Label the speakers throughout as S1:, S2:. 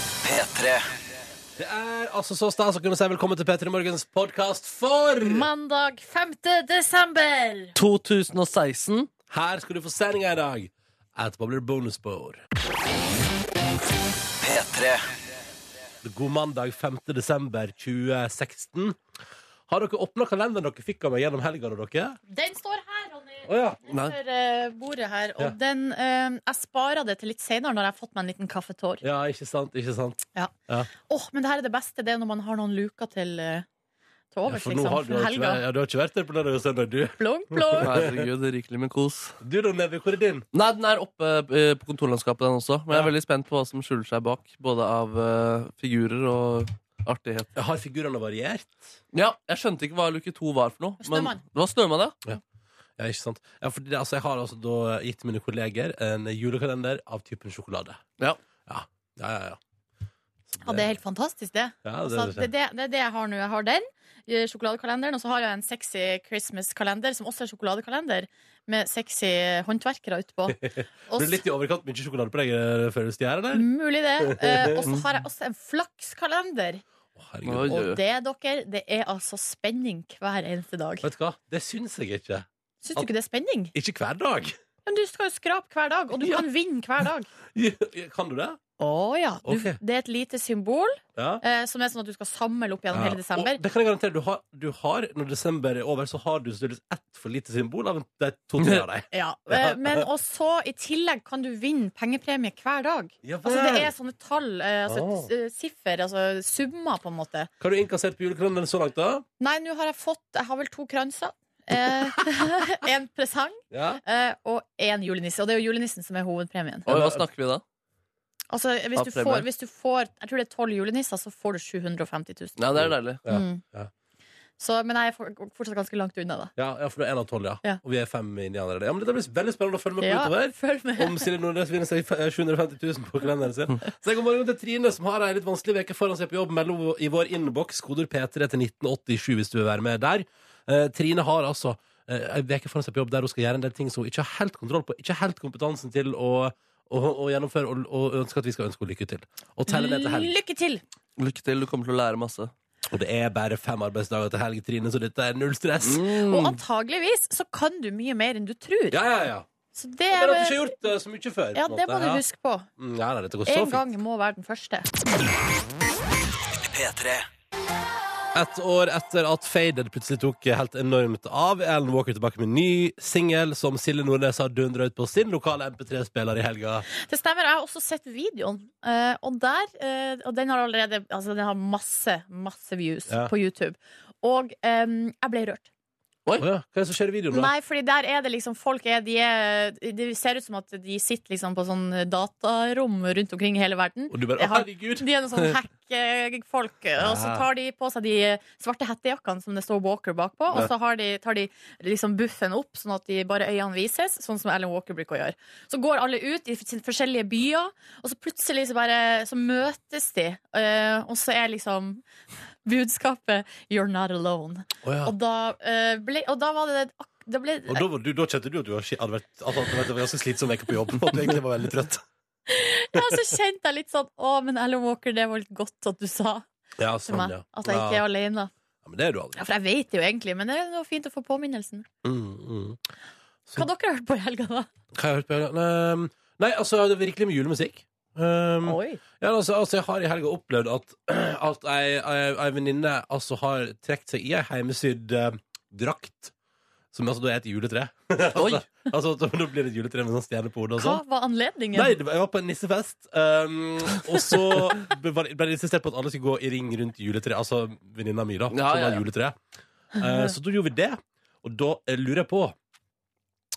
S1: P3.
S2: Det er altså så stas å kunne si velkommen til P3 Morgens podkast for
S3: Mandag 5. desember.
S2: 2016. Her skal du få sendinga i dag. Etterpå blir det bonusbord.
S1: P3.
S2: God mandag 5. desember 2016. Har dere åpna kalenderen dere fikk av meg gjennom helga? da, dere?
S3: Den står her, Ronny.
S2: Å ja.
S3: Under eh, bordet her. Og
S2: Ja.
S3: den eh, Jeg sparer det til litt senere når jeg har fått meg en liten kaffetår. Åh,
S2: ja, ikke sant? ikke sant?
S3: men det her er det beste. Det er når man har noen luker til, eh, til
S2: Ja,
S3: overs,
S2: for nå
S3: liksom.
S2: har du,
S3: For
S2: ikke,
S3: helga.
S2: vært- ja, du har ikke vært der på lørdag og søndag, du?
S3: Plong, plong.
S4: Herregud, det er rikelig med kos.
S2: Du da, Nevi, hvor er din?
S4: Nei, den er oppe eh, på kontorlandskapet, den også. Men jeg
S2: Ja.
S4: er veldig spent på hva som skjuler seg bak. Både av eh, figurer og artighet.
S2: Har figurene variert?
S4: Ja, jeg skjønte ikke hva luke to var for noe. Men
S3: Snømann.
S4: det var snømann, ja.
S2: Ja, ikke sant? Ja, for det, altså, jeg har altså da gitt mine kolleger en julekalender av typen sjokolade.
S4: Ja.
S2: Ja, ja, ja. ja. Så
S3: Ja, det er helt fantastisk, det.
S2: ja, det,
S3: Altså,
S2: det,
S3: det, er det, det er det jeg har nå. Jeg har den eh, sjokoladekalenderen, og så har jeg en sexy Christmas-kalender, som også er sjokoladekalender, med sexy håndverkere utpå. Og
S2: Blir det litt i overkant mye sjokolade på deg eh, før du stjeler, eller?
S3: Mulig det. Eh, og så har jeg også en flakskalender.
S2: Å, herregud.
S4: Oi.
S3: Og det, dere, det er altså spenning hver eneste dag.
S2: Vet du hva? Det syns jeg ikke.
S3: Syns du ikke det er spenning?
S2: Ikke hver dag.
S3: Men du skal jo skrape hver dag, og du
S2: Ja.
S3: kan vinne hver dag.
S2: Kan du det?
S3: Å ja. Du,
S2: Ok.
S3: Det er et lite symbol
S2: Ja.
S3: eh, som er sånn at du skal samle opp gjennom
S2: Ja.
S3: hele desember.
S2: Og det kan jeg garantere. Du har, du har, når desember er over, så har du størrelse ett for lite symbol av de to-tre av deg.
S3: Ja. Eh, men også i tillegg kan du vinne pengepremie hver dag. Altså Det er sånne tall, eh, altså,
S2: Ah.
S3: t- eh, siffer, altså summer, på en måte.
S2: Hva har du innkassert på julekalenderen så langt, da?
S3: Nei, nå har jeg fått Jeg har vel to kranser. Én presang
S2: Ja.
S3: eh, og én julenisse. Og det er jo julenissen som er hovedpremien.
S4: Oi, hva snakker vi da?
S3: Altså, hvis
S4: Av
S3: du,
S4: premier.
S3: får, hvis du får Jeg tror det er tolv julenisser, så får du 750 000.
S4: Ja, det er deilig.
S2: Ja,
S3: Mm.
S2: ja.
S3: Så, men jeg er for- fortsatt ganske langt unna, da.
S2: Ja, ja, for du er én av tolv, ja.
S3: Ja.
S2: Og vi er fem inni allerede. Ja, men Dette blir veldig spennende å følge med på
S3: Ja,
S2: utover.
S3: følg med.
S2: Om Silje Nordnes vinner seg eh, 750 000 på kalenderen sin. Så god morgen til Trine, som har ei litt vanskelig uke foran seg på jobb. Meld henne i vår innboks, koder P3 til 1987 hvis du vil være med der. Eh, Trine har altså eh, ei uke foran seg på jobb der hun skal gjøre en del ting som hun ikke har helt kontroll på, ikke helt kompetansen til å, å, å gjennomføre, og, og ønsker at vi skal ønske henne lykke til. Og telle ned til helg.
S3: Lykke til!
S4: Lykke til, du kommer til å lære masse.
S2: Og det er bare fem arbeidsdager til helg, Trine, så dette er null stress.
S3: Og antageligvis så kan du mye mer enn du tror.
S2: Ja, ja, ja.
S3: Så det,
S2: Men at du ikke har gjort eh, så mye før.
S3: ja,
S2: på en
S3: det må
S2: måte.
S3: du
S2: Ja.
S3: huske på.
S2: Mm, Ja, nei, dette går så fint.
S3: En gang må være den første.
S1: P3.
S2: Et år etter at Faded plutselig tok helt enormt av, er Ellen Walker tilbake med en ny singel som Silje Nordnes har dundra ut på sin lokale MP3-spiller i helga.
S3: Det stemmer. Jeg har også sett videoen, eh, og der eh, Og den har allerede Altså, den har masse, masse views
S2: Ja.
S3: på YouTube. Og eh, jeg ble rørt.
S2: Å ja, hva er det som skjer i videoen, da?
S3: Nei, fordi der er det liksom folk er, de er, Det ser ut som at de sitter liksom på sånn datarom rundt omkring i hele verden.
S2: Og du bare
S3: Jeg
S2: Å,
S3: har-
S2: herregud!
S3: De er noen sånn hack-folk, og så tar de på seg de svarte hettejakkene som det står Walker bakpå, og så har de, tar de liksom buffen opp, sånn at de bare øynene vises, sånn som Ellen Walker bruker å gjøre. Så går alle ut i sine forskjellige byer, og så plutselig så bare så møtes de, eh, og så er liksom budskapet 'You're not alone'.
S2: Å ja.
S3: Og da, eh, ble, og da var det ak- da ble,
S2: Og da, var du, da kjente du at du var- hadde vært, altså, at det var- det var ganske slitsom uke på jobb, og at du egentlig var veldig trøtt?
S3: ja, så kjente jeg litt sånn Å, men Ellen Walker, det var litt godt at du sa
S2: Ja,
S3: til
S2: sånn,
S3: meg
S2: ja.
S3: at altså, jeg ikke er
S2: ja.
S3: alene.
S2: ja men det er du aldri.
S3: Ja, for jeg vet det jo egentlig, men det er noe fint å få påminnelsen.
S2: Mm, mm.
S3: Hva har dere hørt på i helga, da?
S2: Hva har jeg hørt på? i helga? Nei, Nei, altså, det er virkelig mye julemusikk. Um,
S3: Oi.
S2: Ja, altså, altså, jeg har i helga opplevd at, at ei, ei, ei venninne altså, har trukket seg i ei heimesydd eh, drakt, som altså, da er et juletre.
S4: Oi!
S2: altså, da, da blir det et juletre med sånn stjerne på hodet og
S3: Hva
S2: sånn.
S3: var anledningen?
S2: Nei, det var, jeg var på en nissefest, um, og så ble var det ble det insistert på at alle skulle gå i ring rundt juletreet. Altså venninna mi, da.
S4: Ja,
S2: som
S4: ja, Mhm.
S2: har
S4: ja.
S2: juletre. Eh, så da gjorde vi det, og da eh, lurer jeg på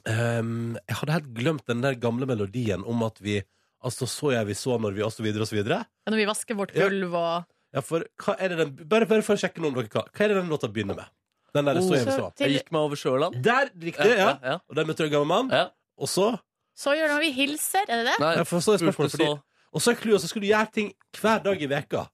S2: um, Jeg hadde helt glemt den der gamle melodien om at vi Altså, så jeg vi så når vi, og så videre, og så videre.
S3: Når vi vasker vårt gulv og
S2: Ja, for hva er det den Bare, bare for å sjekke noe om dere hva Hva er det den låta begynner med? Den der står jeg ved
S3: så,
S2: Oh, så
S4: Jeg
S3: til,
S4: gikk meg over Sjøland.
S2: Der, riktig, ja
S4: ja,
S2: Og der møtte du en gammel mann
S4: ja.
S2: Og så
S3: så gjør det når vi hilser, er det det?
S4: Nei,
S2: ja, for så er
S4: spurte
S2: spørsmålet fordi,
S4: så
S2: Og så er clouet, så skulle du gjøre ting hver dag i veka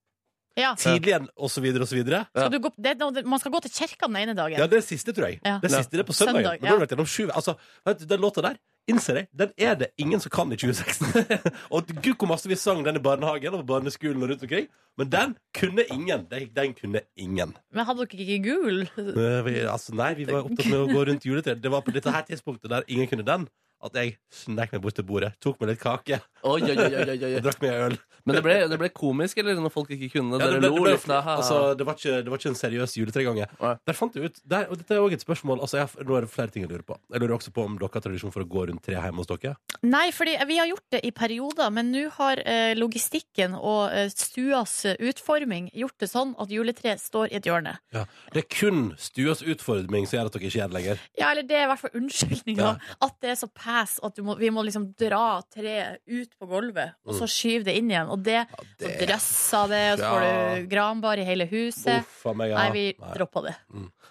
S3: Ja.
S2: Tidlig igjen, og så videre, og så videre
S3: Skal du gå, det, er noe- man skal gå til kirka den ene dagen.
S2: Ja, det er siste, tror jeg
S3: Ja.
S2: Det siste det er på søndagen
S3: Søndag,
S2: Men da har
S3: ja.
S2: det vært gjennom sju Altså, vet du, den låta der innser jeg, den er det ingen som kan i 2016. og gud hvor masse vi sang den i barnehagen og på barneskolen og rundt omkring. Men den kunne ingen. Den, den kunne ingen.
S3: Men hadde dere ikke gul?
S2: Eh, Vi, altså, nei, vi var opptatt med å gå rundt juletreet. Det var på dette her tidspunktet der ingen kunne den, at jeg snek meg bort til bordet, tok meg litt kake
S4: Oi, oi, oi, oi, oi,
S2: og
S4: oi.
S2: drakk meg en øl.
S4: Men det ble, det ble komisk, eller? Når folk ikke kunne det?
S2: Ja, det,
S4: Dere
S2: ble,
S4: lo
S2: det, ble,
S4: litt da. ha, ha.
S2: altså, det, var ikke, det var ikke en seriøs juletregange.
S4: Nei.
S2: Der fant jeg ut der, Og dette er også et spørsmål. Altså, jeg, nå er det flere ting jeg lurer på. Jeg lurer også på om dere har tradisjon for å gå rundt tre hjemme hos dere.
S3: Nei, fordi vi har gjort det i perioder, men nå har eh, logistikken og eh, stuas utforming gjort det sånn at juletreet står i et hjørne.
S2: Det er kun stuas utfordring som gjør at dere ikke gjør det lenger.
S3: Ja, eller det er i hvert fall unnskyldninga.
S2: Ja.
S3: At det er så pass at du må, vi må liksom dra treet ut på gulvet, og så skyve det inn igjen. Og det, så drøsser det, og så
S2: Mm. Ja.
S3: får du granbar i hele huset.
S2: Uff a meg, ja.
S3: Nei, vi
S2: Nei.
S3: droppa det.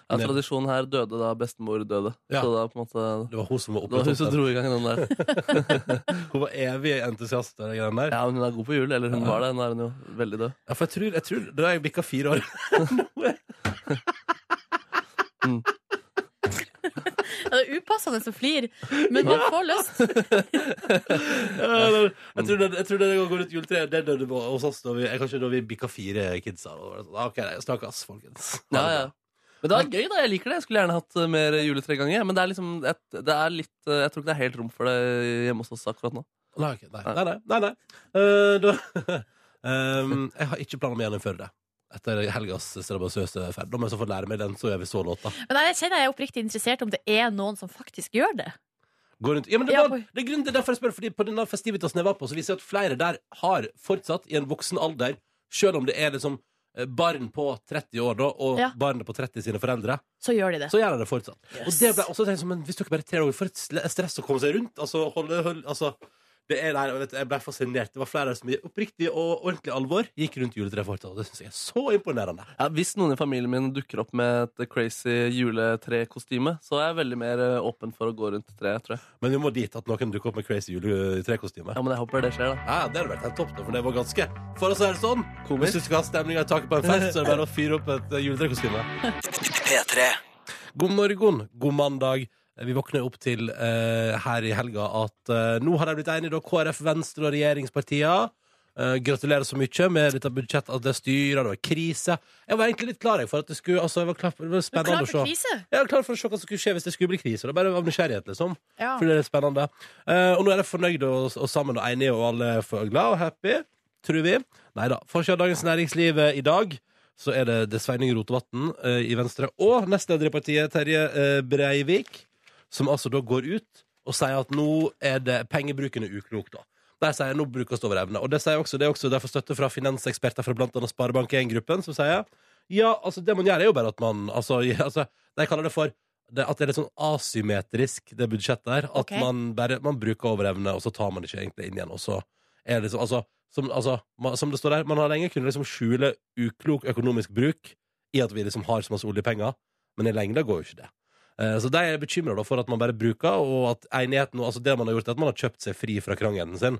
S4: Ja, tradisjonen her døde da bestemor døde.
S2: Ja.
S4: Så da på en måte
S2: Det var hun som var
S4: Det var hun som
S2: opptatt
S4: dro i gang den der.
S2: Hun var evig entusiast av de greiene der.
S4: Ja, men hun er god på jul. Eller hun var det. Nå er hun jo veldig død.
S2: Ja, for jeg tror, jeg tror Da har jeg bikka fire år.
S3: Ja, det er upassende som flir, men man får lyst.
S2: jeg tror det, jeg tror det går rundt juletreet. Det døde hos oss da vi, jeg, kanskje da vi bikka fire kidsa. Og det var sånn, ah, ok, nei, Stakkars, folkens.
S4: Ja, ja. Men det var gøy, da. Jeg liker det. Jeg skulle gjerne hatt eh, mer juletreganger. Men det er liksom et, det er litt, eh, jeg tror ikke det er helt rom for det hjemme hos oss akkurat nå.
S2: Nei, ok, nei, nei, nei, nei, nei. Eh, da, Ehm, Jeg har ikke planer om å gjennomføre det. Etter helgas strabasiøse ferd. Da må jeg så få lære meg den, så gjør vi så låta.
S3: Men jeg kjenner jeg er oppriktig interessert om det er noen som faktisk gjør det.
S2: Gå rundt. Ja, men det,
S3: Ja,
S2: var,
S3: på-
S2: det er grunnen til derfor jeg spør, fordi på denne festivitasen jeg var på, så viser det at flere der har fortsatt i en voksen alder, selv om det er liksom eh, barn på 30 år da, og
S3: Ja.
S2: barnet på 30 sine foreldre,
S3: Så gjør de det.
S2: så gjør de det fortsatt. Og
S3: Yes.
S2: det ble også tenkt som, men hvis dere bare er tre år, for et sle- stress å komme seg rundt, altså, holde, holde, altså, det er der, og vet, du, jeg ble fascinert. Det var flere som i oppriktig og ordentlig alvor gikk rundt juletreet fortsatt, og det synes jeg er så imponerende.
S4: Ja, hvis noen i familien min dukker opp med et crazy juletrekostyme, så er jeg veldig mer eh, åpen for å gå rundt treet, tror jeg.
S2: Men vi må dit at noen dukker opp med crazy juletrekostyme.
S4: Ja, men jeg håper det skjer, da.
S2: Ja, det hadde vært helt topp, da, for det var ganske For å si det sånn,
S4: Komisk.
S2: hvis du skal ha stemninga i taket på en fest, så er det bare å fyre opp et eh, juletrekostyme. God morgen, god mandag. Vi våkner opp til eh, her i helga at eh, nå har de blitt enige, da, KrF, Venstre og regjeringspartiene. Eh, gratulerer så mye med dette budsjettet, at det styrer, det var krise. Jeg var egentlig litt klar jeg, for at det skulle altså, jeg var klar, Det var
S3: Du er
S2: spennende å
S3: klar
S2: se.
S3: for krise?
S2: Jeg var klar for å se hva som skulle skje hvis det skulle bli krise. og Det er bare av nysgjerrighet, liksom.
S3: Ja.
S2: Fordi det er spennende. Eh, og nå er de fornøyde og, og sammen og enige, og alle er for glad og happy, tror vi. Nei da. Forskjell av Dagens Næringsliv eh, i dag, så er det, det Sveining Rotevatn eh, i Venstre og nestleder i partiet, Terje eh, Breivik, som altså da går ut og sier at nå er det pengebruken er uklok, da. Der sier nå brukes det over evne. Og det, sier også, det er også derfor støtte fra finanseksperter fra blant annet Sparebank1-gruppen, som sier ja, altså det man gjør er jo bare at man altså, ja, altså, De kaller det for det, at det er litt sånn asymmetrisk, det budsjettet her. At
S3: Ok.
S2: man bare man bruker over evne, og så tar man ikke egentlig inn igjen. Og så er det liksom, altså, som, altså, man, som det står der, man har lenge kunnet liksom skjule uklok økonomisk bruk i at vi liksom har så masse oljepenger, men i lengda går jo ikke det. Eh, Så de er bekymra for at man bare bruker, og at enigheten altså Det man har gjort, er at man har kjøpt seg fri fra krangelen sin.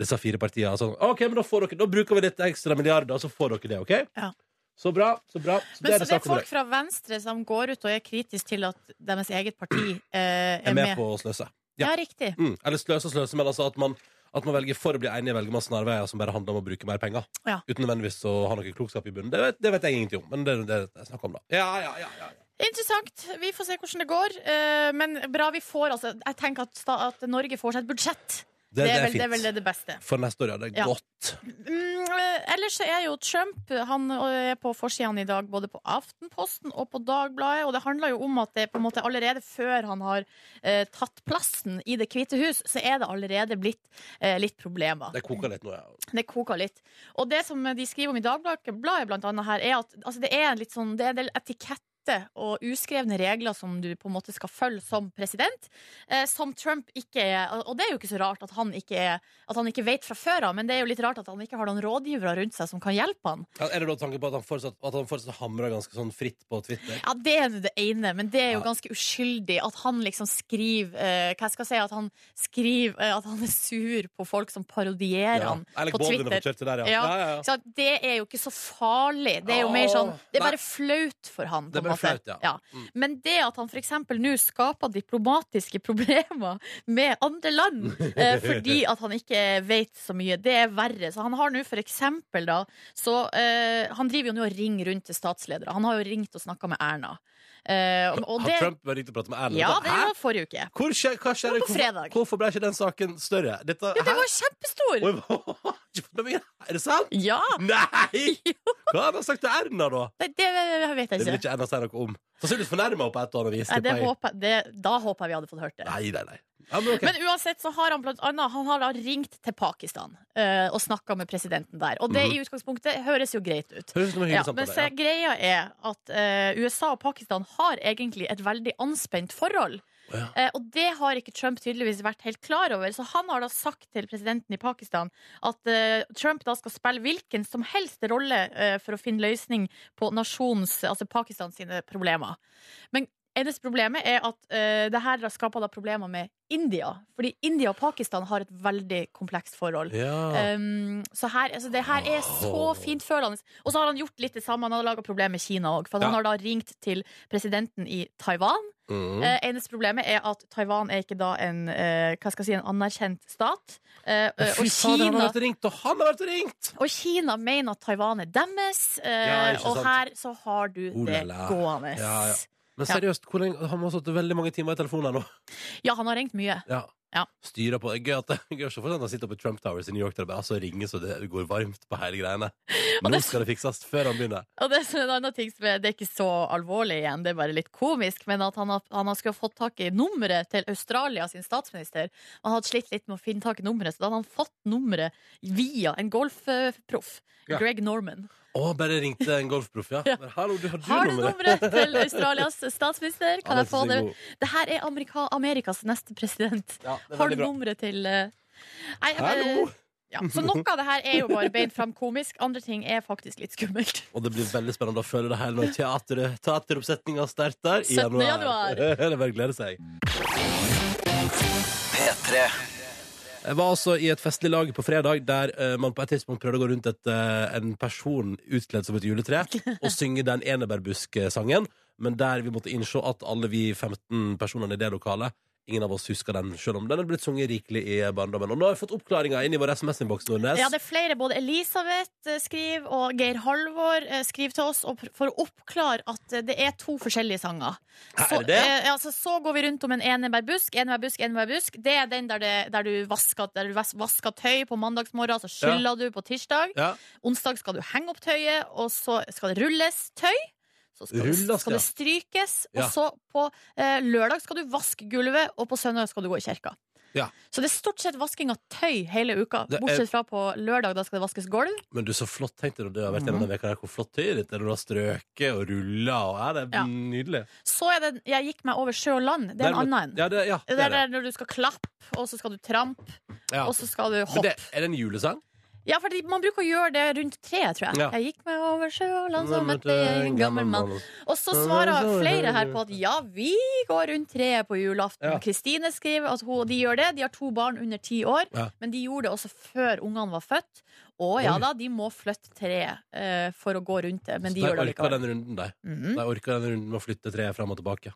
S2: Disse fire partiene. Sånn, OK, men da, får dere, da bruker vi litt ekstra milliarder, og så får dere det, OK?
S3: Ja.
S2: Så bra, så bra. Så
S3: Men
S2: det
S3: så
S2: er det
S3: det er
S2: saken om
S3: folk
S2: det.
S3: fra Venstre som går ut og er kritisk til at deres eget parti eh,
S2: Jeg er med på å sløse.
S3: Ja, riktig.
S2: Mm. Eller sløse og sløse, men altså at man, at man velger for å bli enige, velger man snarveier som bare handler om å bruke mer penger.
S3: Ja.
S2: Uten nødvendigvis å ha noe klokskap i bunnen. Det vet, det vet jeg ingenting om, men det er det jeg snakker om, da. Ja, ja, ja, ja.
S3: Interessant. Vi får se hvordan det går. Eh, men bra vi får, altså. Jeg tenker at, sta at Norge får seg et budsjett.
S2: Det, det er
S3: vel, det er
S2: fint.
S3: vel det, det beste.
S2: For neste år, ja. Det er
S3: Ja.
S2: godt.
S3: Mm, eh, ellers så er jo Trump Han eh, er på forsidene i dag, både på Aftenposten og på Dagbladet. Og det handler jo om at det på en måte allerede før han har eh, tatt plassen i Det hvite hus, så er det allerede blitt eh, litt problemer.
S2: Det koker litt nå, ja.
S3: Det koker litt. Og det som de skriver om i Dagbladet, bladet blant annet her, er at altså, det er en litt sånn, det er en del etikette og uskrevne regler som du på en måte skal følge som president, eh, som Trump ikke er. Og det er jo ikke så rart at han ikke, er, at han ikke vet fra før av, men det er jo litt rart at han ikke har noen rådgivere rundt seg som kan hjelpe han.
S2: Ja, Er det da tanken på at han fortsatt, at han fortsatt hamrer ganske sånn fritt på Twitter?
S3: Ja, det er nå det ene, men det er jo
S2: Ja.
S3: ganske uskyldig at han liksom skriver eh, Hva skal jeg si? At han skriver eh, at han er sur på folk som parodierer han
S2: Alec
S3: på
S2: Baldwin
S3: Twitter.
S2: har fått kjørt det der, ja.
S3: Ja.
S2: ja, ja, ja.
S3: Så at det er jo ikke så farlig. Det er jo mer sånn Det er bare flaut for han.
S2: Det er
S3: På en
S2: bare flaut, ja. Mm.
S3: Men det at han f.eks. nå skaper diplomatiske problemer med andre land eh, fordi at han ikke vet så mye, det er verre. Så han har nå f.eks. da så, eh, Han driver jo nå og ringer rundt til statsledere. Han har jo ringt og snakka med Erna. Eh, og, og det,
S2: Har Trump vært ute og pratet med Erlend?
S3: ja,
S2: Dette-
S3: det
S2: Hæ?
S3: gjorde han forrige uke.
S2: Hvor skjer, hva skjer?
S3: Det var på
S2: Hvorfor,
S3: fredag.
S2: hvorfor ble ikke den saken større? Dette,
S3: Ja,
S2: hæ?
S3: den var kjempestor!
S2: Oi, ikke fått med meg det. Er det sant?
S3: Ja!
S2: Nei! Hva har han sagt til Erna, da?
S3: Nei, det vet
S2: Det
S3: jeg
S2: vil
S3: ikke.
S2: ikke Erna si noe om. Sannsynligvis fornærma henne på et eller annet vis.
S3: Nei, det
S2: tipper jeg.
S3: håper, jeg- det, da håper jeg vi hadde fått hørt det.
S2: nei, nei, nei. Ja, men ok.
S3: Men uansett så har han blant annet Han har da ringt til Pakistan eh, og snakka med presidenten der. Og det i utgangspunktet høres jo greit ut.
S2: Høres ut som en
S3: Ja,
S2: hyggelig
S3: men se,
S2: samtale.
S3: greia er at eh, USA og Pakistan har egentlig et veldig anspent forhold.
S2: Ja.
S3: Eh, og det har ikke Trump tydeligvis vært helt klar over. Så han har da sagt til presidenten i Pakistan at eh, Trump da skal spille hvilken som helst rolle eh, for å finne løsning på nasjonens, altså Pakistans sine problemer. Men eneste problemet er at eh, det her da skaper da problemer med India. Fordi India og Pakistan har et veldig komplekst forhold.
S2: Ja. Ja.
S3: Um, så her, altså det her er så fintfølende. Og så har han gjort litt det samme. Han har laga problem med Kina òg. For
S2: Ja.
S3: han har da ringt til presidenten i Taiwan.
S2: Mm.
S3: Eh, eneste problemet er at Taiwan er ikke da en, eh, hva skal jeg si, en anerkjent stat. Eh, eh,
S2: Fy
S3: og,
S2: fader, han har
S3: Kina,
S2: vært ringt, og han har vært ringt!
S3: og Kina mener at Taiwan er deres.
S2: Ja,
S3: Eh,
S2: ikke
S3: og
S2: sant.
S3: her så har du det
S2: Olala.
S3: gående.
S2: Ja, ja. Men seriøst, hvor lenge, han må ha sittet veldig mange timer i telefonen her nå.
S3: Ja, han har ringt mye.
S2: Ja.
S3: Ja.
S2: Styrer på. Det er Gøy at det gøy å se for seg at han sitter oppe i Trump Towers i New York der det bare altså, ringer så det går varmt på hele greiene. Nå
S3: det-
S2: skal det fikses før han begynner.
S3: Og det, er så en annen ting som er, det er ikke så alvorlig igjen, det er bare litt komisk, men at han, har, han har skulle ha fått tak i nummeret til Australia sin statsminister. Han hadde slitt litt med å finne tak i nummeret, så da hadde han fått nummeret via en golfproff.
S2: Ja.
S3: Greg Norman.
S2: Å, bare ringte en golfproff, ja. Men hallo, du, har du
S3: Har du
S2: nummeret?
S3: nummeret til Australias statsminister?
S2: Han
S3: Kan
S2: er
S3: jeg få
S2: så
S3: det?
S2: god.
S3: Det her er Amerika, Amerikas neste president.
S2: Ja, det er
S3: Har
S2: veldig
S3: du
S2: bra.
S3: nummeret til eh, Nei, jeg bare-
S2: Hallo!
S3: ja. Så noe av det her er jo bare beint fram komisk, andre ting er faktisk litt skummelt.
S2: Og det blir veldig spennende å følge det her når teateret, teateroppsetninga starter i
S3: 17.
S2: januar.
S3: januar.
S2: det er bare å glede seg. Jeg var altså i et festlig lag på fredag der eh, man på et tidspunkt prøvde å gå rundt et, eh, en person utkledd som et juletre og synge den enebærbusk-sangen, men der vi måtte innse at alle vi 15 personene i det lokalet Ingen av oss husker den, selv om den er blitt sunget rikelig i barndommen. Og nå har vi fått oppklaringa inn i vår SMS-innboks, Nordnes.
S3: Ja, det er flere. Både Elisabeth eh, skriver, og Geir Halvor eh, skriver til oss og pr- for å oppklare at eh, det er to forskjellige sanger.
S2: Er
S3: Så,
S2: det?
S3: eh, ja, så, så går vi rundt om en enebærbusk, enebærbusk, enebærbusk. Det er den der, det, der, du vasker, der du vas- vasker tøy på mandagsmorgen, så skyller du på tirsdag.
S2: Ja.
S3: Onsdag skal du henge opp tøyet, og så skal det rulles tøy. Så skal,
S2: Rulles,
S3: det, skal
S2: ja.
S3: det strykes, og
S2: Ja.
S3: så på eh, lørdag skal du vaske gulvet, og på søndag skal du gå i kirka.
S2: Ja.
S3: Så det er stort sett vasking av tøy hele uka,
S2: Det er-
S3: bortsett fra på lørdag, da skal det vaskes gulv.
S2: Men du, så flott, tenkte du. Det har vært en av
S3: Mhm.
S2: de vekene her hvor flott tøyet ditt er. Du har strøket og rulla og ja, Det er
S3: Ja.
S2: nydelig.
S3: Så er det Jeg gikk meg over sjø og land, det er en
S2: Dermed-
S3: annen en.
S2: Ja, det, ja,
S3: Det
S2: det
S3: er
S2: er det.
S3: der når du skal klappe, og så skal du trampe,
S2: Ja.
S3: og så skal du
S2: Men
S3: hoppe.
S2: det, er det en julesang?
S3: Ja, for man bruker å gjøre det rundt treet, tror jeg.
S2: Ja.
S3: Jeg gikk meg over sjø og land som et eh,
S2: eh,
S3: en gammel mann. Og så svarer flere her på at ja, vi går rundt treet på
S2: Ja.
S3: julaften. Kristine skriver at hun, de gjør det. De har to barn under ti år,
S2: Ja.
S3: men de gjorde det også før ungene var født. Og ja
S2: Oi.
S3: da, de må flytte treet eh, for å gå rundt det, men de gjør det
S2: orka
S3: likevel.
S2: den runden, de.
S3: Mhm.
S2: De orka den runden med å flytte treet fram og tilbake.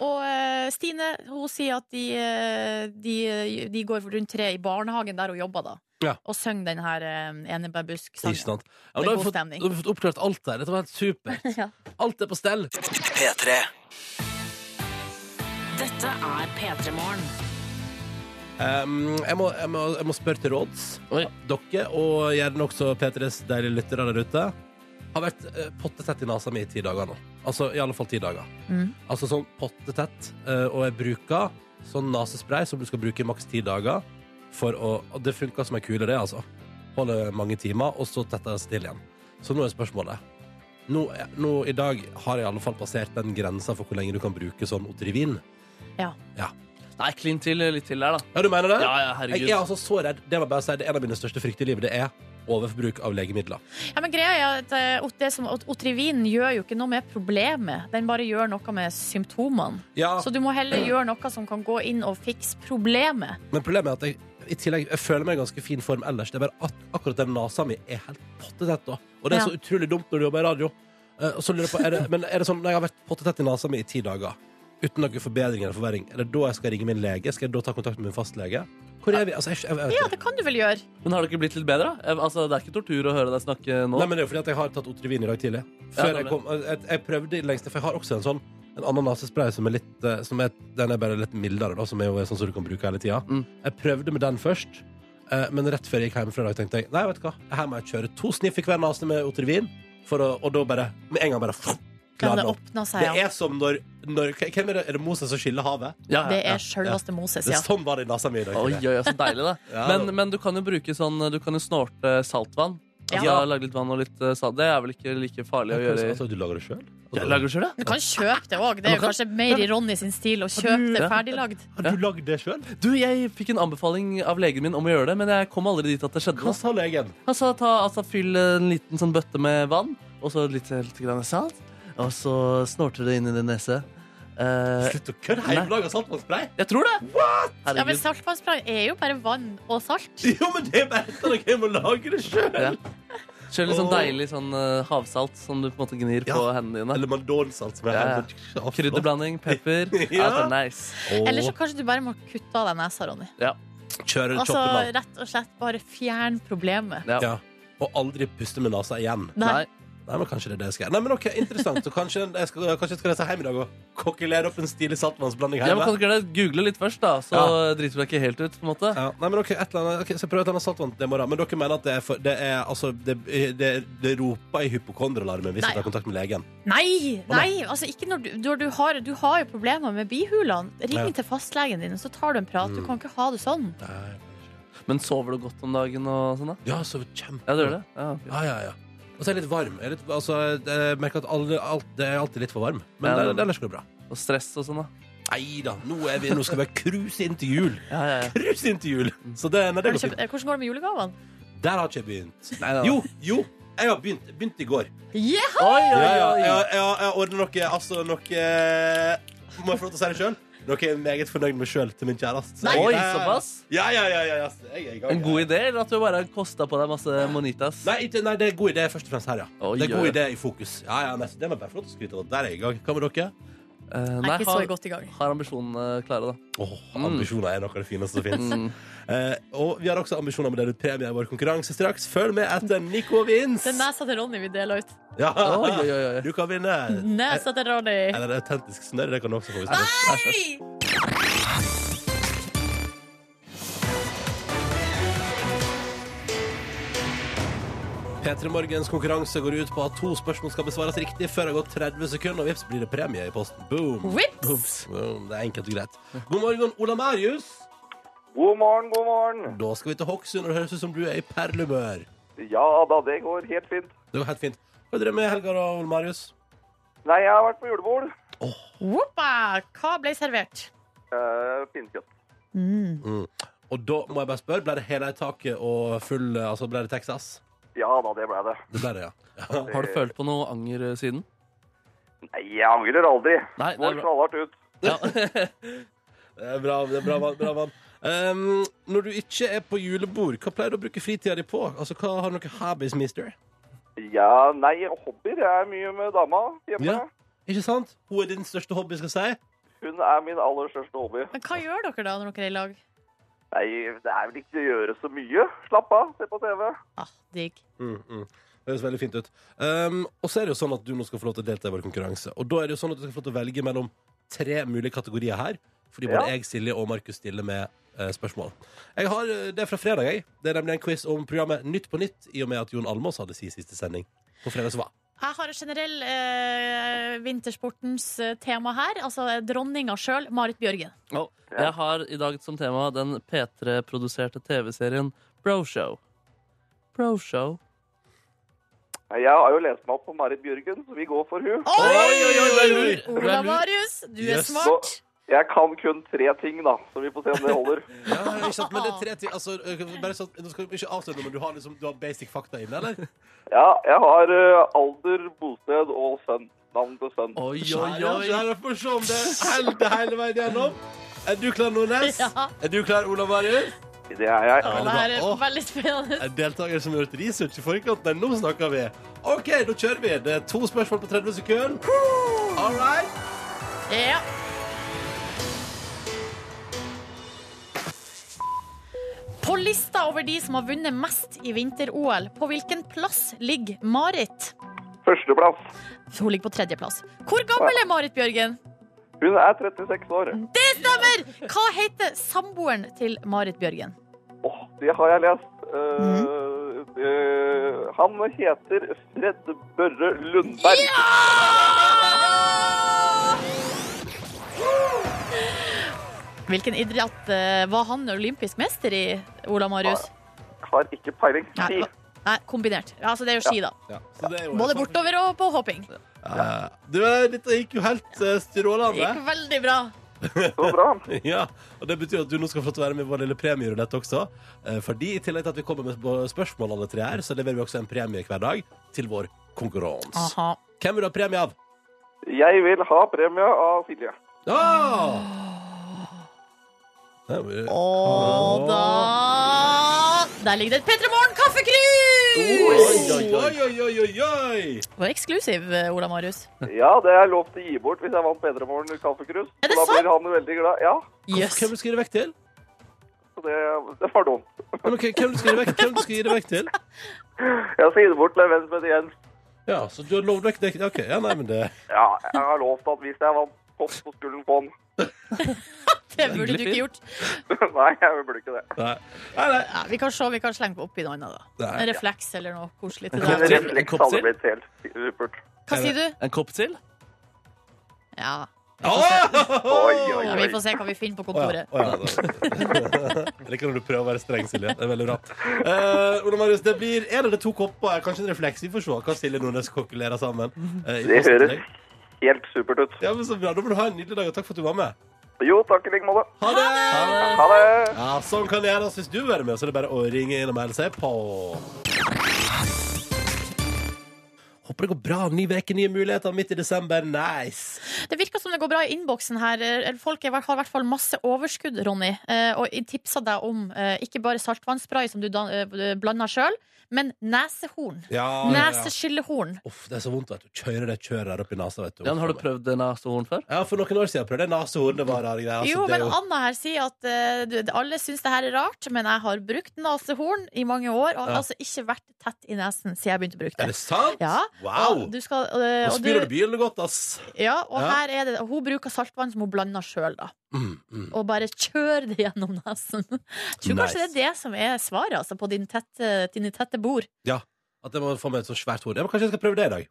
S3: Og eh, Stine hun sier at de, eh, de, de går rundt treet i barnehagen der hun jobber, da.
S2: Ja. sånn.
S3: Og synger den her eh,
S2: Ikke
S3: enebærbusk-sangen.
S2: sant? Ja, men da
S3: Det er
S2: har
S3: god
S2: vi fått,
S3: stemning.
S2: da har vi fått oppklart alt der. Dette var helt supert.
S3: Ja.
S2: Alt er på stell.
S1: Dette er P3 Morgen.
S2: Um, jeg, må, jeg, må, jeg må spørre til råds.
S4: Oi.
S2: Dere, og gjerne også P3s deilige lyttere der ute, har vært eh, pottetett i nesa mi i ti dager nå. Altså i alle fall ti dager.
S3: Mm.
S2: Altså sånn pottetett. eh, og jeg bruker sånn nesespray som du skal bruke i maks ti dager. For å, og det funker som ei kule, det, altså. Holder mange timer, og så tetter det seg til igjen. Så nå er spørsmålet. Nå, er- nå i dag har jeg i alle fall passert den grensa for hvor lenge du kan bruke sånn Otrivin.
S4: Nei, klin til litt til der, da.
S2: Ja, du mener det?
S4: Ja, ja,
S2: Jeg
S4: herregud.
S2: er altså så redd. Det må jeg bare si, det er en av mine største frykter i livet. Det er overforbruk av legemidler.
S3: Ja, men greia er at eh, ot- det som, ot- Otrivin gjør jo ikke noe med problemet. Den bare gjør noe med symptomene.
S2: Ja,
S3: Så du må heller gjøre noe som kan gå inn og fikse problemet.
S2: Men problemet er at jeg i tillegg jeg føler meg i ganske fin form ellers. Det er bare at akkurat den nesa mi er helt pottetett. da. Og det er
S3: Ja.
S2: så utrolig dumt når du jobber i radio. Eh, og så lurer jeg på, er det, men er det sånn når jeg har vært pottetett i nesa mi i ti dager, uten noen forbedring eller forverring, er det da jeg skal ringe min lege? Skal jeg da ta kontakt med min fastlege? Hvor er vi? Altså, jeg, jeg, jeg, vet
S3: Ja,
S2: ikke.
S3: det kan du vel gjøre.
S4: Men har det ikke blitt litt bedre? da? Jeg- Altså, det er ikke tortur å høre deg snakke nå.
S2: Nei, men det er jo fordi at jeg har tatt Otrivin i dag tidlig.
S4: Ja,
S2: Før
S4: nemlig.
S2: jeg, kom, jeg, jeg prøvde i det lengste, for jeg har også en sånn en ananasespray som er litt eh, som er, Den er bare litt mildere, da, som er jo sånn som du kan bruke hele tida.
S4: Mm.
S2: Jeg prøvde med den først, eh, men rett før jeg gikk hjem fra i dag, tenkte jeg nei, vet du hva, her må jeg kjøre to sniff i hver nese med Otrivin, for å, og da bare Med en gang bare
S3: Ja,
S2: klar
S3: det
S2: nå.
S3: åpna seg,
S2: Det er
S3: ja.
S2: som når, når Hvem er det? Er det Moses som skiller havet?
S4: ja, ja,
S3: Det
S4: ja.
S3: er sjølveste Moses,
S2: Det
S3: ja.
S2: er sånn var det i nesa mi i dag.
S4: Oi,
S2: tidlig.
S4: oi, oi, så deilig, da.
S2: Ja, da.
S4: men, men du kan jo bruke sånn Du kan jo snorte saltvann. Altså,
S3: Ja.
S4: Lage litt vann og litt eh, salt. Det er vel ikke like farlig å gjøre. i-
S2: Altså, du lager det sjøl?
S4: Ja, Lager du selv,
S3: Du
S4: det?
S3: kan kjøpe det òg. Det er jo kanskje mer i Ronny sin stil å kjøpe det
S4: Ja.
S3: ferdiglagd.
S2: Har du lagd det sjøl?
S4: Du, jeg fikk en anbefaling av legen min om å gjøre det, men jeg kom aldri dit at det skjedde.
S2: Hva
S4: noe.
S2: sa legen?
S4: Altså, ta, altså fyll en liten sånn bøtte med vann, og så litt, litt grann salt, og så snorter du det inn i din nese. Eh,
S2: Slutt å kødde! Hjemmelaga saltvannsspray?
S4: jeg tror det!
S3: Ja, men
S4: Herregud.
S3: saltvannsspray er jo bare vann og salt.
S2: Jo, men det er bare etter at jeg må lage det sjøl!
S4: Ja. Kjør litt sånn
S2: Åh.
S4: deilig sånn eh, havsalt som du på en måte gnir
S2: Ja.
S4: på hendene dine.
S2: Eller mandonsalt, som jeg
S4: Ja, ja.
S2: har. Ja.
S4: Krydderblanding, pepper. ja.
S2: Ja.
S4: det er nice.
S3: Eller så kanskje du bare må kutte av deg nesa, Ronny.
S2: kjører du
S3: Altså
S2: choppen av.
S3: rett og slett bare fjern problemet.
S4: Ja.
S2: Ja. Og aldri puste med nesa igjen.
S3: Nei.
S4: Nei.
S2: Nei, men Kanskje det er det jeg skal gjøre. Nei, men ok, Interessant. Så kanskje jeg skal, kanskje jeg skal reise hjem i dag og kokkelere opp en stilig saltvannsblanding
S4: Ja, men
S2: hjemme.
S4: kan du ikke gjøre det? Google litt først, da, så
S2: Ja.
S4: driter du deg ikke helt ut. på en måte
S2: Ja, nei, men ok, et eller annet, ok, så prøv et eller annet saltvann det må da. Men dere mener at det er, for, det er altså, det, det, det roper i hypokonderalarmen hvis
S3: Nei.
S2: jeg tar kontakt med legen.
S3: Nei!
S2: Å, nei.
S3: nei. Altså, ikke når du, når du, har, du har jo problemer med bihulene. Ring
S2: Ja.
S3: til fastlegen din, så tar du en prat. Du
S2: Mm.
S3: kan ikke ha det sånn.
S4: Men sover du godt om dagen og sånn, da?
S2: Ja, så kjempe...
S4: Ja, du gjør det? Ja, ok.
S2: Ja, ja, ja. Og så er jeg litt varm. Jeg, er litt, altså, jeg merker at alle, alt, det er alltid litt for varm. Men
S4: Ja,
S2: det-
S4: det-
S2: det- ellers går det bra.
S4: Og stress og sånn, da?
S2: Nei da, nå, er vi, nå skal vi cruise inn til jul.
S4: Ja, ja, ja.
S2: Cruise inn til jul! Så det, nei, det
S3: Har du
S2: går
S3: kjøpt,
S2: fint.
S3: eh, hvordan går det med julegavene?
S2: Der har ikke jeg begynt.
S4: Nei, nei, nei.
S2: Jo, jo. Jeg har begynt, begynt i går.
S3: Yeah!
S4: Oi, oi,
S2: Ja, ja,
S4: oi.
S2: jeg, jeg, jeg ordner noe, altså noe Må jeg få lov til å si det sjøl? Noe jeg er meget fornøyd med sjøl til min kjæreste.
S3: Nei.
S4: Oi,
S2: Ja, ja, ja.
S4: såpass?
S2: Ja, ja, ja, ja, ja. så Jeg er i gang.
S4: En god idé, eller at du bare kosta på deg masse monitas?
S2: Nei, ikke, nei, det er god idé først og fremst her, ja.
S4: Oi,
S2: det er god
S4: oi.
S2: idé i fokus. Ja, ja, nei, det må jeg bare få lov til å skryte av. Der er jeg i gang. Hva med dere?
S4: Eh,
S3: Jeg
S4: nei,
S3: er ikke så
S4: har,
S3: godt i gang.
S4: har ambisjonene klare, da.
S2: Åh, ambisjoner er noe av det fineste som fins.
S4: Mm.
S2: Eh, og vi har også ambisjoner om å dele ut premie i vår konkurranse straks. Følg med etter Nico vins!
S3: Den nesa til Ronny vi deler ut.
S2: Ja.
S4: Oi, oi, oi, oi.
S2: Du kan vinne.
S3: Nesa til Ronny.
S2: Eller autentisk snørr. Det kan du også få. hvis du vil.
S4: Ah!
S2: P3 Morgens konkurranse går ut på at to spørsmål skal besvares riktig før det har gått 30 sekunder, og vips blir det premie i posten. Boom!
S3: Vips!
S2: Booms. Boom. Det er enkelt og greit. God morgen, Ola Marius.
S5: God morgen, god morgen.
S2: Da skal vi til Hokksund, og det høres ut som du er i perlehumør.
S5: Ja da, det går helt fint.
S2: Det går helt fint. Hva er det med i helga, da, Ola Marius?
S5: Nei, jeg har vært på julebord.
S3: Whoppa! Hva ble servert?
S5: Uh, Pinnekjøtt.
S3: Mm.
S2: Og da må jeg bare spørre, ble det hele i taket og full Altså, ble det Texas?
S5: Ja da, det ble det.
S2: Det ble det, ja.
S4: Har du følt på noe anger eh, siden?
S5: Nei, jeg angrer aldri.
S4: Nei, det
S5: Går
S4: er bra.
S5: knallhardt ut.
S4: Ja.
S2: Det er Eh, bra, det er bra, vann, bra vann. Um, når du ikke er på julebord, hva pleier du å bruke fritida di på? Altså, hva Har du noen hobbies, mister?
S5: Ja, nei, hobbyer. Jeg er mye med dama hjemme.
S2: Ja. Ikke sant? Hun er din største hobby, skal jeg si.
S5: Hun er min aller største hobby.
S3: Men hva gjør dere da når dere er i lag?
S5: Nei, det er vel ikke å gjøre så mye. Slapp av, se på TV.
S3: Ah, digg.
S2: Mm, mm. Det høres veldig fint ut. Um, og så er det jo sånn at du nå skal få lov til å delta i vår konkurranse. Og da er det jo sånn at du skal få lov til å velge mellom tre mulige kategorier her. Fordi både
S5: Ja.
S2: jeg, Silje og Markus stiller med eh, spørsmål. Jeg har eh, det er fra fredag, jeg. Det er nemlig en quiz om programmet Nytt på nytt, i og med at Jon Almaas hadde sin siste sending. På fredag så var
S3: Jeg har en generell eh, vintersportens eh, tema her. Altså eh, dronninga sjøl, Marit Bjørgen.
S4: Å, Jeg har i dag som tema den P3-produserte TV-serien Broshow. Broshow.
S5: Nei, Jeg har jo lest meg opp på Marit Bjørgen, så vi går for hun.
S4: Du er
S3: Ola
S4: lur.
S3: Marius, du er
S2: Yes.
S3: smart.
S5: Jeg kan kun tre ting, da, så vi får se om det holder.
S2: Ja, ikke sant, men det er tre ting altså, ø, bare sånn, Nå skal vi ikke avsløre noe, men du har, liksom, du har basic fakta inne, eller?
S5: Ja, jeg har eh, alder, bosted og sønn. Navn til sønn.
S4: Oi, oi,
S2: Ja,
S4: oi.
S2: ja, vi får se om det holder hele veien gjennom. Er du klar, Nordnes?
S3: Ja.
S2: Er du klar, Olav Marius?
S5: Det er jeg.
S3: Å, det
S2: bra.
S3: her er
S2: Å.
S3: veldig spennende.
S2: En deltaker som har gjort research i forkant. Nei, nå snakker vi. OK, da kjører vi. Det er to spørsmål på 30 sekunder. All right.
S3: Ja. På lista over de som har vunnet mest i vinter-OL, på hvilken plass ligger Marit?
S5: Førsteplass.
S3: Hun ligger på tredjeplass. Hvor gammel er Marit Bjørgen?
S5: Hun er 36 år.
S3: Det stemmer! Hva heter samboeren til Marit Bjørgen?
S5: Åh, det har jeg lest. Eh,
S3: Mm.
S5: eh, han heter Fred Børre Lundberg.
S3: Hvilken idrett eh, var han olympisk mester i, Ola Marius?
S5: Har ikke peiling.
S3: Nei,
S5: Si.
S3: nei kombinert. Altså, det er jo ski, da.
S2: Ja, så det er jo-
S3: Både bortover og på hopping.
S2: Ja. Du, eh, dette gikk jo helt eh,
S3: Det gikk
S2: strålende.
S3: veldig bra.
S5: Så bra.
S2: Ja, og Det betyr at du nå skal få lov til å være med i vår lille premierulett også. Eh, Fordi I tillegg til at vi kommer med sp- spørsmål, alle tre her, så leverer vi også en premie hver dag til vår konkurranse.
S3: Aha.
S2: Hvem vil du ha premie av?
S5: Jeg vil ha premie av Silje.
S2: Ah! Det er jo-
S3: Og da Der ligger det et P3 Morgen-kaffekrus!
S2: Oi, oi, oi, oi, oi, oi!
S3: Det var eksklusiv, eh, Ola Marius.
S5: Ja, det er lov til å gi bort hvis jeg vant Bedremorgen kaffekrus.
S3: Er det
S5: Så da
S3: sant?
S5: blir han veldig glad. Ja,
S3: Jøs.
S2: Hvem du skal gi det vekk til?
S5: så det, det var dumt.
S2: Ja, men hvem- Hvem du skal gi det vekk, hvem du skal gi det vekk til?
S5: Jeg skal gi det bort til en venn som heter Jens.
S2: Ja, så du har lovd vekk det? Ok, ja, nei, men det
S5: Ja, jeg har lovt at hvis jeg vant topp, så skulle han få den.
S3: Det burde du ikke gjort.
S5: Nei, jeg burde ikke det.
S2: Nei, nei. nei.
S3: Ja, vi kan se, vi kan slenge oppi noe annet, da.
S2: Nei.
S3: En refleks eller noe koselig til
S4: En kopp
S5: En
S3: deg.
S4: til.
S5: refleks
S4: kopp
S5: hadde
S4: til?
S5: blitt helt supert.
S3: Hva sier du?
S4: En kopp til?
S3: Ja.
S5: Oi, oi,
S3: ja,
S5: oi.
S3: vi får se hva vi finner på
S2: Å ja,
S3: kontoret.
S2: å ja, da- Jeg liker når du prøver å være streng, Silje. Det er veldig bra. Eh, Ole Marius, det blir en eller to kopper, eh, kanskje en refleks. Vi får se hva Silje Nordnes kokulerer sammen. eh, i posten
S5: Det
S2: til
S5: høres
S2: deg.
S5: helt supert ut.
S2: Ja, men så bra. Da må du ha en nydelig dag, og takk for at du var med.
S5: Jo, takk i like måte.
S2: Ha det!
S5: Ha det.
S2: Ja, sånn kan det gjøres hvis du vil være med, så er det bare å ringe inn og melde seg på. Håper det går bra. Ny uke, nye muligheter midt i desember. Nice!
S3: Det virker som det går bra i innboksen her. Eh, Folk er- har i hvert fall masse overskudd, Ronny. eh, Og jeg tipsa deg om eh, ikke bare saltvannsspray som du dan- eh, blander sjøl, men nesehorn.
S2: Ja,
S3: Neseskyllehorn.
S2: Uff, det er så vondt, vet du. Kjører det kjøret der opp i nesa, vet du.
S4: Ja, men har du prøvd nasohorn før?
S2: Ja, for noen år siden prøvde jeg nesehorn. Det var rare greier. altså,
S3: Jo,
S2: det er
S3: men Anna her sier at eh, du, alle syns det her er rart, men jeg har brukt nesehorn i mange år, og har
S2: Ja.
S3: altså ikke vært tett i nesen siden jeg begynte å bruke det.
S2: Er det sant?
S3: Ja,
S2: Wow!
S3: Og du skal, eh,
S2: Nå
S3: og
S2: spyr du
S3: du,
S2: bilen godt, ass.
S3: ja, og
S2: Ja.
S3: her er det Hun bruker saltvann som hun blander sjøl, da.
S2: Mm, mm.
S3: Og bare kjører det gjennom nesen. Jeg tror
S2: Nice.
S3: kanskje det er det som er svaret altså, på din tette, dine tette bord.
S2: At jeg må få meg et så svært hode. Ja, men kanskje jeg skal prøve det i dag.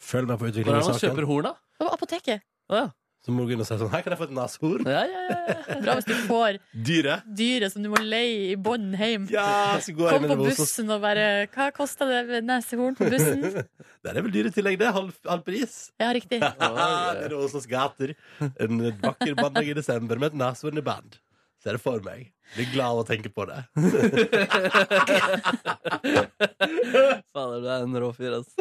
S2: Følg med på
S4: Hvor er
S2: utviklingen
S4: det
S2: av
S4: man kjøper
S2: saken.
S4: horn, da?
S3: På apoteket.
S4: Å ja.
S2: Så må du gå inn og si sånn Her kan jeg få et nesehorn.
S4: Ja, ja, ja, ja.
S3: Bra hvis du får
S2: Dyret.
S3: dyret som du må leie i bånd hjem.
S2: Ja, så går jeg
S3: Kom
S2: inn
S3: på
S2: i Vosos.
S3: bussen og bare Hva kosta det med nesehorn på bussen?
S2: Det er vel dyre tillegg, det. Halv, halv pris.
S3: Ja, riktig.
S2: det er Oslos gater. En vakker mandag i desember med et nesehorn i band. Ser det for meg. Blir glad av å tenke på det.
S4: Fader, du er en rå fyr, ass.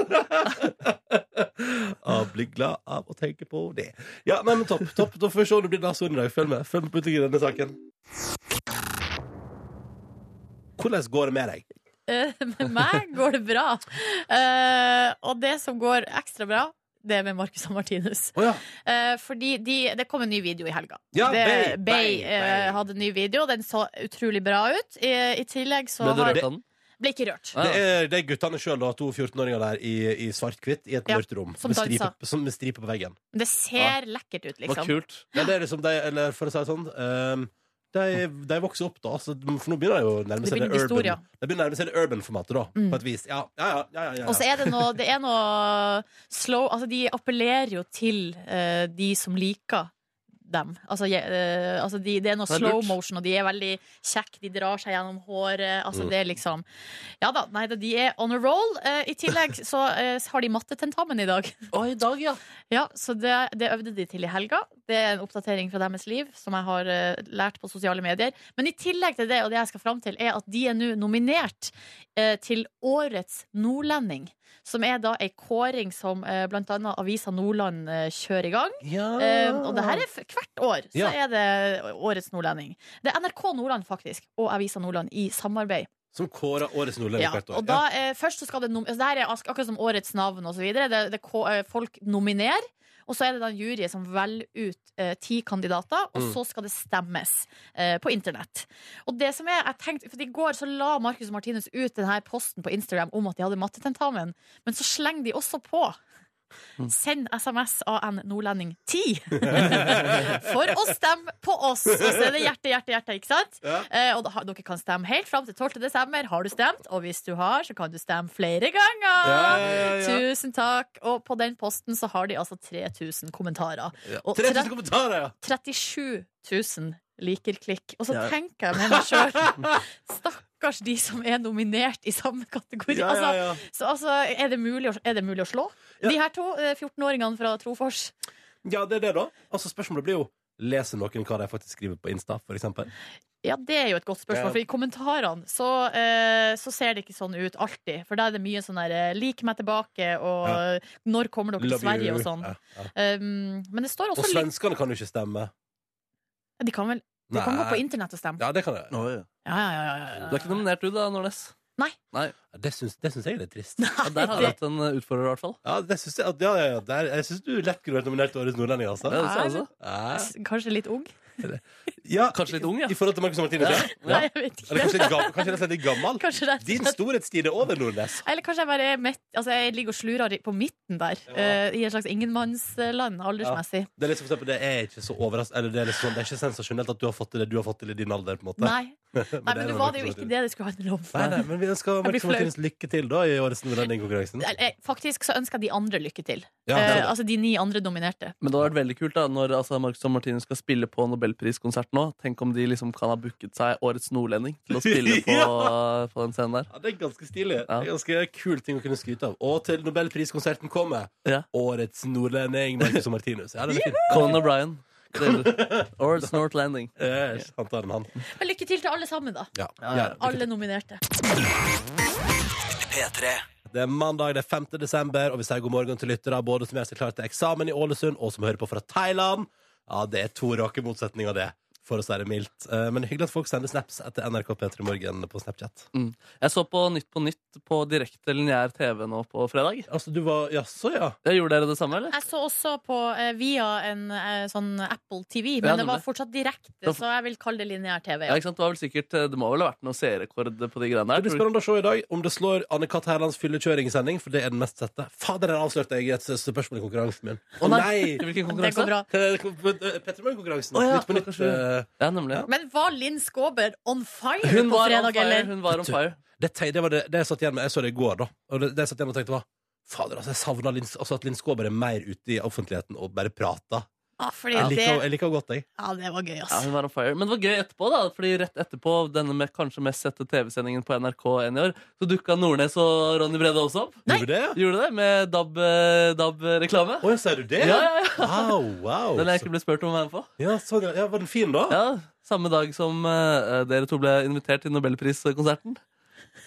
S2: Ah, blir glad av å tenke på det. Ja, nei, men topp. topp. Da får vi se om det blir nesehorn i dag. Følg med Følg med på utviklingen i denne saken. Hvordan går det med deg?
S3: Eh, Med meg går det bra. Eh, og det som går ekstra bra, det er med Marcus og Martinus.
S2: Å ja.
S3: Eh, fordi de, det kom en ny video i helga.
S2: Ja,
S3: det,
S2: Bay, Bay,
S3: Bay, eh,
S2: Bay.
S3: hadde en ny video, den så utrolig bra ut. I, i tillegg så
S4: Ble du
S3: har-
S4: rørt av den?
S3: Ble ikke rørt.
S4: Ja.
S2: Det er, det er guttene sjøl, to 14-åringer der i, i svart-hvitt i et
S3: Ja,
S2: mørkt rom.
S3: som
S2: med, stripe,
S3: danser.
S2: som, med stripe på veggen.
S3: Men Det ser lekkert ut,
S4: Det var
S3: liksom.
S4: kult.
S2: Ja, det er liksom de, eller for å si det sånn ehm, de, de vokser opp, da. Så, for nå begynner de jo å nærme
S3: Det
S2: seg det
S3: begynner å bli stor,
S2: urban
S3: ja. Mm.
S2: De begynner å nærme seg det urban-formatet, da. På et vis. Ja, ja, ja. ja, ja,
S3: Og så
S2: ja.
S3: er det noe, det er noe slow Altså, de appellerer jo til eh, de som liker dem. Altså, je- eh, altså de, det er noe
S4: Det er
S3: slow
S4: lurt.
S3: motion, og de er veldig kjekke. De drar seg gjennom håret. Altså,
S2: Mm.
S3: det er liksom Ja da, nei da, de er on a roll. Eh, I tillegg så eh, har de mattetentamen i dag.
S4: Å, i dag, ja.
S3: Ja, så det, det øvde de til i helga. Det er en oppdatering fra deres liv som jeg har eh, lært på sosiale medier. Men i tillegg til det, og det jeg skal fram til, er at de er nå nominert eh, til Årets nordlending. Som er da ei kåring som eh, blant annet Avisa Nordland eh, kjører i gang.
S2: ja.
S3: Eh, og det her er f- hvert år så
S2: Ah. Ja.
S3: er det Årets nordlending. Det er NRK Nordland faktisk, og Avisa Nordland i samarbeid.
S2: Som kårer årets nordlending
S3: Ja,
S2: hvert år.
S3: og da, eh, først så skal det nom altså, Det her er ak- akkurat som årets navn og så videre. Det, det, ko- eh, folk nominerer, og så er det da en jury som velger ut eh, ti kandidater, og
S2: Mm.
S3: så skal det stemmes eh, på internett. Og det som er, jeg tenkte, for I går så la Marcus og Martinus ut denne posten på Instagram om at de hadde mattetentamen, men så slenger de også på Send SMS AN Nordlending 10 for å stemme på oss! Og så er det hjerte, hjerte, hjerte. ikke sant?
S2: Ja.
S3: Eh, og da, har- dere kan stemme helt fram til 12. desember. Har du stemt? Og hvis du har, så kan du stemme flere ganger!
S2: Ja, ja, ja, ja.
S3: Tusen takk. Og på den posten så har de altså 3000 kommentarer.
S2: Ja.
S3: Og
S2: 3000 kommentarer, ja!
S3: 37 000 liker klikk. Og så
S4: Ja.
S3: tenker jeg med meg sjøl Stakkars de som er nominert i samme kategori.
S2: ja, ja, ja.
S3: Altså, så altså, er, det mulig å, er det mulig å slå?
S2: Ja.
S3: De her to eh, 14-åringene fra Trofors.
S2: ja det er det, da. Altså, spørsmålet blir jo Leser noen hva de faktisk skriver på Insta, for eksempel?
S3: Ja, det er jo et godt spørsmål,
S2: Ja.
S3: for i kommentarene så, eh, så ser det ikke sånn ut alltid. For da er det mye sånn der eh, 'lik meg tilbake' og
S2: Ja.
S3: eh, 'når kommer dere til
S2: Love
S3: Sverige'
S2: you.
S3: og sånn.
S2: Ja, ja.
S3: Um, men det står
S2: Og
S3: også lik
S2: svenskene kan jo ikke stemme.
S3: De kan vel de kan gå på internett og stemme?
S2: Ja, det kan jeg.
S3: Ja, ja, ja. ja, ja.
S4: Du er ikke nominert, du da, Nordnes.
S2: Det syns, det syns jeg er litt trist.
S4: Ja, der hadde du hatt en eh, utfordrer, i hvert fall.
S2: Ja, det syns jeg, at- ja, ja, ja, der, jeg syns du lett kunne vært nominert til Årets nordlending, altså.
S4: Ja, det sa jeg også.
S2: Ja.
S3: S- Kanskje litt ung?
S2: Ja,
S4: Kanskje litt ung, ja.
S2: I forhold til Marcus og Martinus, ja.
S4: Ja.
S3: Nei, jeg vet
S2: Eller
S3: ikke.
S2: kanskje, litt gam- kanskje rett og slett litt gammel?
S3: Kanskje rett og
S2: Din
S3: slett.
S2: storhetstid er over, Nordnes.
S3: Eller kanskje jeg bare er mett, altså jeg ligger og slurer i- på midten der, eh, i et slags ingenmannsland aldersmessig.
S2: Det er liksom for eksempel, det er ikke så overras- eller det er, liksom, det er ikke sensasjonelt at du har fått til det du har fått til i din alder. på en måte
S3: Nei, nei, men
S2: er
S3: det
S2: nok
S3: var det jo
S2: Marcus og
S3: ikke
S2: Martinus.
S3: det det skulle handle om.
S2: Nei, nei, men vi ønsker
S3: blir
S2: Marcus og
S3: flau.
S2: Martinus lykke til da i årets nordlendingkonkurransen.
S3: Eller, eh, Faktisk så ønsker jeg de andre lykke til.
S2: Ja, det er
S3: Eh,
S2: det.
S3: altså de ni andre dominerte.
S4: Men det hadde vært veldig kult da når altså, Marcus og Martinus skal spille på nobelpriskonsert nå. Tenk om de liksom kan ha booket seg Årets nordlending til å spille på, på den scenen der.
S2: Ja, det er ganske stilig.
S4: Ja.
S2: Det er ganske kul ting å kunne skryte av. Og til nobelpriskonserten kommer
S4: Ja.
S2: årets nordlending Marcus og Martinus. Ja, den er fin.
S4: Conan O'Brien. Årets Nordlending.
S2: Eh, Han tar den, han.
S3: Men lykke til til alle sammen, da.
S2: Ja. Ja,
S3: Alle nominerte.
S2: Det er mandag, det er 5. desember, og vi sier god morgen til lyttere både som gjør seg klar til eksamen i Ålesund, og som hører på fra Thailand. Ja, det er to rake motsetninger, det, for å si det mildt. Eh, Men hyggelig at folk sender snaps etter NRK P3 Morgen på Snapchat.
S4: Mm. Jeg så på Nytt på Nytt på direkte lineær TV nå på fredag.
S2: Altså, du var Jaså, ja.
S4: Jeg gjorde dere det samme, eller?
S3: Jeg så også på eh, via en eh, sånn Apple TV, men
S4: Ja,
S3: det var
S4: nemlig.
S3: fortsatt direkte, så jeg vil kalle det lineær TV.
S4: Ja,
S3: Ja.
S4: ikke sant? Det, var vel sikkert, eh, det må vel ha vært noen seerrekord på de greiene
S2: Det
S4: der.
S2: blir
S4: tror du?
S2: spennende å se i dag om det slår Anne-Kat. Hærlands fyllekjøringssending, for det er den mest sette. Fader, der avslørte jeg et spørsmål i konkurransen min. Å nei!
S4: Hvilken
S3: Det går
S4: konkurranse?
S3: bra.
S2: P3 Morgen-konkurransen.
S4: Å ja,
S2: Nytt på nytt.
S4: kanskje.
S2: eh,
S4: Ja, nemlig.
S3: Men var Linn Skåber on fire
S4: Hun
S3: på
S4: var, on
S3: fredag,
S4: fire,
S3: eller?
S4: hun var on fire.
S2: Det, te- det var det, det jeg satt igjen med Jeg så det i går da Og det, det jeg satt igjen med og tenkte var Fader, altså, jeg savner Linn- altså, at Linn Skåber er mer ute i offentligheten Og bare prater
S3: Ja, Ah, fordi
S2: Jeg
S3: det,
S2: liker, jeg liker godt deg
S3: ja, det var gøy,
S4: Ja,
S3: ass.
S4: hun var on fire. Men det var gøy etterpå, da. Fordi rett etterpå denne med kanskje mest sette TV-sendingen på NRK enn i år, så dukka Nordnes og Ronny Brede også opp.
S2: Gjorde du det? ja?
S4: Gjorde det med DAB, eh, DAB-reklame.
S2: Åja, sier du det?
S4: Ja, ja, ja.
S2: Wow, wow
S4: Den jeg ikke ble spurt om å være med på.
S2: ja, sånn, ja. ja, var den fin da?
S4: Ja, Samme dag som eh, dere to ble invitert til nobelpriskonserten.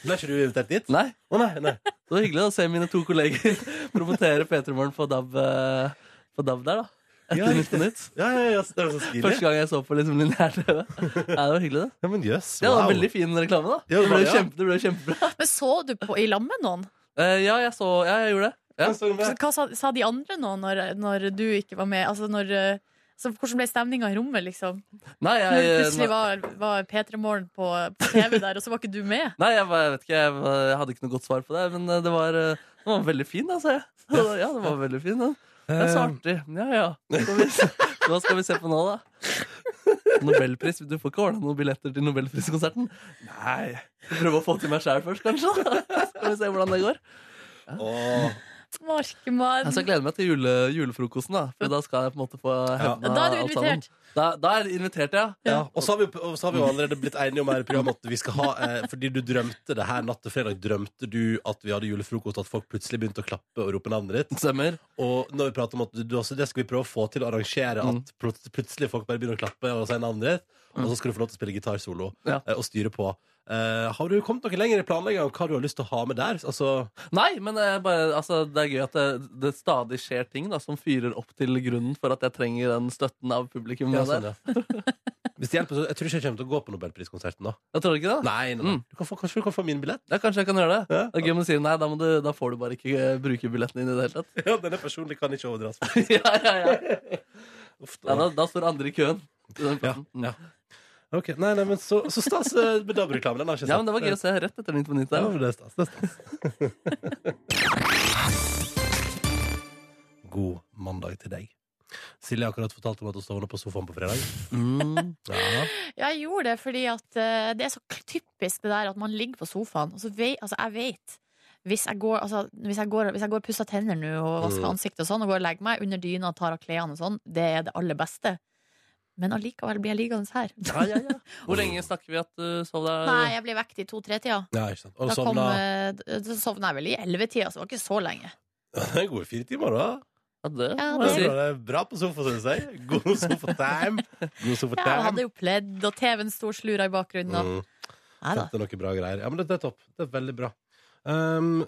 S2: Ble ikke du invitert dit?
S4: Nei,
S2: Å nei, nei
S4: Det var hyggelig å se mine to kolleger promotere P3morgen på DAB eh, på DAB der, da.
S2: Ja,
S4: Etter Nytt på Nytt.
S2: Ja, ja, ja, det var så stilig
S4: Første gang jeg så på liksom lineær-TV. Ja, det var hyggelig, det.
S2: Ja, men jøss,
S4: Ja, det var
S2: wow
S4: en Veldig fin reklame, da.
S2: Ja, det
S4: det, ble
S2: var- ja.
S4: kjempe, det ble kjempebra.
S3: Men så du på i lag med noen?
S4: Eh, ja, jeg så Ja, jeg gjorde det. Ja.
S2: Men så er Sånn det med.
S3: Hva sa, sa de andre nå, når, når du ikke var med? Altså, når eh, så hvordan ble stemninga i rommet, liksom?
S4: Nei,
S3: Når
S4: jeg,
S3: plutselig var, var P3 Morgen på, på TV der, og så var ikke du med?
S4: nei jeg, var- jeg vet ikke. Jeg, var- jeg hadde ikke noe godt svar på det, men eh, det var, eh, den var veldig fin, da, sa jeg. Ja, det var veldig fin, den. Ja,
S2: Eh.
S4: så artig. Ja, ja. Skal vi se- Hva skal vi se på nå, da? Nobelpris? Du får ikke ordna noen billetter til nobelpriskonserten? Nei. Prøve å få til meg sjæl først, kanskje? da. Skal vi se hvordan det går.
S2: Åh,
S3: Markemann.
S4: Jeg skal glede meg til jule, julefrokosten, da. For da skal jeg på en måte få
S2: Ja.
S4: hevna
S3: Da er du
S4: alt sammen.
S3: invitert.
S4: Da, da er jeg invitert, ja.
S2: ja. Og så har, vi, og så har vi jo allerede blitt enige om her i programmet At vi skal ha, eh, fordi du drømte det her Natt til fredag drømte du at vi hadde julefrokost At folk plutselig begynte å klappe og rope navnet ditt
S4: Stemmer.
S2: Og når vi prater om at du, du også, det skal vi prøve å få til å arrangere
S4: Mm.
S2: at plut- plutselig folk bare begynner å klappe og si navnet ditt, og så skal du få lov til å spille gitarsolo
S4: Ja.
S2: eh, og styre på. Eh, har du kommet noe lenger i planlegginga av hva du har lyst til å ha med der? Altså,
S4: Nei, men eh, bare, altså, det er gøy at det, det stadig skjer ting da, som fyrer opp til grunnen for at jeg trenger den støtten av publikum.
S2: ja,
S4: Ja,
S2: sånn, ja. Hvis det hjelper, så Jeg tror ikke jeg kommer til å gå på Nobelpriskonserten da.
S4: Jeg tror ikke det.
S2: Nei, nei, nei.
S4: Mm.
S2: Du kan få, kanskje du kan få min billett?
S4: Ja, kanskje jeg kan gjøre det.
S2: Ja.
S4: Det er gøy om du sier nei, da, må du, da får du bare ikke eh, bruke billetten din i det hele tatt.
S2: Ja, denne personlig kan ikke overdras.
S4: ja, ja, ja.
S2: Uff,
S4: Ja,
S2: da.
S4: da, da står andre i køen. til den plassen.
S2: Ja, Ok, nei, nei, men så, så stas eh, med DAB-reklame. Den har jeg ikke
S4: Ja, men det var gøy å se rett etter Nytt på Nytt.
S2: Ja,
S4: der.
S2: men det er stas, det er stas. God mandag til deg. Silje har akkurat fortalt om at hun sovna på sofaen på fredag.
S4: Mm.
S2: Ja.
S3: Ja, jeg gjorde det fordi at eh, det er så k- typisk det der at man ligger på sofaen, og så vei- altså jeg vet hvis jeg, går, altså, hvis, jeg går, hvis jeg går og pusser tenner nå og vasker
S2: Mm.
S3: ansiktet og sånn, og går og legger meg under dyna og tar av klærne og sånn, det er det aller beste. Men allikevel blir jeg liggende her.
S4: Ja, ja, ja. Hvor lenge snakker vi at eh, du sov der?
S3: Nei, jeg blir vekket i to-tre-tida.
S2: ja, ikke sant. Og
S3: Da kom,
S2: sovna
S3: eh, d- Så sovna jeg vel i ellevetida, så det var ikke så lenge.
S4: eh,
S2: en god fire timer, da.
S4: Ja, det,
S3: Ja,
S4: må jeg
S2: Det
S4: si.
S2: var det bra på sofa, synes jeg. God sofa-time. God
S3: Ja, jeg
S2: sofa-time.
S3: hadde jo pledd, og TV-en sto og slura i bakgrunnen. Og...
S2: Mm.
S3: Nei da.
S2: Dette er noe bra greier. Ja, men det, det er topp. Det er veldig bra. Um,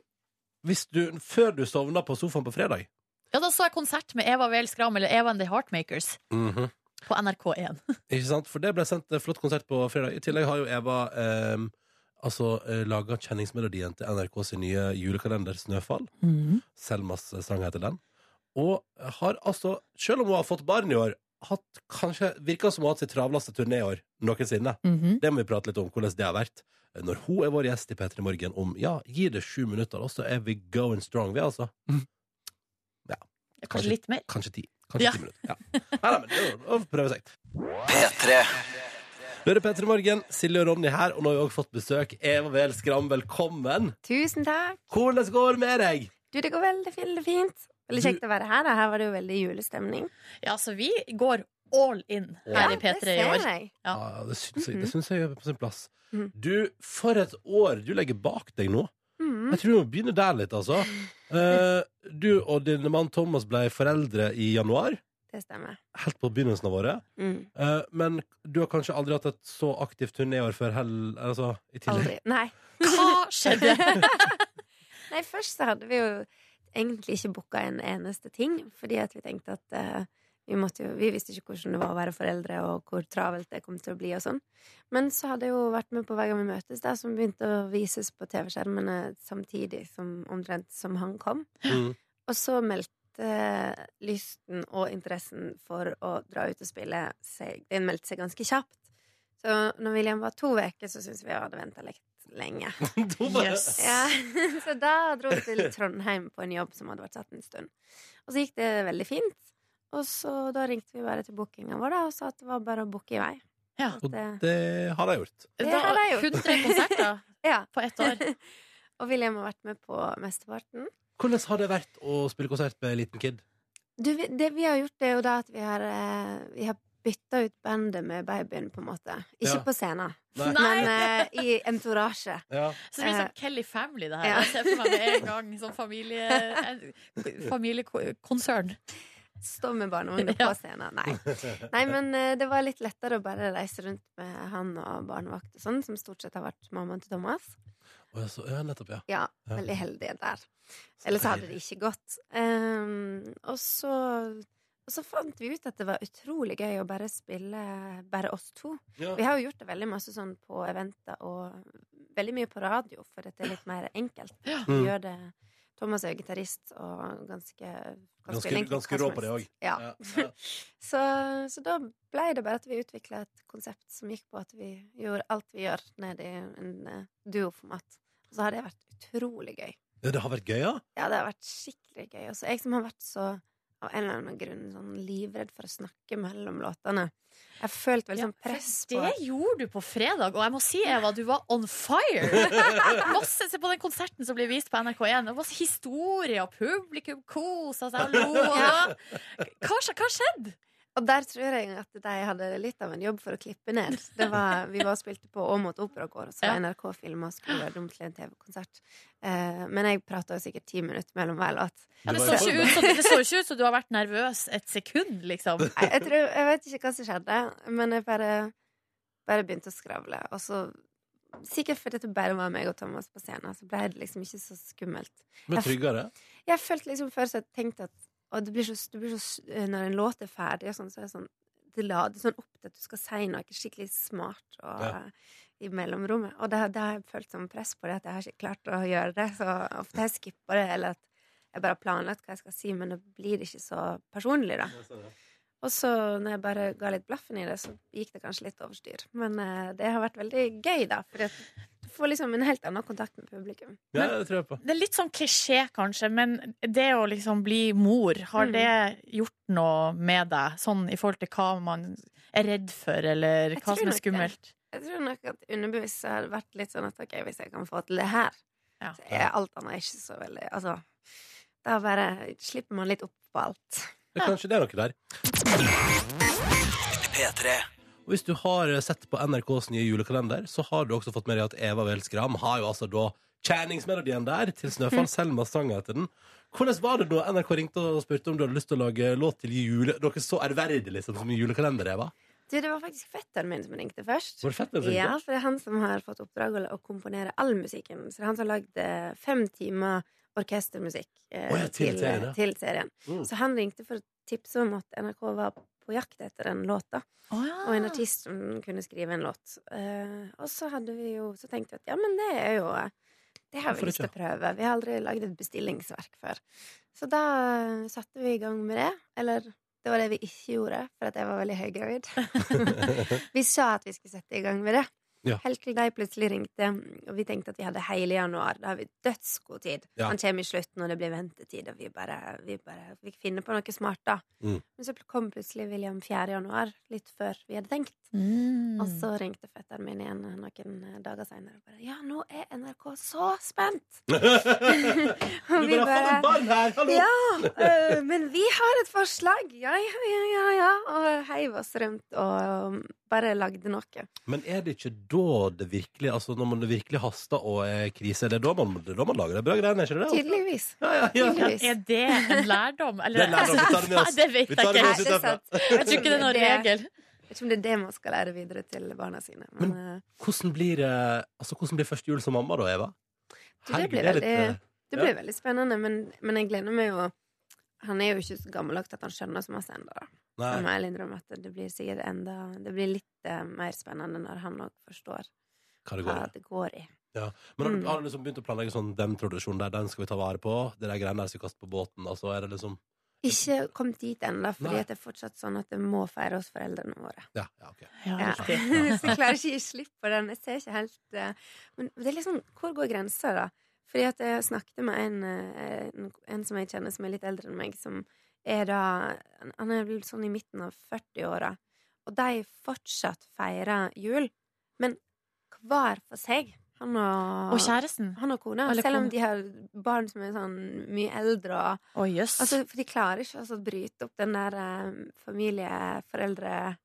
S2: hvis du, før du sovna på sofaen på fredag
S3: Ja, da så jeg konsert med Eva Weel Skram, eller Eva and the Heartmakers,
S2: Mhm.
S3: på NRK1.
S2: Ikke sant? For det ble sendt en flott konsert på fredag. I tillegg har jo Eva um, altså, laga kjenningsmelodien til NRK sin nye julekalender 'Snøfall'. Selmas eh, sang heter den. Og har altså, selv om hun har fått barn i år, hatt kanskje, virker som hun har hatt sitt travleste turné i år noensinne.
S3: Mhm.
S2: Det må vi prate litt om, hvordan det har vært. Når hun er vår gjest i P3 Morgen om ja, gi det sju minutter, og så er vi going strong, vi, altså.
S3: Kanskje,
S2: Kanskje-
S3: litt mer.
S2: Kanskje ti. Kanskje
S3: Ja.
S2: ti minutter. Ja. Nei, nei, men det er jo å prøve seg. P3. Hører P3 Morgen, Silje og Ronny her, og nå har vi også fått besøk. Eva Vel Skram, velkommen.
S6: Tusen takk.
S2: Hvordan går det med deg?
S6: Du, det går veldig, veldig fint. Veldig
S2: Du-
S6: kjekt å være her. Da. Her var det jo veldig julestemning.
S3: Ja, så vi går all in her i P3 i år.
S6: jeg.
S3: Ja. Mm.
S2: Ah, det syns jeg, det syns jeg er på sin plass.
S6: Mhm.
S2: Du, for et år du legger bak deg nå.
S6: Mm.
S2: Jeg tror vi må begynne der litt, altså. Eh, du og din mann Thomas ble foreldre i januar,
S6: Det stemmer.
S2: helt på begynnelsen av året.
S6: Mm.
S2: Eh, men du har kanskje aldri hatt et så aktivt turnéår før hell, altså, i tillegg.
S6: Aldri. Nei.
S3: Hva skjedde?
S6: Nei, først så hadde vi jo egentlig ikke booka en eneste ting, fordi at vi tenkte at eh, vi, måtte jo, vi visste ikke hvordan det var å være foreldre, og hvor travelt det kom til å bli. og sånn. Men så hadde jeg jo vært med på Hver gang vi møtes, da, som begynte å vises på TV-skjermene samtidig som omtrent som han kom.
S2: Mm.
S6: Og så meldte lysten og interessen for å dra ut og spille seg Den meldte seg ganske kjapt. Så når William var to uker, så syntes vi jeg hadde venta litt lenge.
S2: Thomas!
S3: Yes.
S6: Ja, så da dro vi til Trondheim på en jobb som hadde vært satt en stund. Og så gikk det veldig fint. Og så da ringte vi bare til bookinga vår da, og sa at det var bare å booke i vei.
S3: Ja.
S6: At eh,
S2: Og
S6: det-
S2: det har jeg gjort.
S6: Det
S3: Da,
S6: hadde jeg gjort.
S3: 100 konserter
S6: ja.
S3: på ett år.
S6: Og William har vært med på mesteparten.
S2: Hvordan har det vært å spille konsert med en liten kid?
S6: Du, vi- det vi har gjort, det er jo da at vi har, eh, vi har bytta ut bandet med babyen, på en måte. Ikke
S2: Ja.
S6: på scenen,
S2: Nei.
S6: men eh, i entorasje.
S2: Ja.
S3: Så det blir sånn Kelly Family, det her.
S6: Ja.
S3: Jeg ser for meg med en gang sånn familie, en- familiekonsern.
S6: Stå med barnevogna
S3: Ja.
S6: på scenen. Nei. Nei, men eh, det var litt lettere å bare reise rundt med han og barnevakt og sånn, som stort sett har vært mammaen til Thomas.
S2: Å, ja, så, ja, nettopp, ja.
S6: Ja,
S2: Ja.
S6: veldig heldige der. Eller så hadde det ikke gått. Ehm, og så og så fant vi ut at det var utrolig gøy å bare spille bare oss to.
S2: Ja.
S6: Vi har jo gjort det veldig masse sånn på eventer og veldig mye på radio, for at det er litt mer enkelt. Vi
S2: Mm.
S6: gjør det Thomas er jo gitarist og ganske kan
S2: Ganske-
S6: spille egentlig
S2: ganske
S6: hva som
S2: rå på det
S6: helst.
S2: også.
S6: Ja.
S2: Ja, ja.
S6: Så, så da ble det bare at vi utvikla et konsept som gikk på at vi gjorde alt vi gjør, ned i en eh, duoformat. Og så har det vært utrolig gøy.
S2: Ja, det har vært gøy, ja.
S6: Ja, det har vært skikkelig gøy. Og så jeg som har vært så av en eller annen grunn sånn livredd for å snakke mellom låtene. Jeg har følt veldig
S3: Ja,
S6: sånn press på
S3: Det gjorde du på fredag, og jeg må si, Eva, du var on fire! Masse, se på den konserten som ble vist på NRK1. Det var masse historier, publikum kosa seg og lo. og- Hva, skj- hva skjedde?
S6: Og der tror jeg at de hadde litt av en jobb for å klippe ned. Det var, vi var og spilte på Åmot Operagård, og så var
S3: Ja.
S6: NRK filma og skulle gjøre det om til en TV-konsert. Eh, men jeg prata jo sikkert ti minutter mellom hver låt.
S3: Ja, det,
S2: Du
S3: så
S2: var-
S3: ikke ut som, det så ikke ut som du har vært nervøs et sekund, liksom.
S6: Jeg, jeg, tror, jeg vet ikke hva som skjedde, men jeg bare, bare begynte å skravle. Og så sikkert fordi det bare var meg og Thomas på scenen, så ble det liksom ikke så skummelt.
S2: Men tryggere.
S6: Jeg følte liksom før så jeg tenkte at og det blir så, det blir så, s- eh, Når en låt er ferdig, og sånn, så er det sånn det la- det er sånn opp til at du skal si noe skikkelig smart og, eh,
S2: Ja.
S6: i mellomrommet. Og det, det har jeg følt som press på det, at jeg har ikke klart å gjøre det. Så ofte har jeg skippa det, eller at jeg bare har planlagt hva jeg skal si, men det blir ikke så personlig, da. Og så når jeg bare ga litt blaffen i det, så gikk det kanskje litt over styr. Men eh, det har vært veldig gøy, da. For du får liksom en helt annen kontakt med publikum.
S2: Ja, det tror jeg på.
S3: Det er litt sånn klisjé, kanskje, men det å liksom bli mor, har
S6: Mm.
S3: det gjort noe med deg? Sånn i forhold til hva man er redd for, eller
S6: Jeg
S3: hva
S6: tror
S3: som
S6: nok
S3: er
S6: det.
S3: skummelt?
S6: Jeg tror nok at underbevisst så har det vært litt sånn at ok, hvis jeg kan få til det her,
S3: Ja.
S6: så er alt annet ikke så veldig Altså, da bare slipper man litt opp på alt.
S2: Ja, Kanskje det er noe der. Og hvis du har eh, sett på NRKs nye julekalender, så har du også fått med deg at Eva Weel Skram har jo altså da kjerningsmelodien der til Snøfall. Selma sang etter den. Hvordan var det da NRK ringte og spurte om du hadde lyst til å lage låt til jule... Dere så ærverdig liksom som en julekalender, Eva.
S6: Du, det var faktisk fetteren min som ringte først.
S2: Var det fett med sånn det?
S6: Ja, for det er han som har fått oppdrag å, å komponere all musikken. Så det er han som har lagd eh, fem timer orkestermusikk eh,
S2: Å ja, til
S6: til,
S2: serien, ja.
S6: til serien.
S2: Mm.
S6: Så han ringte for å tipse om at NRK var på jakt etter en låt, da. Og
S2: Ah.
S6: en artist som kunne skrive en låt. Eh, og så hadde vi jo Så tenkte vi at ja, men det er jo eh, Det har
S2: Hvorfor
S6: vi lyst til å prøve. Vi har aldri lagd et bestillingsverk før. Så da eh, satte vi i gang med det. Eller det var det vi ikke gjorde, for at jeg var veldig høygravid. vi sa at vi skulle sette i gang med det.
S2: Ja.
S6: Helt til de plutselig ringte, og vi tenkte at vi hadde hele januar. Da har vi dødsgod tid.
S2: Ja.
S6: Han kommer i slutten, og det blir ventetid, og vi bare, vi bare vi finner på noe smart, da.
S2: Mm.
S6: Men så kom plutselig William 4. januar, litt før vi hadde tenkt.
S3: Mm.
S6: Og så ringte fetteren min igjen eh, noen dager seinere og bare Ja, nå er NRK så spent!
S2: Du
S6: og
S2: bare har fått en barn her! Hallo!
S6: Ja! eh, men vi har et forslag! Ja, ja, ja, ja, ja. Og heiv oss rundt og bare lagde noe.
S2: Men er det ikke da det virkelig Altså når man det virkelig haster og er krise, det er da man, det er da man lager de bra greiene, er ikke det? Altså?
S6: Tydeligvis.
S2: Ja, ja, ja.
S6: Tydeligvis.
S3: Er det en lærdom? Eller?
S2: Det er en lærdom, vi tar det med oss.
S3: det vet
S2: Vi tar det
S3: jeg
S2: med
S3: ikke.
S2: oss.
S6: det er sant.
S3: Jeg tror ikke det er noen regel.
S6: Jeg vet ikke om det er det man skal lære videre til barna sine. Men eh,
S2: Hvordan blir, eh, altså, hvordan blir første jul som mamma, da, Eva?
S6: Du, det blir
S2: Herregud, er
S6: veldig-
S2: eh,
S6: det blir veldig spennende. Men, men jeg gleder meg jo Han er jo ikke så gammeldags at han skjønner så masse ennå. Jeg må
S2: Nei.
S6: ærlig innrømme at det blir sikkert enda Det blir litt eh, mer spennende når han òg forstår
S2: Hva det går
S6: hva
S2: i.
S6: det går i.
S2: Men har du,
S6: Mm.
S2: har du liksom begynt å planlegge sånn den tradisjonen der, den skal vi ta vare på, det der greiene der skal vi kaste på båten, altså er det liksom
S6: Ikke kommet dit ennå,
S2: Nei.
S6: fordi at det er fortsatt sånn at det må feire hos foreldrene våre.
S2: Ja, ja, OK.
S3: Ja,
S6: Ja. Så
S3: riktig.
S6: jeg klarer ikke å gi slipp på den. Jeg ser ikke helt eh, Men det er liksom Hvor går grensa, da? Fordi at jeg snakket med en, eh, en, en som jeg kjenner som er litt eldre enn meg, som er da Han er vel sånn i midten av 40-åra, og de fortsatt feirer jul, men hver for seg. Han og,
S3: Og kjæresten.
S6: Han og kona.
S3: Eller
S6: selv om
S3: kona.
S6: de har barn som er sånn mye eldre. Og,
S3: Å, jøss.
S6: altså, for de klarer ikke altså, å bryte opp den der eh, familieforeldre...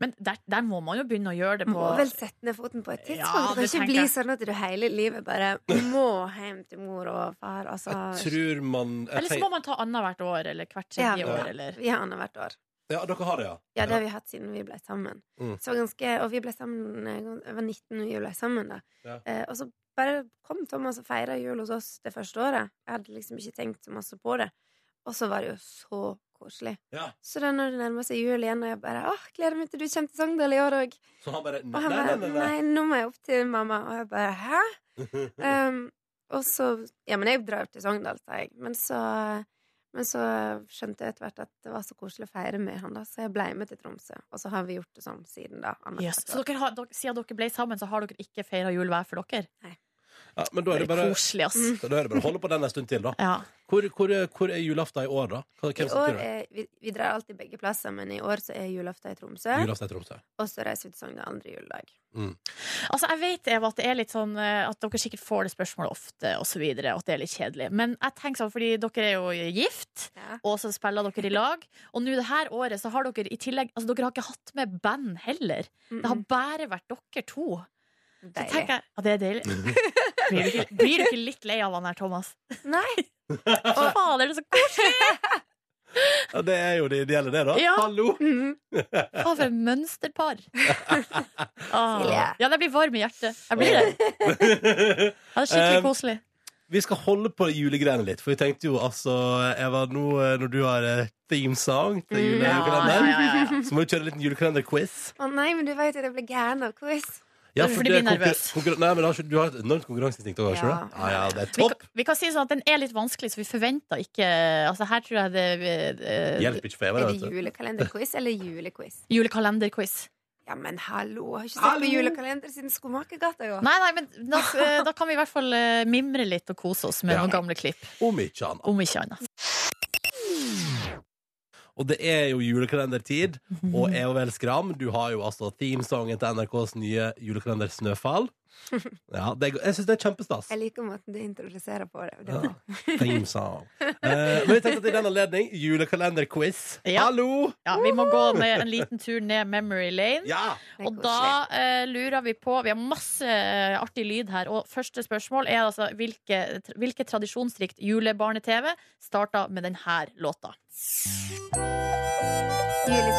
S3: Men der, der må man jo begynne å gjøre det på
S6: Må vel sette ned foten på et tidspunkt.
S3: Ja, det
S6: det kan ikke
S3: tenker
S6: bli
S3: jeg.
S6: sånn at du hele livet bare må hjem til mor og far. Altså,
S2: Jeg tror man jeg
S3: Eller så må
S2: tenk-
S3: man ta annethvert år, eller hvert
S6: ja,
S3: tredje år, eller
S6: vi har annethvert år.
S2: Ja, dere har det, ja?
S6: Ja, det har vi hatt siden vi ble sammen.
S2: Mm.
S6: Så ganske, og vi ble sammen eh, Jeg var 19 da vi ble sammen, da.
S2: Ja.
S6: Eh, og så bare kom Thomas og feira jul hos oss det første året. Jeg hadde liksom ikke tenkt så masse på det. Og så var det jo så koselig.
S2: Ja.
S6: Så da når det nærmer seg jul igjen, og jeg bare åh, gleder meg til du kommer til Sogndal i år òg.
S2: Så han bare
S6: Og
S2: Nei,
S6: han
S2: nei,
S6: bare
S2: nei. nei.
S6: nei, nå må jeg opp til mamma. Og jeg bare hæ? Um, og så Ja, men jeg drar til Sogndal, sa jeg. Men så, men så skjønte jeg etter hvert at det var så koselig å feire med han, da, så jeg ble med til Tromsø. Og så har vi gjort det sånn siden da. annet
S3: Jøss.
S6: hvert
S3: Så
S6: år.
S3: dere har, dere, siden dere ble sammen, så har dere ikke feira jul hver for dere?
S2: Ja, men da er det
S3: Det er
S2: bare
S3: koselig, ass.
S2: da er det bare å holde på den en stund til, da.
S3: Ja.
S2: Hvor, hvor, hvor er julaften i år, da? Hva-
S6: I
S2: Hvem som
S6: år
S2: tror det?
S6: er, vi, vi drar alltid begge plasser, men i år så er julaften i Tromsø.
S2: Julaften i Tromsø.
S6: Og så reiser vi til Sogndal andre juledag.
S3: Altså, jeg vet Eva, at det er litt sånn eh, at dere sikkert får det spørsmålet ofte, og så videre, og at det er litt kjedelig. Men jeg tenker sånn, fordi dere er jo gift,
S6: Ja.
S3: og så spiller dere i lag. Og nå det her året så har dere i tillegg Altså, dere har ikke hatt med band heller. Det har bare vært dere to. Så
S6: Mm-hmm. Deilig.
S3: tenker jeg Ja, det er deilig. Blir du ikke, blir du ikke litt lei av han her, Thomas?
S6: Nei!
S3: Fader, det er så koselig!
S2: Ja, det er jo det ideelle, det, da.
S3: Ja.
S2: Hallo!
S3: Mhm. Faen, for et mønsterpar. Ah. Ja, jeg blir varm i hjertet. Jeg blir det. Ja, det er skikkelig koselig.
S2: Vi skal holde på julegreiene litt, for vi tenkte jo altså Eva, nå eh, når du har eh, theme song til
S6: Mm,
S3: Ja, ja,
S2: julekalender,
S3: ja, ja.
S2: så må vi kjøre en liten julekalenderquiz.
S6: Å nei, men du vet at jeg blir gæren av quiz.
S2: Ja, for
S3: Fordi du
S2: det er
S3: blir
S2: konkur-
S3: nervøs.
S2: konkurran- Nei, men da har ikke- Du har et enormt konkurranseinstinkt òg, har ikke
S6: Ja.
S2: du? Ja, ja, det er
S3: Vi, kan-
S2: topp.
S3: vi kan si sånn at den er litt vanskelig, så vi forventer ikke Altså, her tror jeg det eh,
S2: Hjelper ikke for Eva,
S6: Er
S2: det,
S6: det
S2: vet du.
S6: julekalenderquiz eller julequiz?
S3: Julekalenderquiz.
S6: Ja, men hallo, jeg har ikke sett på julekalender siden Skomakergata, jo.
S3: Nei, nei, men da, eh, da kan vi i hvert fall eh, mimre litt og kose oss med
S2: Ja.
S3: noen gamle klipp.
S2: Om ikke annet.
S3: Om ikke annet.
S2: Og det er jo julekalendertid, og er jo vel skram. Du har jo altså themesongen til NRKs nye julekalender 'Snøfall'. Ja, det er, go- jeg syns det er kjempestas.
S6: Jeg liker måten du introduserer på det.
S2: Ja. Themesong. Eh, men vi tenkte at i den anledning julekalenderquiz.
S3: Ja.
S2: Hallo!
S3: Ja, vi må gå ned, en liten tur ned memory lane.
S2: Ja!
S6: Det er
S3: Og da eh, lurer vi på Vi har masse eh, artig lyd her. Og første spørsmål er altså hvilke, hvilke tradisjonsrikt julebarne-TV starta med denne låta?
S6: koselig. Jul i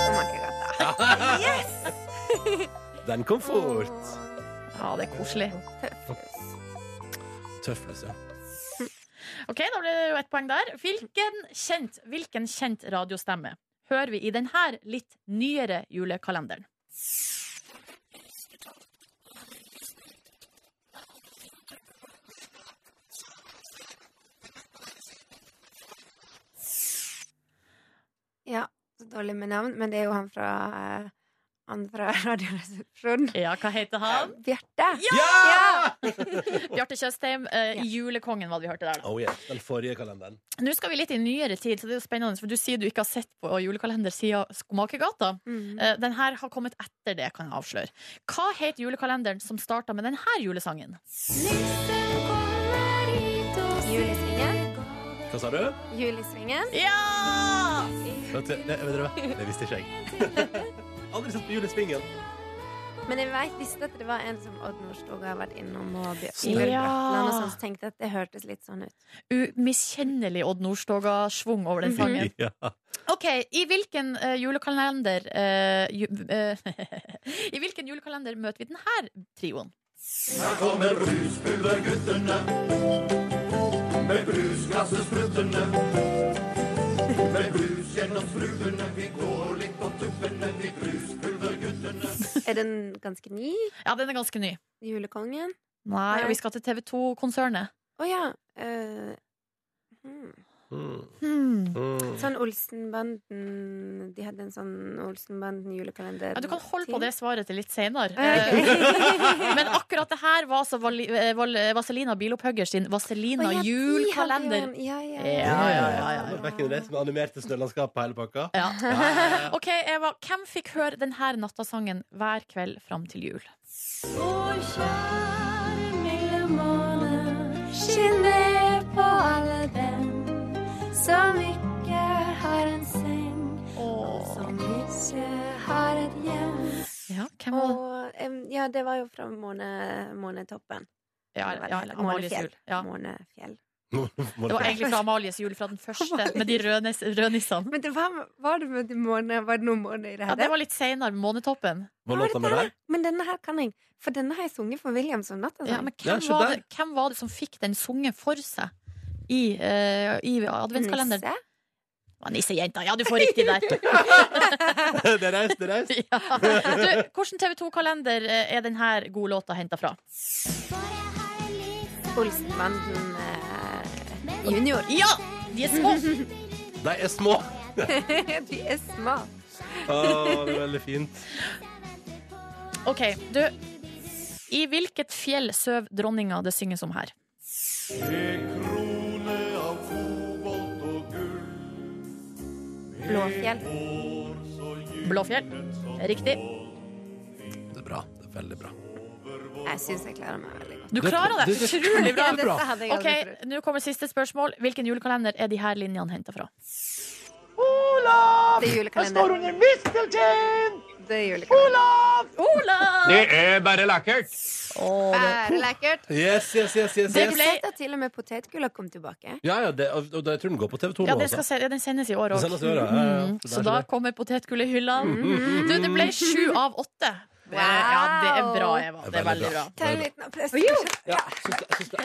S6: Skomakergata.
S2: Den kom fort.
S3: Ja, det er koselig.
S2: Tøffelse. ja.
S3: Ok, da ble det jo ett poeng der. Hvilken kjent, hvilken kjent radiostemme hører vi i denne litt nyere julekalenderen?
S6: Ja, så dårlig med navn, men det er jo han fra eh, han fra Radioresepsjonen. Eh,
S3: Ja, hva heter han?
S6: Bjarte.
S2: Ja!
S3: Bjarte Tjøstheim. eh,
S6: Ja.
S3: Julekongen, var det vi hørte der. da.
S2: Oh, yeah. Den forrige kalenderen.
S3: Nå skal vi litt i nyere tid, så det er jo spennende. For du sier du ikke har sett på julekalender siden Skomakergata.
S6: Mm.
S3: Eh, Den her har kommet etter det, kan jeg avsløre. Hva het julekalenderen som starta med denne julesangen?
S6: Jul i svingen.
S2: Hva sa du?
S6: Jul i svingen.
S3: Ja!
S2: Vet du- Nei, vet dere hva? Det visste ikke jeg. Aldri sett på Jul i Svingen.
S6: Men jeg vet, visste at det var en som Odd Nordstoga har vært innom og bjør-
S2: Ja.
S6: Bjørnbratland og sånn, så tenkte jeg at det hørtes litt sånn ut.
S3: Umiskjennelig Odd Nordstoga-schwung over
S6: Mhm.
S3: den sangen.
S2: Ja.
S3: Ok, i hvilken eh, julekalender eh, ju, eh, I hvilken julekalender møter vi denne trioen?
S6: Er den ganske ny?
S3: Ja, den er ganske ny.
S6: Julekongen?
S3: Nei, og vi skal til TV 2-konsernet.
S6: Å ja. eh, hmm.
S2: Mm.
S3: Hmm.
S2: Mm.
S6: Sånn Olsenbanden De hadde en sånn Olsenbanden julekalender.
S3: Ja, du kan holde på det svaret til litt senere.
S6: Ok.
S3: Eh, Men akkurat det her var altså Vali- eh, Val- Vaselina Bilopphøgger sin Vaselina
S6: Å, ja, de
S3: julekalender.
S6: hadde jo en- Ja, ja,
S3: Ja, ja, ja, ja.
S2: Back in the days med animerte snølandskap på hele pakka.
S3: Ja.
S2: ja, ja.
S3: OK, Eva. Hvem fikk høre denne nattasangen hver kveld fram til jul?
S7: Skinner på alle dem som ikke har en seng, som ikke har et hjem.
S3: Ja, hvem var det?
S6: Og, em, ja, det var jo fra måne, månetoppen.
S3: Ja,
S6: Hva
S3: ja,
S6: det heter?
S3: Amalies
S6: Månefjell.
S3: jul. Ja.
S6: Månefjell.
S3: Det var egentlig fra Amalies jul, fra den første, med de røde nis- røde nissene.
S6: Men det var, var det med de måne, var det noen måneder i det
S3: Ja,
S6: her?
S3: det var litt seinere, med Månetoppen.
S2: Var låta med der?
S6: Men denne her kan jeg, for denne har jeg sunget for William som nattasang.
S3: Ja, men
S2: Ja,
S3: hvem
S2: se
S3: var,
S2: der.
S3: det, hvem var det som fikk den sunget for seg i, eh, i adventskalenderen?
S6: Nisse?
S3: Å, Nissejenta. Ja, du får riktig der.
S2: det er reist, det er reist.
S3: Ja. Du, hvordan TV 2-kalender eh, er denne godlåta henta fra?
S6: Olsenbanden eh, junior.
S3: Ja! De er små.
S2: De er små.
S6: de er små.
S2: Å, det er veldig fint.
S3: OK, du. I hvilket fjell søv dronninga det synges om her?
S6: Blåfjell.
S3: Blåfjell. Riktig.
S2: Det er bra. Det er veldig bra.
S6: Jeg syns jeg klarer meg veldig godt.
S3: Du klarer det! Utrolig bra.
S6: Dette hadde jeg
S3: OK,
S6: aldri trodd.
S3: nå kommer siste spørsmål. Hvilken julekalender er de her linjene henta fra?
S6: Det er julekalender. trodde julekalender.
S3: Olav!
S8: Det er bare lekkert.
S3: Å, det-
S6: Bare lekkert.
S2: Yes, yes, yes, yes,
S3: Det
S6: Jeg
S2: yes.
S6: har
S3: ble-
S6: sett at til og med potetgulla kom tilbake.
S2: Ja, ja, det, og og jeg tror den går på TV 2
S3: Ja,
S2: nå. altså.
S3: det skal se, ja, den sendes i år
S2: Den
S3: òg.
S2: sendes i år, ja, ja, ja. Det er
S3: Så
S2: så Mm.
S3: da
S2: det.
S3: kommer potetgull i hylla. Du, det ble sju av åtte. Det- Ja, det er bra, Eva. Det er veldig bra.
S6: Ta en liten applaus.
S2: Ja, syns det, syns det.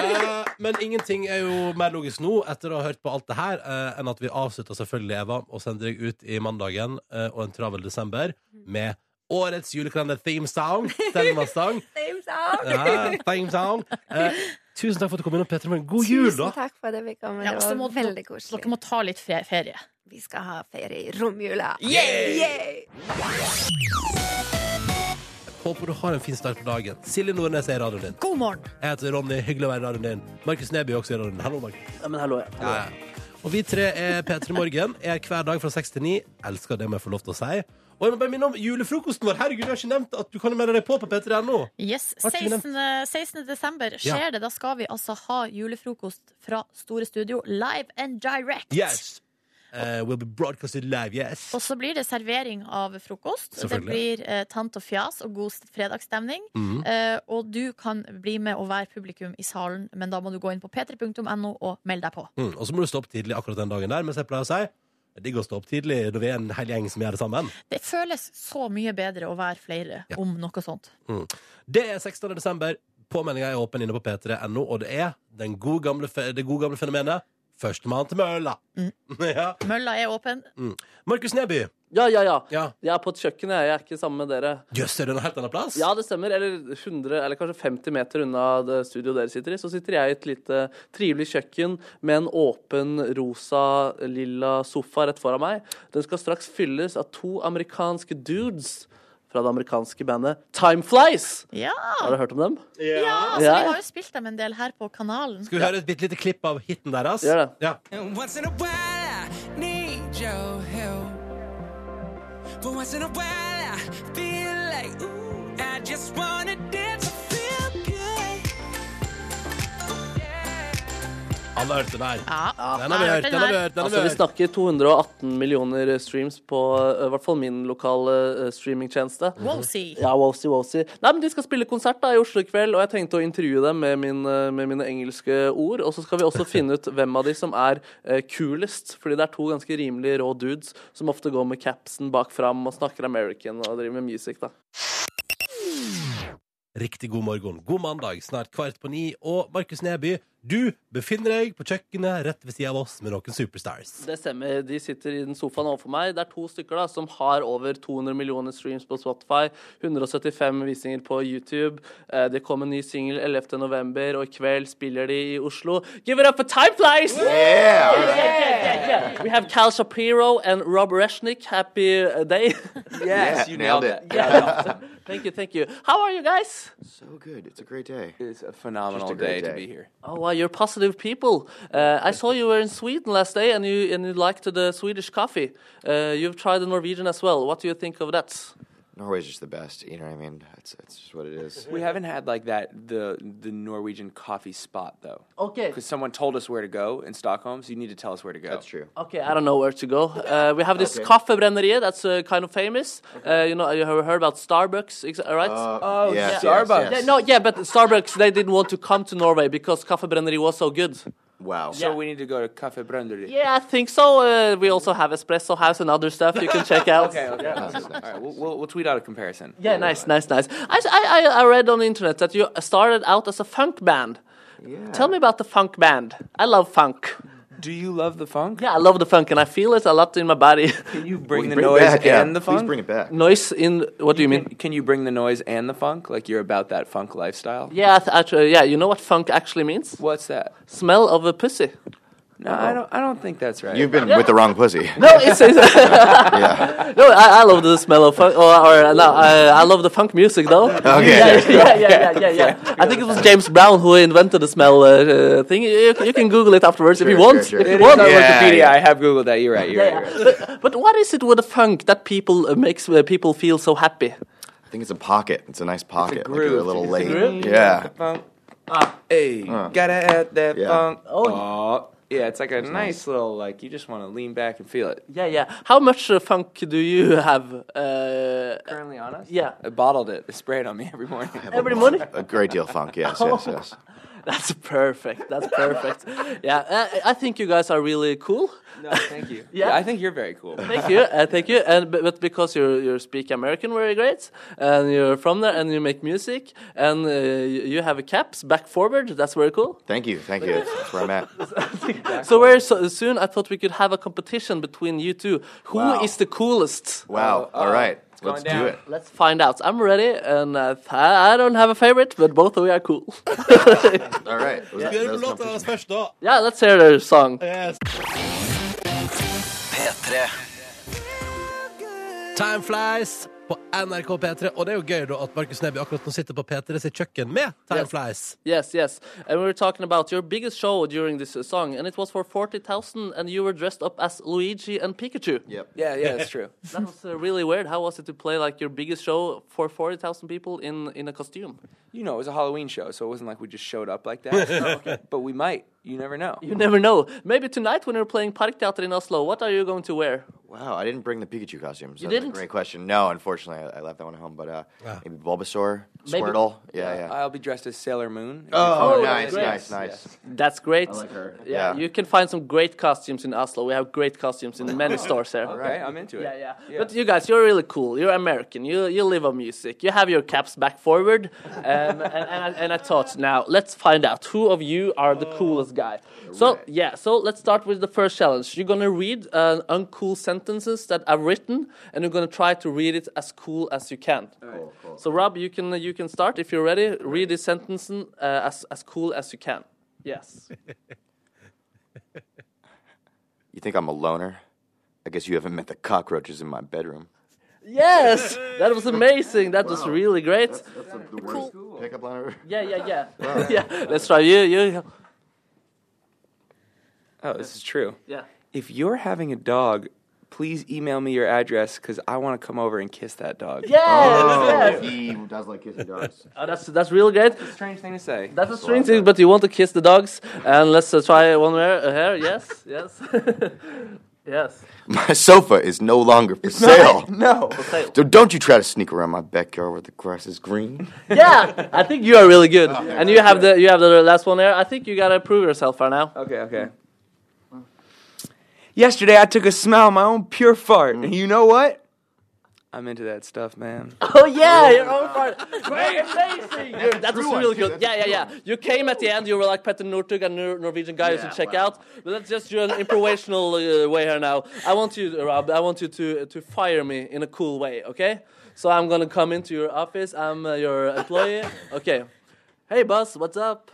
S2: Eh, men ingenting er jo mer logisk nå etter å ha hørt på alt det her, eh, enn at vi avslutter selvfølgelig, Eva, og sender deg ut i mandagen eh, og en travel desember med årets julekalender-theme song. Thelma Stang.
S6: Same song.
S2: Ja, theme song. Eh, tusen takk for at du kom innom, Petra. Men god jul, da!
S6: Tusen takk for at jeg fikk komme.
S3: Ja, og så
S6: Det
S3: må-
S6: var veldig
S3: Så dere
S6: koselig.
S3: må ta litt fe- ferie.
S6: Vi skal ha ferie i romjula. Yay!
S2: Håper du har en fin start på dagen. Silje Nordnes er i radioen din.
S3: God morgen!
S2: Jeg heter Ronny, hyggelig å være i radioen din. Markus Neby er også i radioen din. Hallo, Markus.
S4: Ja, men her lå jeg.
S2: Ja, ja. Og vi tre er P3 Morgen. Er hver dag fra 6 til 9. Elsker det må jeg får lov til å si. Og jeg må bare minne om julefrokosten vår. Herregud, du har ikke nevnt at du kan melde deg på på p3.no.
S3: Yes,
S2: Har ikke vi
S3: 16. 16. desember skjer det. Da skal vi altså ha julefrokost fra Store Studio, live and direct.
S2: Yes. Eh, we'll be broadcasted live, yes.
S3: Og så blir det servering av frokost. Det
S2: Selvfølgelig.
S3: blir eh, tant og fjas og god fredagsstemning.
S2: Mhm.
S3: Eh, og du kan bli med og være publikum i salen, men da må du gå inn på p3.no og melde deg på.
S2: Mm, og så må du stå opp tidlig akkurat den dagen der, mens jeg pleier å si det er digg å stå opp tidlig når vi er en hel gjeng som gjør det sammen.
S3: Det føles så mye bedre å være flere
S2: Ja.
S3: om noe sånt.
S2: Det er 16. desember. Påmeldinga er åpen inne på p3.no, og det er den gode gamle, fe- det gode gamle fenomenet førstemann til mølla.
S3: Mm.
S2: ja.
S3: Mølla er åpen.
S2: Markus Neby.
S4: Ja, ja, ja.
S2: Ja.
S4: Jeg er på et kjøkken, jeg. Jeg er ikke sammen med dere.
S2: Jøss, er du en helt annen plass?
S4: Ja, det stemmer. Eller 100, eller kanskje 50 meter unna det studioet dere sitter i, så sitter jeg i et lite trivelig kjøkken med en åpen, rosa, lilla sofa rett foran meg. Den skal straks fylles av to amerikanske dudes fra det amerikanske bandet Time Flies.
S3: Ja!
S4: Har du hørt om dem?
S3: ja altså,
S4: Ja.
S3: Vi har jo spilt dem en del her på kanalen.
S2: Skal vi høre et bitte lite klipp av hiten deres?
S4: Gjør det.
S2: Ja.
S9: And once in a while, I need your help. But once in a while, I feel like, ooh, I just wanna dance and feel good.
S2: Alle hørte den her.
S3: Ja,
S2: Den har vi hørt, den har vi hørt. Den har
S4: Altså,
S2: vi
S4: vi
S2: hørt.
S4: snakker 218 millioner streams på eh, i hvert fall min lokale eh, streamingtjeneste.
S3: Wowsy.
S4: Ja, wowsy, wowsy. Nei, men De skal spille konsert da i Oslo i kveld, og jeg tenkte å intervjue dem med, min, eh, med mine engelske ord. Og så skal vi også finne ut hvem av de som er eh, kulest, fordi det er to ganske rimelig rå dudes som ofte går med capsen bak fram og snakker American og driver med music, da.
S2: Riktig god morgen. God mandag, snart kvart på ni. Og Markus Neby, du befinner deg på kjøkkenet rett ved sida av oss med noen superstars.
S4: Det stemmer. De sitter i den sofaen overfor meg. Det er to stykker da, som har over 200 millioner streams på Spotify, 175 visninger på YouTube. Eh, Det kom en ny singel 11. november, og i kveld spiller de i Oslo. Give it up for Time Flies! Yeah, yeah, yeah, yeah. We have Cal Shapiro and Rob Reshnick. Happy uh, day.
S10: Yes, you nailed it.
S4: Yeah, yeah. Thank you, thank you. How are you guys?
S10: So Oh, good. It's a great day.
S8: It's a phenomenal
S10: Just a great
S8: day, to
S10: day.
S8: be here.
S4: Oh, wow, you're positive people. Uh, I saw you were in Sweden last day, and you and you liked the Swedish coffee. Uh, you've tried the Norwegian as well. What do you think of that?
S10: Norway's just the best. You know what I mean? That's that's just what it is.
S8: We haven't had like that the the Norwegian coffee spot though.
S4: Okay.
S8: Because someone told us where to go in Stockholm, so you need to tell us where to go.
S10: That's true.
S4: Okay, I don't know where to go. Uh, we have this
S10: Okay.
S4: Kaffebrenneriet that's uh, kind of famous. Uh, you know, you have heard about Starbucks, ex- right?
S10: oh, yes,
S8: yeah.
S10: yes,
S8: Starbucks.
S4: yeah,
S10: yes.
S4: no, yeah, but Starbucks they didn't want to come to Norway because Kaffebrenneri was so good.
S10: Wow.
S8: So we need to go to Cafe Branderi.
S4: Yeah, I think so. Uh, we also have Espresso House and other stuff you can check out.
S8: Okay. okay. All right. We'll, we'll, we'll tweet out a comparison.
S4: Yeah, nice, nice, nice. I, s- I- I- I read on the internet that you started out as a funk band.
S10: Yeah.
S4: Tell me about the funk band. I love funk.
S8: Do you love the funk?
S4: Yeah, I love the funk, and I feel it a lot in my body.
S8: Can you bring the
S10: Bring it
S8: noise
S10: back,
S8: and
S10: yeah.
S8: the
S10: Please
S8: funk?
S10: bring it back.
S4: Noise in what do you mean?
S8: Can, can you bring the noise and the funk? Like you're about that funk lifestyle?
S4: Yeah, th- actually, yeah. You know what funk actually means?
S8: What's that?
S4: Smell of a pussy.
S8: No, I don't. I don't think that's right.
S10: You've been with the wrong pussy.
S4: No, it's, it's
S10: yeah.
S4: no. I, I love the smell of funk. Or, or no, I, I love the funk music though.
S10: Okay.
S4: Yeah, yeah, yeah, yeah, yeah, yeah. I think it was James Brown who invented the smell uh, uh, thing. You, you can Google it afterwards if you
S10: Sure,
S4: want.
S10: sure, sure.
S4: If you
S8: It is on
S4: want.
S10: Yeah,
S8: Wikipedia.
S10: yeah.
S8: I have googled that. You're right. You're right. You're right.
S4: but, but what is it with the funk that people uh, makes uh, people feel so happy?
S10: I think it's a pocket. It's a nice pocket.
S8: It's a
S10: Like you're a
S8: groove.
S10: little
S8: It's
S10: late.
S8: a
S4: groove.
S10: Yeah.
S8: Funk. Ah, Hey, gotta add that
S10: Ah. Yeah.
S8: funk.
S4: Oh.
S8: Aw, yeah. yeah, it's like a nice little like you just want to lean back and feel it.
S4: Yeah, yeah. How much uh, funk do you have? Uh,
S8: Currently on us?
S4: yeah.
S8: I bottled it. I spray it on me every morning.
S4: Every morning?
S10: A great deal of funk, yes, yes,
S8: Oh.
S10: yes.
S4: That's perfect. That's perfect. yeah, Uh, I, I think you guys are really cool.
S8: No, thank you.
S4: Yeah.
S8: yeah, I think you're very cool.
S4: Thank you, uh, thank you. And but, but because you you speak American very great, and you're from there, and you make music, and uh, you you have a caps back forward. That's very cool.
S10: Thank you, thank you. That's, that's where I'm at.
S4: So very so, soon, I thought we could have a competition between you two. Who is
S10: Wow.
S4: the coolest?
S10: Wow, all right. Let's
S8: Oh, going
S10: do
S8: down.
S10: it.
S4: Let's find out. I'm ready, and uh, I I don't have a favorite, but both of you are cool.
S10: All right. Was that- that was competition.
S2: først, da.
S4: yeah, let's hear their song.
S2: Time Flies på NRK P3. Og det er jo gøy da at Markus Neby akkurat nå sitter på P3 sitt kjøkken med Time
S4: Yes.
S2: Flies.
S4: Yes, yes. And we were talking about your biggest show during this uh, song, and it was for 40,000, and you were dressed up as Luigi and Pikachu.
S10: Yep.
S8: Yeah, yeah, that's true.
S4: That was uh, really weird. How was it to play like your biggest show for 40,000 people in, in a costume?
S8: You know, it was a Halloween show, so it wasn't like we just showed up like that. Oh, But we might. You never know.
S4: You never know. Maybe tonight when you're playing Parkteatret in Oslo, what are you going to wear?
S10: Wow, I didn't bring the Pikachu costumes.
S4: You
S10: That's
S4: didn't?
S10: A great question. No, unfortunately, I, I left that one at home. But uh, maybe Bulbasaur,
S4: Maybe-
S10: Squirtle. Yeah, yeah.
S8: I'll be dressed as Sailor Moon.
S10: Oh,
S4: Oh,
S10: nice,
S4: great.
S10: nice, nice.
S4: That's great.
S10: I like her.
S4: Yeah,
S10: Yeah.
S4: you can find some great costumes in Oslo. We have great costumes in many stores here.
S8: Okay, I'm into it.
S4: Yeah, yeah, But you guys, you're really cool. You're American. You you live on music. You have your caps back forward. Um, and, and, I, and I thought, now let's find out who of you are the coolest guy. So yeah, so let's start with the first challenge. You're gonna read uh, uncool sentences that I've written, and you're gonna try to read it as cool as you can. So Rob, you can you can start if you're ready. Read this sentence uh, as as cool as you can. Yes.
S10: You think I'm a loner? I guess you haven't met the cockroaches in my bedroom.
S4: Yes, that was amazing. That was really great.
S10: That's the worst pickup line ever.
S4: Yeah, yeah, yeah. yeah. Let's try you. You.
S8: Oh, this is true.
S4: Yeah.
S8: If you're having a dog, please email me your address because I want to come over and kiss that dog.
S4: Yes.
S10: Oh.
S4: yes.
S10: he does like kissing dogs.
S4: Oh, that's that's real great.
S8: Strange thing to say.
S4: That's a strange thing, but you want to kiss the dogs. And let's uh, try one more uh, here. Yes. Yes. yes.
S10: My sofa is no longer for sale.
S8: No.
S4: Fail.
S10: So don't you try to sneak around my backyard where the grass is green.
S4: Yeah. I think you are really good. and Oh, you have the you have the last one there. I think you gotta prove yourself right now.
S8: Okay, okay. Yesterday I took a smell of my own pure fart, and you know what? Mm. I'm into that stuff, man.
S4: Oh yeah, your own part. Great, amazing. You're- that was really good. Yeah, yeah, yeah. You came at the end. You were like Petter Northug, a Nor- Norwegian guy you should check out. But let's just do an improvisational uh, way here now. I want you, Rob. I want you to uh, to fire me in a cool way. Okay. So I'm gonna come into your office. I'm uh, your employee. Okay. Hey, boss. What's up?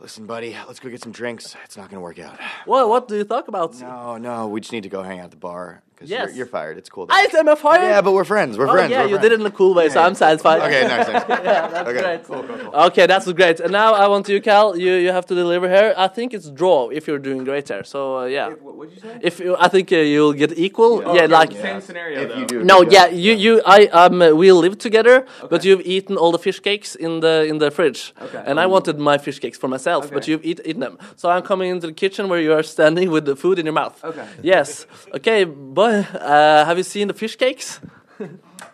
S10: Listen, buddy, let's go get some drinks. It's not gonna work out.
S4: What What do you talk about?
S10: No, no, we just need to go hang out at the bar because
S4: Yes.
S10: you're, you're fired. It's cool.
S4: I am a fire.
S10: yeah, but we're friends. We're
S4: Oh,
S10: friends.
S4: yeah, you
S10: we're friends.
S4: did it in a cool way, so I'm satisfied.
S10: Okay, nice, nice.
S4: yeah, that's
S10: Okay.
S4: great. Okay, that's great. And now I want you, Cal. You you have to deliver here. I think it's draw if you're doing great here. So uh, yeah,
S8: What'd you say?
S4: if you, I think uh, you'll get equal. Yeah, like
S8: Same scenario,
S10: If
S8: though.
S10: you do,
S4: no,
S10: good
S4: yeah,
S10: job.
S4: you you I um uh, we live together, but you've eaten all the fish cakes in the in the fridge.
S8: Okay.
S4: And I wanted my fish cakes for myself, but
S8: Okay.
S4: you've eat, eaten them. So I'm coming into the kitchen where you are standing with the food in your mouth.
S8: Okay.
S4: Yes. Okay, boy. Uh, have you seen the fish cakes?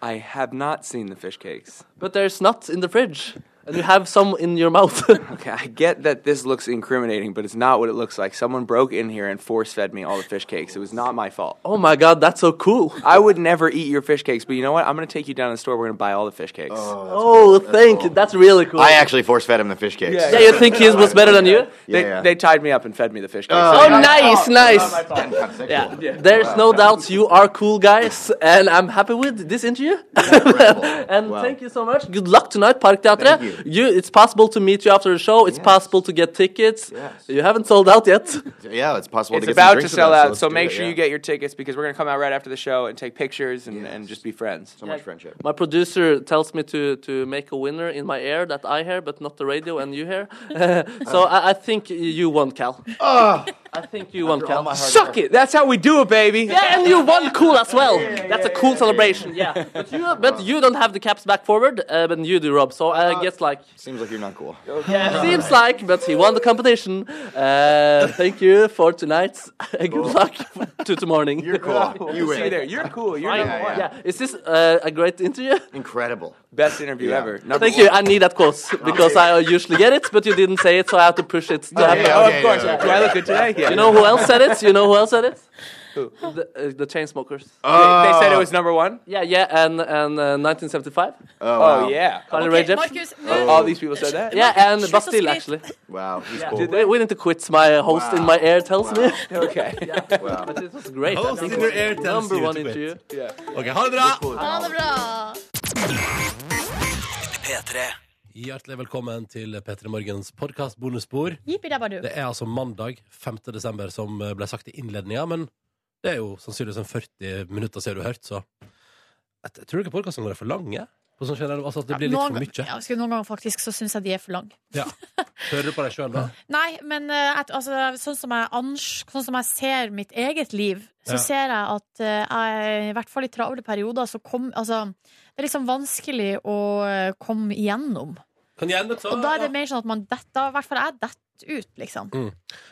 S8: I have not seen the fish cakes.
S4: But there's nuts in the fridge, and you have some in your mouth.
S8: Okay, I get that this looks incriminating, but it's not what it looks like. Someone broke in here and force fed me all the fish cakes. It was not my fault.
S4: oh my god, that's so cool.
S8: I would never eat your fish cakes, but you know what? I'm gonna take you down to the store. We're gonna buy all the fish cakes.
S4: Oh, thank you. That's really cool.
S10: I actually force fed him the fish cakes.
S4: yeah, you think his was better than you?
S10: Yeah,
S8: They,
S10: yeah.
S8: they tied me up and fed me the fish cakes.
S4: Oh, nice, nice.
S10: yeah.
S4: Yeah. There's no doubt you are cool guys, and I'm happy with this interview. and
S10: Wow.
S4: thank you so much. Good luck tonight, Parkteatret.
S10: Thank you.
S4: It's possible to meet you after the show. It's
S10: Yes.
S4: possible to get tickets.
S10: Yes.
S4: You haven't sold out yet.
S10: Yeah, it's possible
S8: It's
S10: to get some
S8: about to
S10: drinks with
S8: sell
S10: us,
S8: out,
S10: let's
S8: so
S10: do
S8: make
S10: it,
S8: sure
S10: yeah.
S8: you get your tickets because we're gonna come out right after the show and take pictures and, and
S10: Yes.
S8: just be friends.
S10: So much friendship.
S4: My producer tells me to, to make a winner in my ear
S10: Uh-huh.
S4: that I hear, but not the radio and you hear. so I, I think you won, Cal.
S10: Oh,
S4: I think you won, Cal.
S8: Suck it! That's how we do it, baby!
S4: Yeah, and you won cool as well. That's a cool celebration. Yeah, but you, but you don't have the caps back forward, uh, but you do, Rob. So I guess like
S10: Seems like you're not cool.
S4: yeah, it seems like, but he won the competition. Uh, thank you for tonight. and Good luck to tomorrow morning.
S10: You're cool. You
S8: See
S10: win.
S8: there, you're cool. You're
S4: I-
S8: number one.
S4: yeah. Is this uh, a great interview?
S10: Incredible.
S8: Best interview
S10: Yeah.
S8: ever. Number
S4: Thank
S8: one.
S4: you. I need that quote because I usually get it, but you didn't say it, so I have to push it. To have
S10: Okay,
S8: Oh,
S10: okay,
S8: of course.
S10: yeah,
S8: Do I look good today? Yeah.
S4: You know who else said it? You know who else said it? The, uh, the Chainsmokers.
S8: They, they said it was number one?
S4: Yeah, yeah, and and uh, 1975.
S2: Uh,
S10: Oh,
S8: Oh,
S10: wow.
S8: yeah.
S4: Carly Rae
S3: Ok,
S4: Jepsen.
S3: Markus, nå
S8: All these people said that?
S4: Yeah, and
S3: Slutt å
S4: Bastille,
S3: skryte.
S4: actually.
S10: Wow. He's
S4: Yeah.
S10: cool.
S4: We, we need to quit. My uh, host in my ear tells me.
S8: Okay.
S10: Wow.
S4: But it was great. I
S2: Host
S4: think
S2: in
S4: it was
S2: your ear tells
S4: number
S2: you
S4: one
S2: to quit.
S4: interview.
S2: Ok, ha det bra!
S3: Ha det bra.
S2: Hjertelig velkommen til P3 Morgens podkast bonusspor.
S3: Jippi-dabba-du.
S2: Det er altså mandag 5. desember som ble sagt i innledninga, men det er jo sannsynligvis en 40 minutter siden du har hørt, så jeg t- tror du ikke podkastene våre er for lange? På sånn generell, altså at det blir litt
S3: Noen-
S2: for mye.
S3: Ja, skulle noen ganger faktisk så syns jeg de er for lang.
S2: Ja. Hører du på deg sjøl da?
S3: Nei, men eh, at, altså, sånn, som jeg ans, sånn som jeg ser mitt eget liv, så
S2: Ja.
S3: ser jeg at eh, jeg, i hvert fall i travle perioder, så kom Altså, det er liksom vanskelig å eh, komme igjennom.
S2: Kan gjerne ta
S3: Og da er det mer sånn at man detter I hvert fall jeg detter ut, liksom.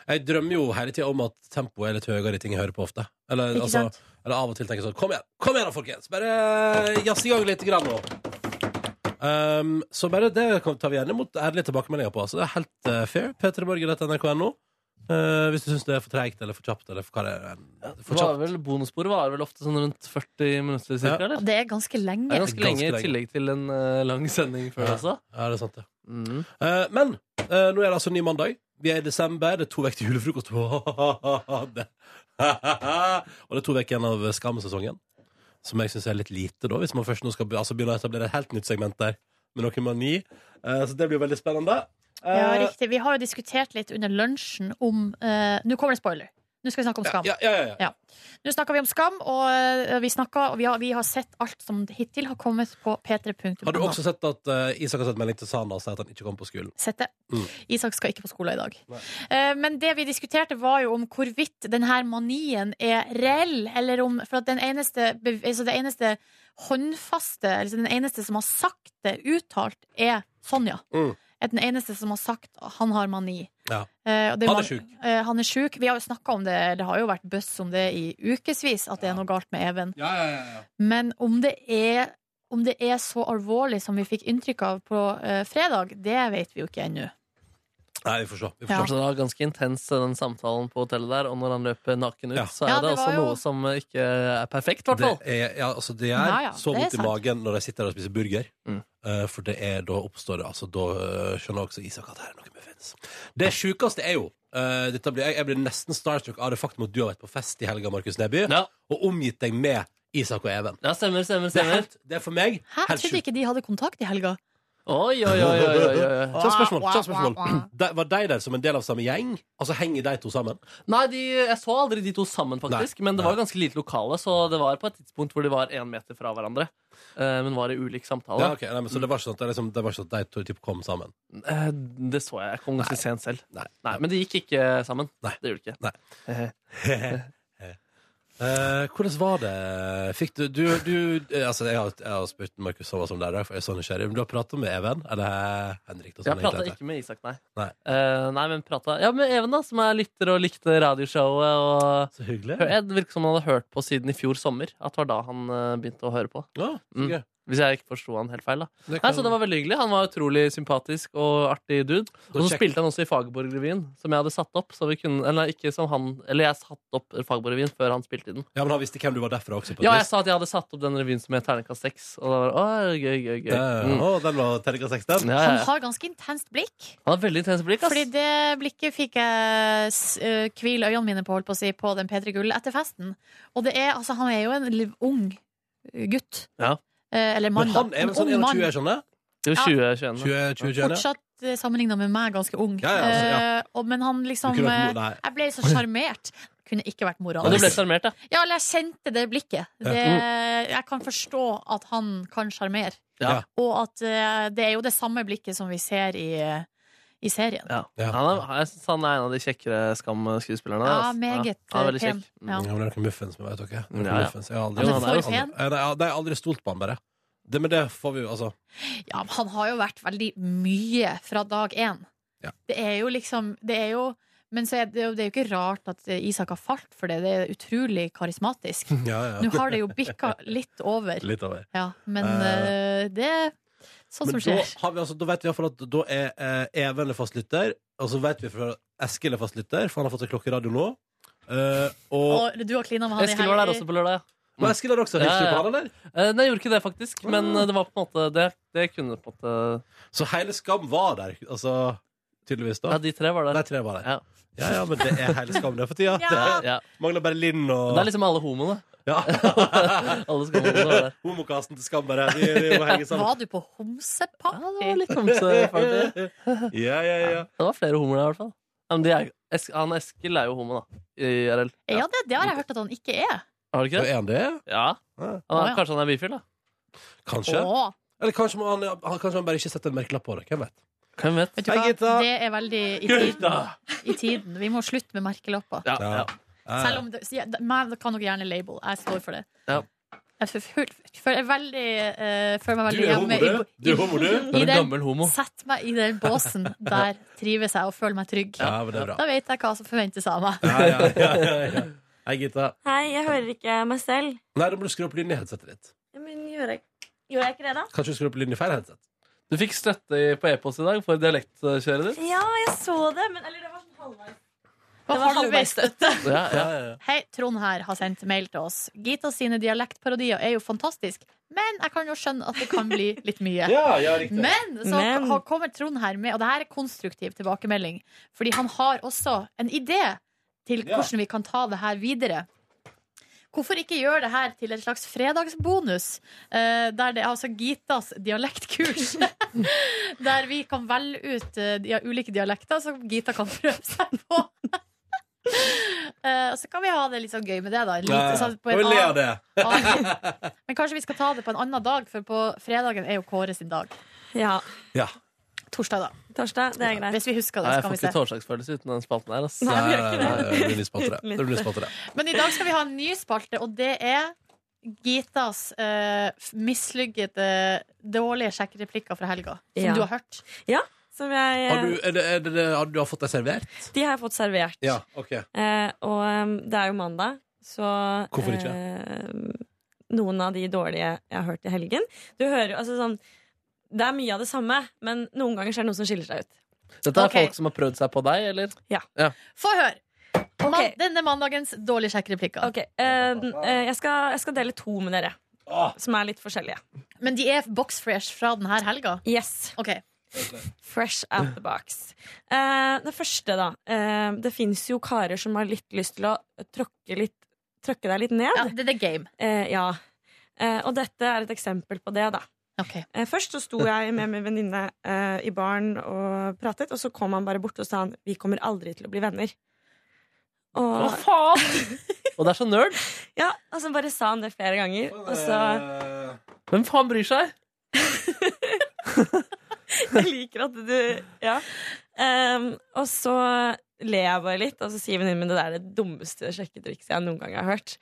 S2: Jeg drømmer jo hele tida om at tempoet er litt høyere i ting jeg hører på ofte. Eller,
S3: Ikke
S2: altså,
S3: sant?
S2: eller av og til tenker jeg sånn Kom igjen, kom igjen da, folkens! Bare eh, jazz i gang litt grann nå. Um, så bare det kan- tar vi gjerne imot ærlige tilbakemeldinger på. Altså, det er helt eh, fair. p3morgen.nrk.no. Eh, hvis du syns det er for treigt eller for kjapt eller for hva det er. For
S4: Det var
S2: kjapt.
S4: vel, bonussporet var vel ofte sånn rundt 40 minutter
S2: Ja.
S4: cirka, eller?
S3: Og det er ganske
S4: Det
S3: lenge.
S4: er
S2: ganske
S4: ganske lenge i
S2: lenge.
S4: tillegg til en eh, lang sending før
S2: Ja.
S4: også.
S2: Ja, det er sant, det. Eh, men eh, nå er det altså ny mandag. Vi er i desember. Det er to uker til julefrokost. og det er to uker igjen av Skam-sesongen. Som jeg syns er litt lite, da, hvis man først nå skal be- altså, begynne å etablere et helt nytt segment der. Med noe mani. Eh, så det blir jo veldig spennende. Eh,
S3: Ja, riktig. Vi har jo diskutert litt under lunsjen om eh, Nå kommer det spoiler. Nå skal vi snakke om Skam.
S2: Ja, ja, ja, ja.
S3: Nå snakker vi om Skam, og eh, vi, snakker, og vi, har, vi har sett alt som hittil har kommet på p3.no.
S2: Har du også sett at eh, Isak har sett melding til Sana og sier at han ikke kommer på skolen?
S3: Sett det.
S2: Mm.
S3: Isak skal ikke på skolen i dag.
S2: Nei.
S3: Eh, Men det vi diskuterte, var jo om hvorvidt denne manien er reell, eller om For at den eneste, bev- altså det eneste håndfaste, altså den eneste som har sagt det uttalt, er Sonja.
S2: Mm.
S3: Er den eneste som har sagt at han har mani.
S2: Ja.
S3: Eh, og det
S2: Han er
S3: man-
S2: sjuk.
S3: eh, han er sjuk. Vi har jo snakka om det, det har jo vært buzz om det i ukevis, at det er noe galt med Even.
S2: Ja, ja, ja,
S3: Men om det er om det er så alvorlig som vi fikk inntrykk av på eh, fredag, det vet vi jo ikke ennå.
S2: Nei, vi får se. Vi får
S3: Ja.
S2: se.
S4: Fortsatt da, ganske intens eh, den samtalen på hotellet der, og når han løper naken ut,
S2: Ja.
S4: så er
S3: Ja,
S4: det,
S3: det var
S4: også
S3: jo-
S4: noe som eh, ikke er perfekt, i hvert
S2: Det
S4: fall.
S2: er, ja, altså det er
S3: Ja, ja,
S2: så
S3: det er
S2: vondt i
S3: sant.
S2: magen når jeg sitter der og spiser burger.
S4: Mm.
S2: Eh, for det er, da oppstår det altså, Da eh, skjønner også Isak at her er noe muffins. Det sjukeste er jo eh, dette blir, jeg, jeg blir nesten starstruck av det faktum at du har vært på fest i helga, Markus Neby,
S4: Ja,
S2: og omgitt deg med Isak og Even.
S4: ja stemmer, stemmer,
S2: Det er,
S4: stemmer.
S2: helt, det er for meg
S3: Hæ? Jeg
S2: helt
S3: trodde
S2: sjukt.
S3: ikke de hadde kontakt i helga.
S4: Oi, oi, oi, oi, oi, oi.
S2: Kjapt spørsmål. kjapt spørsmål. De, var de der som en del av samme gjeng? Altså Henger de to sammen?
S4: Nei, de, jeg så aldri de to sammen, faktisk. Men det var ganske lite lokale, så det var på et tidspunkt hvor de var én meter fra hverandre. eh, Men var i ulik samtale.
S2: Ja, ok. Nei, men, så det var ikke sånn at det, liksom, det var ikke sånn at de to typ kom sammen?
S4: Eh, Det så jeg. Jeg kom ganske sent selv.
S2: Nei.
S4: Nei, Men det gikk ikke sammen.
S2: Nei.
S4: Det gjorde det ikke.
S2: Nei. Eh, hvordan var det? Fikk du, du, du eh, altså, jeg, har, jeg har spurt Markus Sommer som lærer, for jeg er så nysgjerrig. Men du har prata med Even? Eller Henrik? Da, som
S4: Jeg
S2: egentlig
S4: prata
S2: heter.
S4: ikke med Isak, nei.
S2: Sånn Nei.
S4: Eh, nei men prata Ja, med Even, da, som er lytter og likte radioshowet. Og
S2: Så hyggelig.
S4: Hør- jeg- det virker som han hadde hørt på siden i fjor sommer. At det var da han eh, begynte å høre på.
S2: Ja, så
S4: Mm.
S2: gøy.
S4: Hvis jeg ikke forsto han helt feil, da.
S2: Det
S4: Nei,
S2: kan-
S4: så det var veldig hyggelig. Han var utrolig sympatisk og artig dude. Og så
S2: sjekk-
S4: spilte han også i Fagerborg-revyen, som jeg hadde satt opp. Så vi kunne, eller ikke som han Eller jeg satte opp Fagerborg-revyen før han spilte i den.
S2: Ja, men han visste hvem du var derfra også? På et
S4: Ja, jeg
S2: vis.
S4: sa at jeg hadde satt opp den revyen som het Terningkast 6. Og da var det å, gøy, gøy, gøy.
S2: Ja, ja, ja.
S4: Mm.
S2: Eh, Å, den var terningkast seks, den.
S4: Ja, ja,
S3: Han
S4: ja.
S3: har ganske intenst blikk.
S4: Han har veldig intenst blikk, ass.
S3: Fordi det blikket fikk jeg s- eh, hvile øynene mine på, holdt på å si, på den P3 Gull etter festen. Og det er, altså, han er jo en liv- ung gutt.
S4: Ja.
S3: Eh, eller mann,
S2: Men han
S3: da.
S2: er
S3: En
S2: vel sånn 21,
S3: ung mann.
S2: jeg skjønner?
S4: Det er jo
S2: 20, 20,
S4: 2021.
S2: 21, ja.
S3: Fortsatt eh, sammenlignet med meg, ganske ung.
S2: Ja, ja, altså, ja.
S3: Eh, og, men han
S2: Du
S3: liksom
S2: kunne vært
S3: eh,
S2: mor- Nei.
S3: Jeg ble så sjarmert. Kunne ikke vært mora
S4: Men du
S3: hans.
S4: ble sjarmert, ja.
S3: Ja, eller jeg kjente det blikket. Det, jeg kan forstå at han kan sjarmere.
S4: Ja.
S3: Og at eh, det er jo det samme blikket som vi ser i, i serien.
S4: Ja. Han er, jeg synes han er en av de kjekkere Skam-skuespillerne.
S3: Ja,
S4: altså.
S3: meget,
S4: han er veldig
S3: eh, pen.
S4: kjekk. Mm.
S3: Ja.
S2: Ja, men det er ikke Muffens med, vet dere. Det er
S4: Ja,
S2: ikke
S4: ja.
S2: Muffins. Jeg har aldri,
S3: Han er
S2: Nei,
S4: sånn.
S2: jeg har
S3: for pen.
S2: aldri- Nei, jeg har aldri stolt på han, bare. Det, men det får vi jo, altså.
S3: Ja, men han har jo vært veldig mye fra dag én.
S2: Ja.
S3: Det er jo liksom det er jo, Men så er det, jo, det er jo ikke rart at eh, Isak har falt for det. Det er utrolig karismatisk.
S2: Ja, ja.
S3: Nå har det jo bikka litt over.
S2: Litt over.
S3: Ja, men
S2: Eh.
S3: eh, det er sånt
S2: Men
S3: som
S2: da,
S3: skjer.
S2: har vi altså, da vet vi iallfall at da er eh, Even er fastlytter, og så vet vi fra Eskil er fastlytter, for han har fått seg klokke i radio nå. Eh, og
S3: Og du har klina med han i
S4: Eskil var der også på lørdag, ja.
S2: Men Eskil har også hilst
S4: Ja, ja,
S2: på
S4: ja.
S2: han, eller?
S4: Eh, Nei, jeg gjorde ikke det, faktisk.
S3: Mm.
S4: Men eh, det var på en måte Det, det kunne på en måte
S2: Så hele Skam var der, altså. Tydeligvis, da.
S4: Ja, de tre var der.
S2: Nei, tre var der.
S4: Ja.
S2: Ja, ja, men det er hele Skam det for tida.
S3: Ja.
S2: Det mangler bare Linn og
S4: Det er liksom alle homoene.
S2: Ja.
S4: Alle skamhomoene var der.
S2: Homokasten til Skam, bare. De, de må henge sammen.
S3: Var du på homseparty?
S4: Litt homseparty.
S2: Ja, ja, ja.
S4: Det var flere homoer der, i hvert fall. Ja, Men de er, Esk, han Eskil er jo homo, da. I IRL.
S3: Ja, det, det har jeg hørt at han ikke er.
S4: Har du ikke
S2: Så
S4: det?
S2: er han det?
S4: Ja.
S2: Ja.
S4: Han
S3: Å,
S4: er,
S3: ja.
S4: kanskje han er bifil, da.
S2: Kanskje.
S3: Å,
S2: Eller kanskje må han, han, kanskje han bare ikke setter en merkelapp på det. Hvem vet.
S4: Hvem vet?
S3: vet du
S2: Hei,
S3: hva?
S2: gutta.
S3: Det er veldig i tiden. I tiden. Vi må slutte med merkelapper.
S4: Ja,
S2: Ja.
S4: ja.
S3: Selv om det, ja, det- meg kan dere gjerne label. Jeg står for det.
S4: Ja.
S3: Jeg føler- føler, jeg veldig, eh, føler meg veldig
S2: Du er homo,
S3: hjemme
S2: du.
S3: i-
S2: Du er homo, du.
S4: Du er
S3: I
S4: en
S3: den,
S4: gammel homo.
S3: sett meg i den båsen. Der trives jeg og føler meg trygg.
S2: Ja, men det er bra.
S3: Da vet jeg hva som forventes av meg.
S2: Ja, ja, ja, ja, ja. Hei, Gita.
S6: Hei, jeg hører ikke meg selv.
S2: Nei, da må du skru opp lyden i headsetet ditt.
S6: Ja, Men gjør jeg, gjør jeg ikke det, da?
S2: Kanskje du skrur opp lyden i feil headset.
S4: Du fikk støtte i- på e-post i dag for dialektkjøret ditt.
S6: Ja, jeg så det, men Eller det var sånn halvveis.
S3: Det
S6: var
S3: var halvveis støtte.
S4: Ja, ja.
S3: Hei, Trond her har sendt mail til oss. Gita sine dialektparodier er jo fantastisk, men jeg kan jo skjønne at det kan bli litt mye.
S2: Ja, ja, riktig.
S3: Men så
S6: Men-
S3: har- kommer Trond her med, og det her er konstruktiv tilbakemelding, fordi han har også en idé til
S2: Ja.
S3: hvordan vi kan ta det her videre. Hvorfor ikke gjøre det her til en slags fredagsbonus, eh, der det er altså Gitas dialektkurs? der vi kan velge ut eh, de ulike dialekter som Gita kan prøve seg på. Eh, og så kan vi ha det litt sånn gøy med det, da. Litt, sånn på en
S2: Og le
S3: annen-
S2: av det.
S3: annen- Men kanskje vi skal ta det på en annen dag, for på fredagen er jo Kåre sin dag.
S6: Ja.
S2: Ja.
S3: Torsdag, da.
S6: Torsdag, det er greit.
S3: Hvis vi husker
S4: Nei,
S3: det, så
S4: jeg
S3: kan
S4: får
S3: vi se.
S4: ikke tårsdagsfølelse uten den spalten her. ass.
S2: Nei, nei, nei, nei, det blir ny spalte, det.
S6: Litt.
S2: Det blir ny spalte, det.
S3: Men i dag skal vi ha en ny spalte, og det er Gitas uh, mislykkede, dårlige sjekkereplikker fra helga. Som
S6: Ja.
S3: du har hørt.
S6: Som jeg
S2: Har du, er det, er det, har du har fått deg servert?
S6: De har jeg fått servert.
S2: Ja, ok.
S6: Eh, og um, det er jo mandag, så
S2: Hvorfor ikke?
S6: eh, noen av de dårlige jeg har hørt i helgen. Du hører jo altså sånn Det er mye av det samme, men noen ganger så er det noe som skiller seg ut.
S4: Dette er
S3: Ok.
S4: folk som har prøvd seg på deg, eller?
S3: Få høre! Man,
S6: Ok.
S3: Denne mandagens dårlige sjekkereplikker.
S6: Ok, eh, den- eh, jeg, skal, jeg skal dele to med dere,
S2: Åh,
S6: som er litt forskjellige.
S3: Men de er boxfresh fra denne helga.
S6: Yes,
S3: Ok,
S6: Fresh out the box. Eh, det første, da. Eh, det fins jo karer som har litt lyst til å tråkke, litt, tråkke deg litt ned.
S3: ja, Det er the game.
S6: Eh, ja. Eh, og dette er et eksempel på det, da.
S3: Ok.
S6: Eh, Først så sto jeg med min venninne eh, i baren og pratet, og så kom han bare bort og sa han, vi kommer aldri til å bli venner.
S4: Hva
S6: Og,
S4: faen? Og det er så nerd.
S6: ja, og så bare sa han det flere ganger. Og så
S4: Hvem faen bryr seg?
S6: jeg liker at du Ja. Em, og så ler jeg bare litt, og så sier venninnen min det der er det dummeste sjekketrikset jeg noen gang har hørt.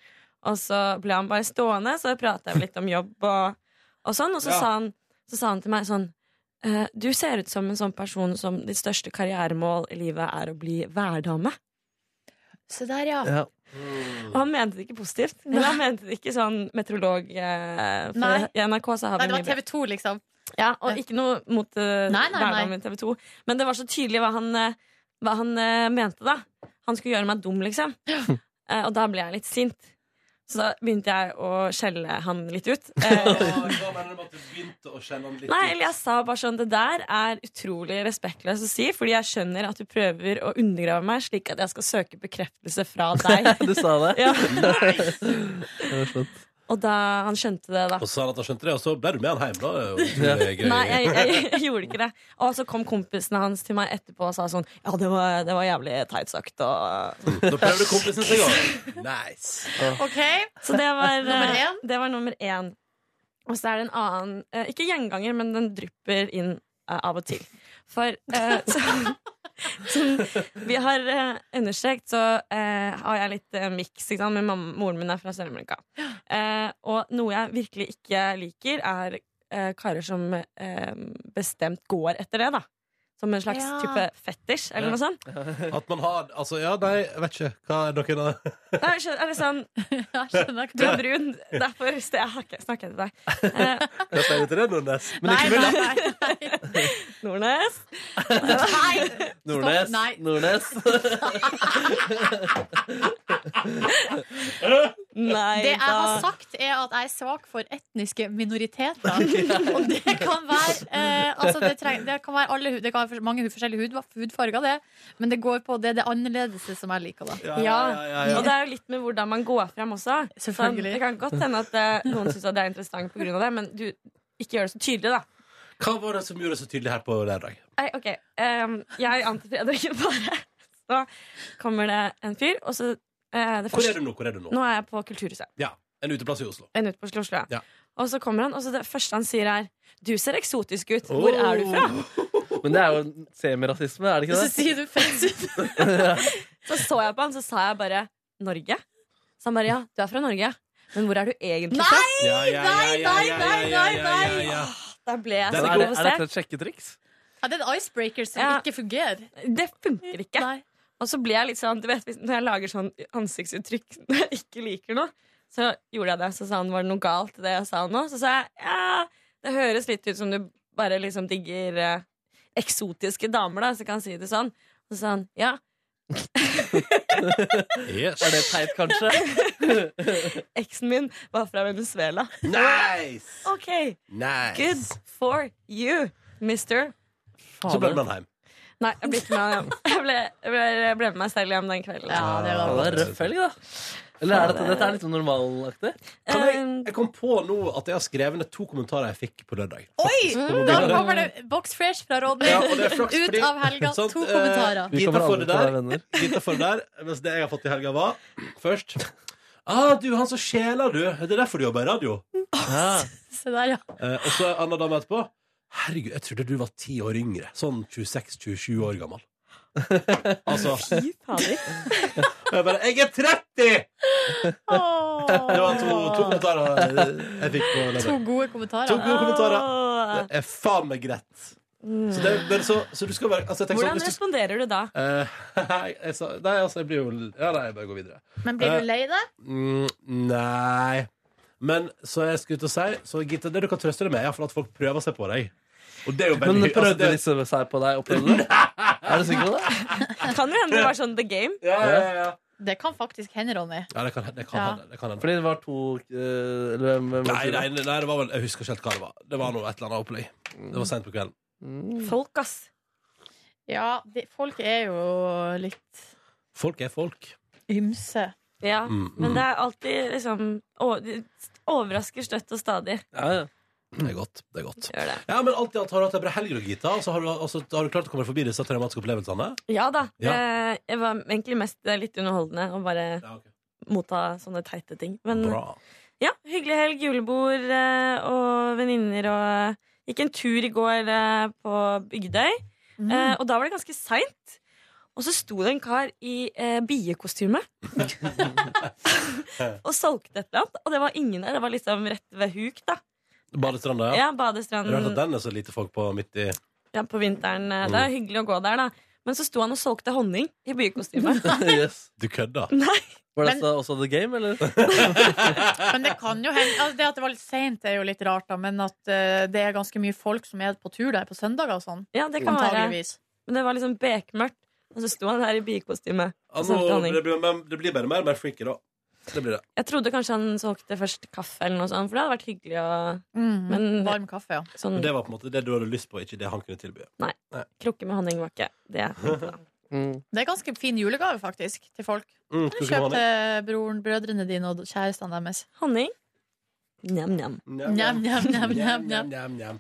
S6: Og så ble han bare stående, så prata jeg litt om jobb og, og sånn, og så,
S2: Ja.
S6: sa han, så sa han til meg sånn eh, Du ser ut som en sånn person som ditt største karrieremål i livet er å bli værdame.
S3: Se der,
S6: Eh,
S3: ja.
S4: Ja.
S6: Og han mente det ikke positivt. Men han mente det ikke sånn meteorolog eh, for
S3: Nei.
S6: i NRK. Så har
S3: Nei,
S6: vi
S3: det var
S6: mye bra.
S3: TV 2, liksom.
S6: Ja, og ikke noe mot eh,
S3: Nei, nei,
S6: hverdagen i TV 2. Men det var så tydelig hva han, eh, hva han eh, mente, da. Han skulle gjøre meg dum, liksom. Eh, og da ble jeg litt sint. Så da begynte jeg å skjelle han litt ut. Eh,
S2: Hva mener du med at du begynte å kjenne han litt?
S6: Nei, eller jeg sa bare sånn Det der er utrolig respektløst å si, fordi jeg skjønner at du prøver å undergrave meg, slik at jeg skal søke bekreftelse fra deg.
S4: Du sa det.
S6: ja.
S4: Det var slutt.
S6: Og da han skjønte det, da
S2: Og så sa han at han skjønte det, og så ble du med han hjem. Da. Det er jo utrolig gøy.
S6: Nei, jeg, jeg, jeg gjorde ikke det. Og så kom kompisene hans til meg etterpå og sa sånn Ja, det var, det var jævlig teit sagt. Og...
S2: Da prøvde kompisen seg òg. Nice.
S3: Ok,
S6: Så det var,
S3: Nummer
S6: eh,
S3: én?
S6: det var nummer én. Og så er det en annen eh, Ikke gjenganger, men den drypper inn eh, av og til. For eh, så, som vi har eh, understreket, så eh, har jeg litt eh, miks. ikke sant? Min mamma, moren min er fra Sør-Amerika. Eh, og noe jeg virkelig ikke liker, er eh, karer som eh, bestemt går etter det. da Som en slags
S2: Ja.
S6: type fetisj, eller noe sånt.
S2: At man har Altså, ja, nei, jeg vet ikke. Hva er noen av
S6: Nei, jeg skjønner, er det sånn Du er brun, derfor st- jeg har ikke- snakker jeg til deg.
S2: Hva sier du til det, Nordnes? Men
S6: Nei,
S2: ikke vil,
S6: nei, Nordnes. Nei!
S4: Nordnes.
S6: Nei.
S4: Nordnes.
S6: Nei
S3: Det jeg har
S6: da.
S3: sagt, er at jeg er svak for etniske minoriteter. Og det kan være eh, altså det, treng, det kan være alle, hu- det kan være fors- mange hu- forskjellige hud, hudfarger, det. Men det går på det, det annerledese som jeg liker, da.
S6: Ja. Og det er jo litt med hvordan man går frem også. Så
S3: Selvfølgelig.
S6: det Sånn, kan godt hende at eh, noen syns det er interessant pga. det, men du ikke gjør det så tydelig, da.
S2: Hva var det som gjorde det så tydelig her på lørdag?
S6: Nei, ok. Ehm, jeg ante Fredrik bare. Så kommer det en fyr, og så eh, det
S2: Hvor
S6: første-
S2: er du nå? Hvor er du nå?
S6: Nå er jeg på Kulturhuset.
S2: Ja, En uteplass i Oslo.
S6: En ute på Oslo, Oslo,
S2: Ja.
S6: ja. Og så kommer han, og så det første han sier, er 'Du ser eksotisk ut. Hvor er du fra?'
S2: Oh.
S4: Men det er jo en semirasisme, er det ikke
S3: Så
S4: det?
S3: sier du fetisj.
S6: Så så jeg på han, så sa jeg bare 'Norge'. Så han bare 'Ja, du er fra Norge, men hvor er du egentlig fra?'
S3: Nei!
S2: Ja, ja, ja, ja,
S3: nei,
S2: ja,
S3: nei,
S2: ja, ja,
S3: nei,
S2: ja, ja.
S6: Da ble jeg
S4: Men
S6: så
S4: er, det er dette
S6: provosert.
S4: et sjekketriks?
S3: Ja, det er en icebreaker som
S6: Ja.
S3: ikke fungerer.
S6: Det funker ikke.
S3: Nei.
S6: Og så ble jeg litt sånn, du vet, hvis- når jeg lager sånn ansiktsuttrykk når jeg ikke liker noe, så gjorde jeg det. Så sa han, var det noe galt i det jeg sa nå? Så sa jeg, ja, det høres litt ut som du bare liksom digger eh, eksotiske damer, da, så kan jeg si det sånn. Og så sa han, ja,
S2: Yes.
S4: Er det teit, kanskje?
S6: eksen min var fra Venezuela.
S2: Nice!
S6: Ok,
S2: nice.
S6: good for you, mister.
S2: Så ble man hjem.
S6: Nei, jeg ble, ikke med, jeg ble, jeg ble, jeg ble med meg selv hjem den kvelden.
S3: Ja, det
S4: Ja,
S3: var
S4: det er røff helg, da. Eller er dette, dette er litt sånn normalaktig?
S2: Kan jeg,
S6: Eh,
S2: jeg kom på nå at jeg har skrevet ned to kommentarer jeg fikk på lørdag.
S3: Oi! Da kommer det Box Fresh fra Ronny.
S2: Ja, og det er flaks,
S3: Ut
S2: fordi-
S3: av helga.
S2: Sånn,
S3: To
S2: eh,
S3: kommentarer.
S4: Vi
S2: Gita
S4: kommer
S2: får
S4: aldri
S2: det
S4: til å
S2: der.
S4: være venner.
S2: Gitt for det der, mens det jeg har fått i helga var Først Ah, du, han som sjeler, du. Det er derfor du jobber i radio.
S4: Ja.
S3: Se der, ja.
S2: Eh, og så en annen dame etterpå. Herregud, jeg trodde du var ti år yngre. Sånn 26-27 år gammel. Altså
S6: Fy fader.
S2: og Jeg bare Jeg er 30!
S3: Åh.
S2: Det var to, to kommentarer eh, jeg fikk på
S3: To
S2: lørdag.
S3: gode
S2: To
S3: kommentarer.
S2: gode kommentarer.
S6: Åh.
S2: Det er faen meg greit. Så, det, men så, så du skal være altså, jeg tenker sånn,
S6: Hvordan
S2: hvis du,
S6: responderer du da?
S2: Eh, jeg sa, Nei, altså, jeg blir jo Ja, nei, jeg bare går videre.
S3: Men blir du lei deg?
S2: Mm, nei. Men så jeg skulle ut og si Så Gitte, det du kan trøste deg med, er iallfall at folk prøver seg på deg. Og det er jo veldig
S4: Men
S2: altså,
S4: prøvde
S2: det-
S4: disse seg på deg? Opplevde du det? Er du sikker på det?
S6: Kan jo hende det var sånn The Game.
S2: Ja, ja, ja, ja.
S3: Det kan faktisk hende, Ronny.
S2: ja, det kan hende. Det kan
S3: Ja.
S2: hende. Det kan hende.
S4: Fordi det var to eh, eller hvem, hvem,
S2: Nei, nei, nei, det var vel, jeg husker ikke helt hva det var. Det var noe et eller annet opplegg. Det var sent på kvelden.
S6: Folk, ass.
S3: Ja, de, folk er jo litt
S2: Folk er folk.
S3: ymse.
S6: Ja.
S2: Mm, mm.
S6: Men det er alltid liksom å- de Overrasker støtt og stadig.
S4: Ja, ja.
S2: Det er godt. det er godt
S6: Gjør det.
S2: Ja, men alt i alt har du hatt ei bra helg, da, Gita. Og så har, du- og så har du klart å komme forbi disse traumatiske opplevelsene.
S6: Ja da.
S2: Ja.
S6: Det jeg var egentlig mest eh, litt underholdende å bare
S2: Ja, ok.
S6: motta sånne teite ting. Men
S2: Bra.
S6: ja, hyggelig helg, julebord eh, og venninner og Gikk en tur i går eh, på Bygdøy, eh, og da var det ganske seint. Og så sto det en kar i eh, biekostyme og solgte et eller annet. Og det var ingen der. Det var liksom rett ved huk, da.
S2: Badestranda, ja.
S6: Ja, badestranden
S2: Rart at den er så lite folk på midt i Mm.
S6: ja, på vinteren. eh, Det er hyggelig å gå der, da. Men så sto han og solgte honning i bykostyme.
S4: Yes.
S2: Du kødda?
S6: Nei,
S4: Var
S3: Men-
S4: dette også The Game, eller?
S3: Men det kan jo hende altså, Det at det var litt seint, er jo litt rart, da, men at eh, det er ganske mye folk som er på tur der på søndager og sånn.
S6: ja, det kan være.
S3: Antageligvis.
S6: Men det var liksom bekmørkt, og så sto han der i bykostyme
S2: Ja,
S6: og solgte
S2: nå, Altså, det,
S6: honning.
S2: blir, men det blir bare mer og mer freaky, da. Det blir det.
S6: Jeg trodde kanskje han solgte først kaffe eller noe sånt, for det hadde vært hyggelig å
S3: Mm.
S6: Men-
S3: Varm kaffe, ja.
S6: sånn
S2: Men det var på en måte det du hadde lyst på, ikke det han kunne tilby. Mm,
S6: krukke med honning var ikke det. jeg tenkte da.
S3: Det er ganske fin julegave, faktisk, til folk.
S2: Mm, skal du ikke ha
S3: Kjøp
S2: honning?
S3: til broren, brødrene dine og kjærestene deres.
S6: Honning. Njam-njam.
S3: Njam, njam, njam, njam,
S2: Njam,
S3: njam.
S2: njam, njam.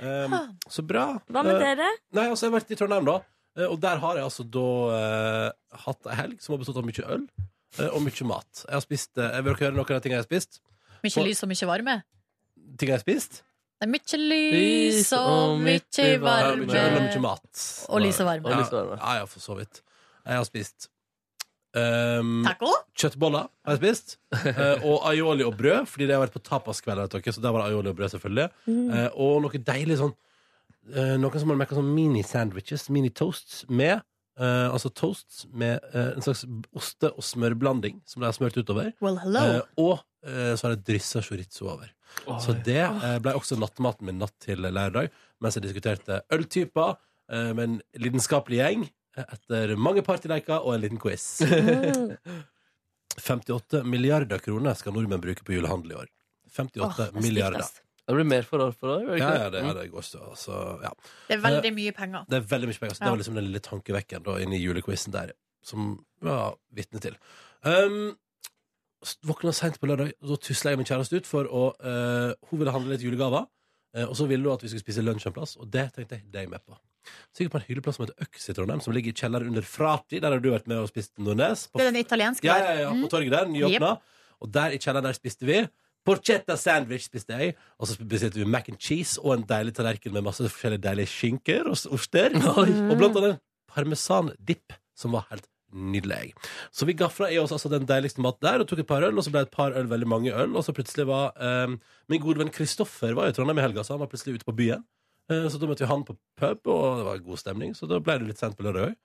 S2: Um, så bra.
S6: Hva med
S2: Eh,
S6: dere?
S2: Nei, altså jeg har vært i Trondheim da eh, Og der har jeg altså da eh, Hatt en helg som har bestått av mye øl eh, Og mye mat Jeg har spist, eh, vil dere høre noen av de tingene jeg har spist?
S3: Mye lys og mye varme.
S2: Ting jeg har spist
S3: Det er mye lys og mye
S2: Ja, Eh, mye øl og mye
S3: varme.
S2: mat.
S3: Og lys og varme.
S2: Ja,
S3: Og lys og
S2: ja, ja, for så vidt. Jeg har spist um,
S3: Taco?
S2: Kjøttboller har jeg spist. eh, og aioli og brød, fordi det har vært på tapaskveld. vet dere, Så der var det aioli og brød, selvfølgelig.
S11: Mm.
S2: Eh, og noe deilig sånn eh, Noe som man merker sånn mini-sandwiches, mini-toasts, med eh, Altså toasts med eh, en slags oste- og smørblanding som de har smørt utover.
S3: Well, hello.
S2: Eh, og eh, så har jeg dryssa chorizo over. Så det eh, ble også nattmaten min natt til lørdag, mens jeg diskuterte øltyper eh, med en lidenskapelig gjeng eh, etter mange partyleker og en liten quiz. 58 milliarder kroner skal nordmenn bruke på julehandel i år. 58 milliarder.
S4: Det blir mer for år for år. gjør
S2: Ja,
S4: ikke
S2: ja, det, ja, det går så, så ja.
S3: Det er
S2: Eh,
S3: veldig mye penger.
S2: Det er veldig mye penger. Så
S3: Ja.
S2: Det var liksom den lille tankevekkeren da, inne i julequizen der, som jeg var vitne til. Um, s- våkna seint på lørdag, og da tusla jeg min kjæreste ut, for å, eh, hun ville handle litt julegaver. eh, og så ville hun at vi skulle spise lunsj en plass, og det tenkte jeg det er jeg med på. Så gikk jeg på en hylleplass som heter Øks i Trondheim, som ligger i kjelleren under Frati. Der har du vært med og spist Nordnes. På
S3: Det er den italienske
S2: ja,
S3: der.
S2: ja, ja,
S3: Mm.
S2: på torget der, nyåpna. Og der i kjelleren der spiste vi porchetta sandwich, spiste jeg. Og så bestilte vi mac and cheese og en deilig tallerken med masse forskjellige deilige skinker og s- oster. Og blant annet parmesan-dipp, som var helt nydelig. Så vi gafla i oss altså den deiligste maten der, og tok et par øl, og så ble et par øl veldig mange øl, og så plutselig var eh, min gode venn Kristoffer var i Trondheim i helga, så han var plutselig ute på byen. Eh, Så da møtte vi han på pub, og det var god stemning, så da ble det litt sent på lørdag òg.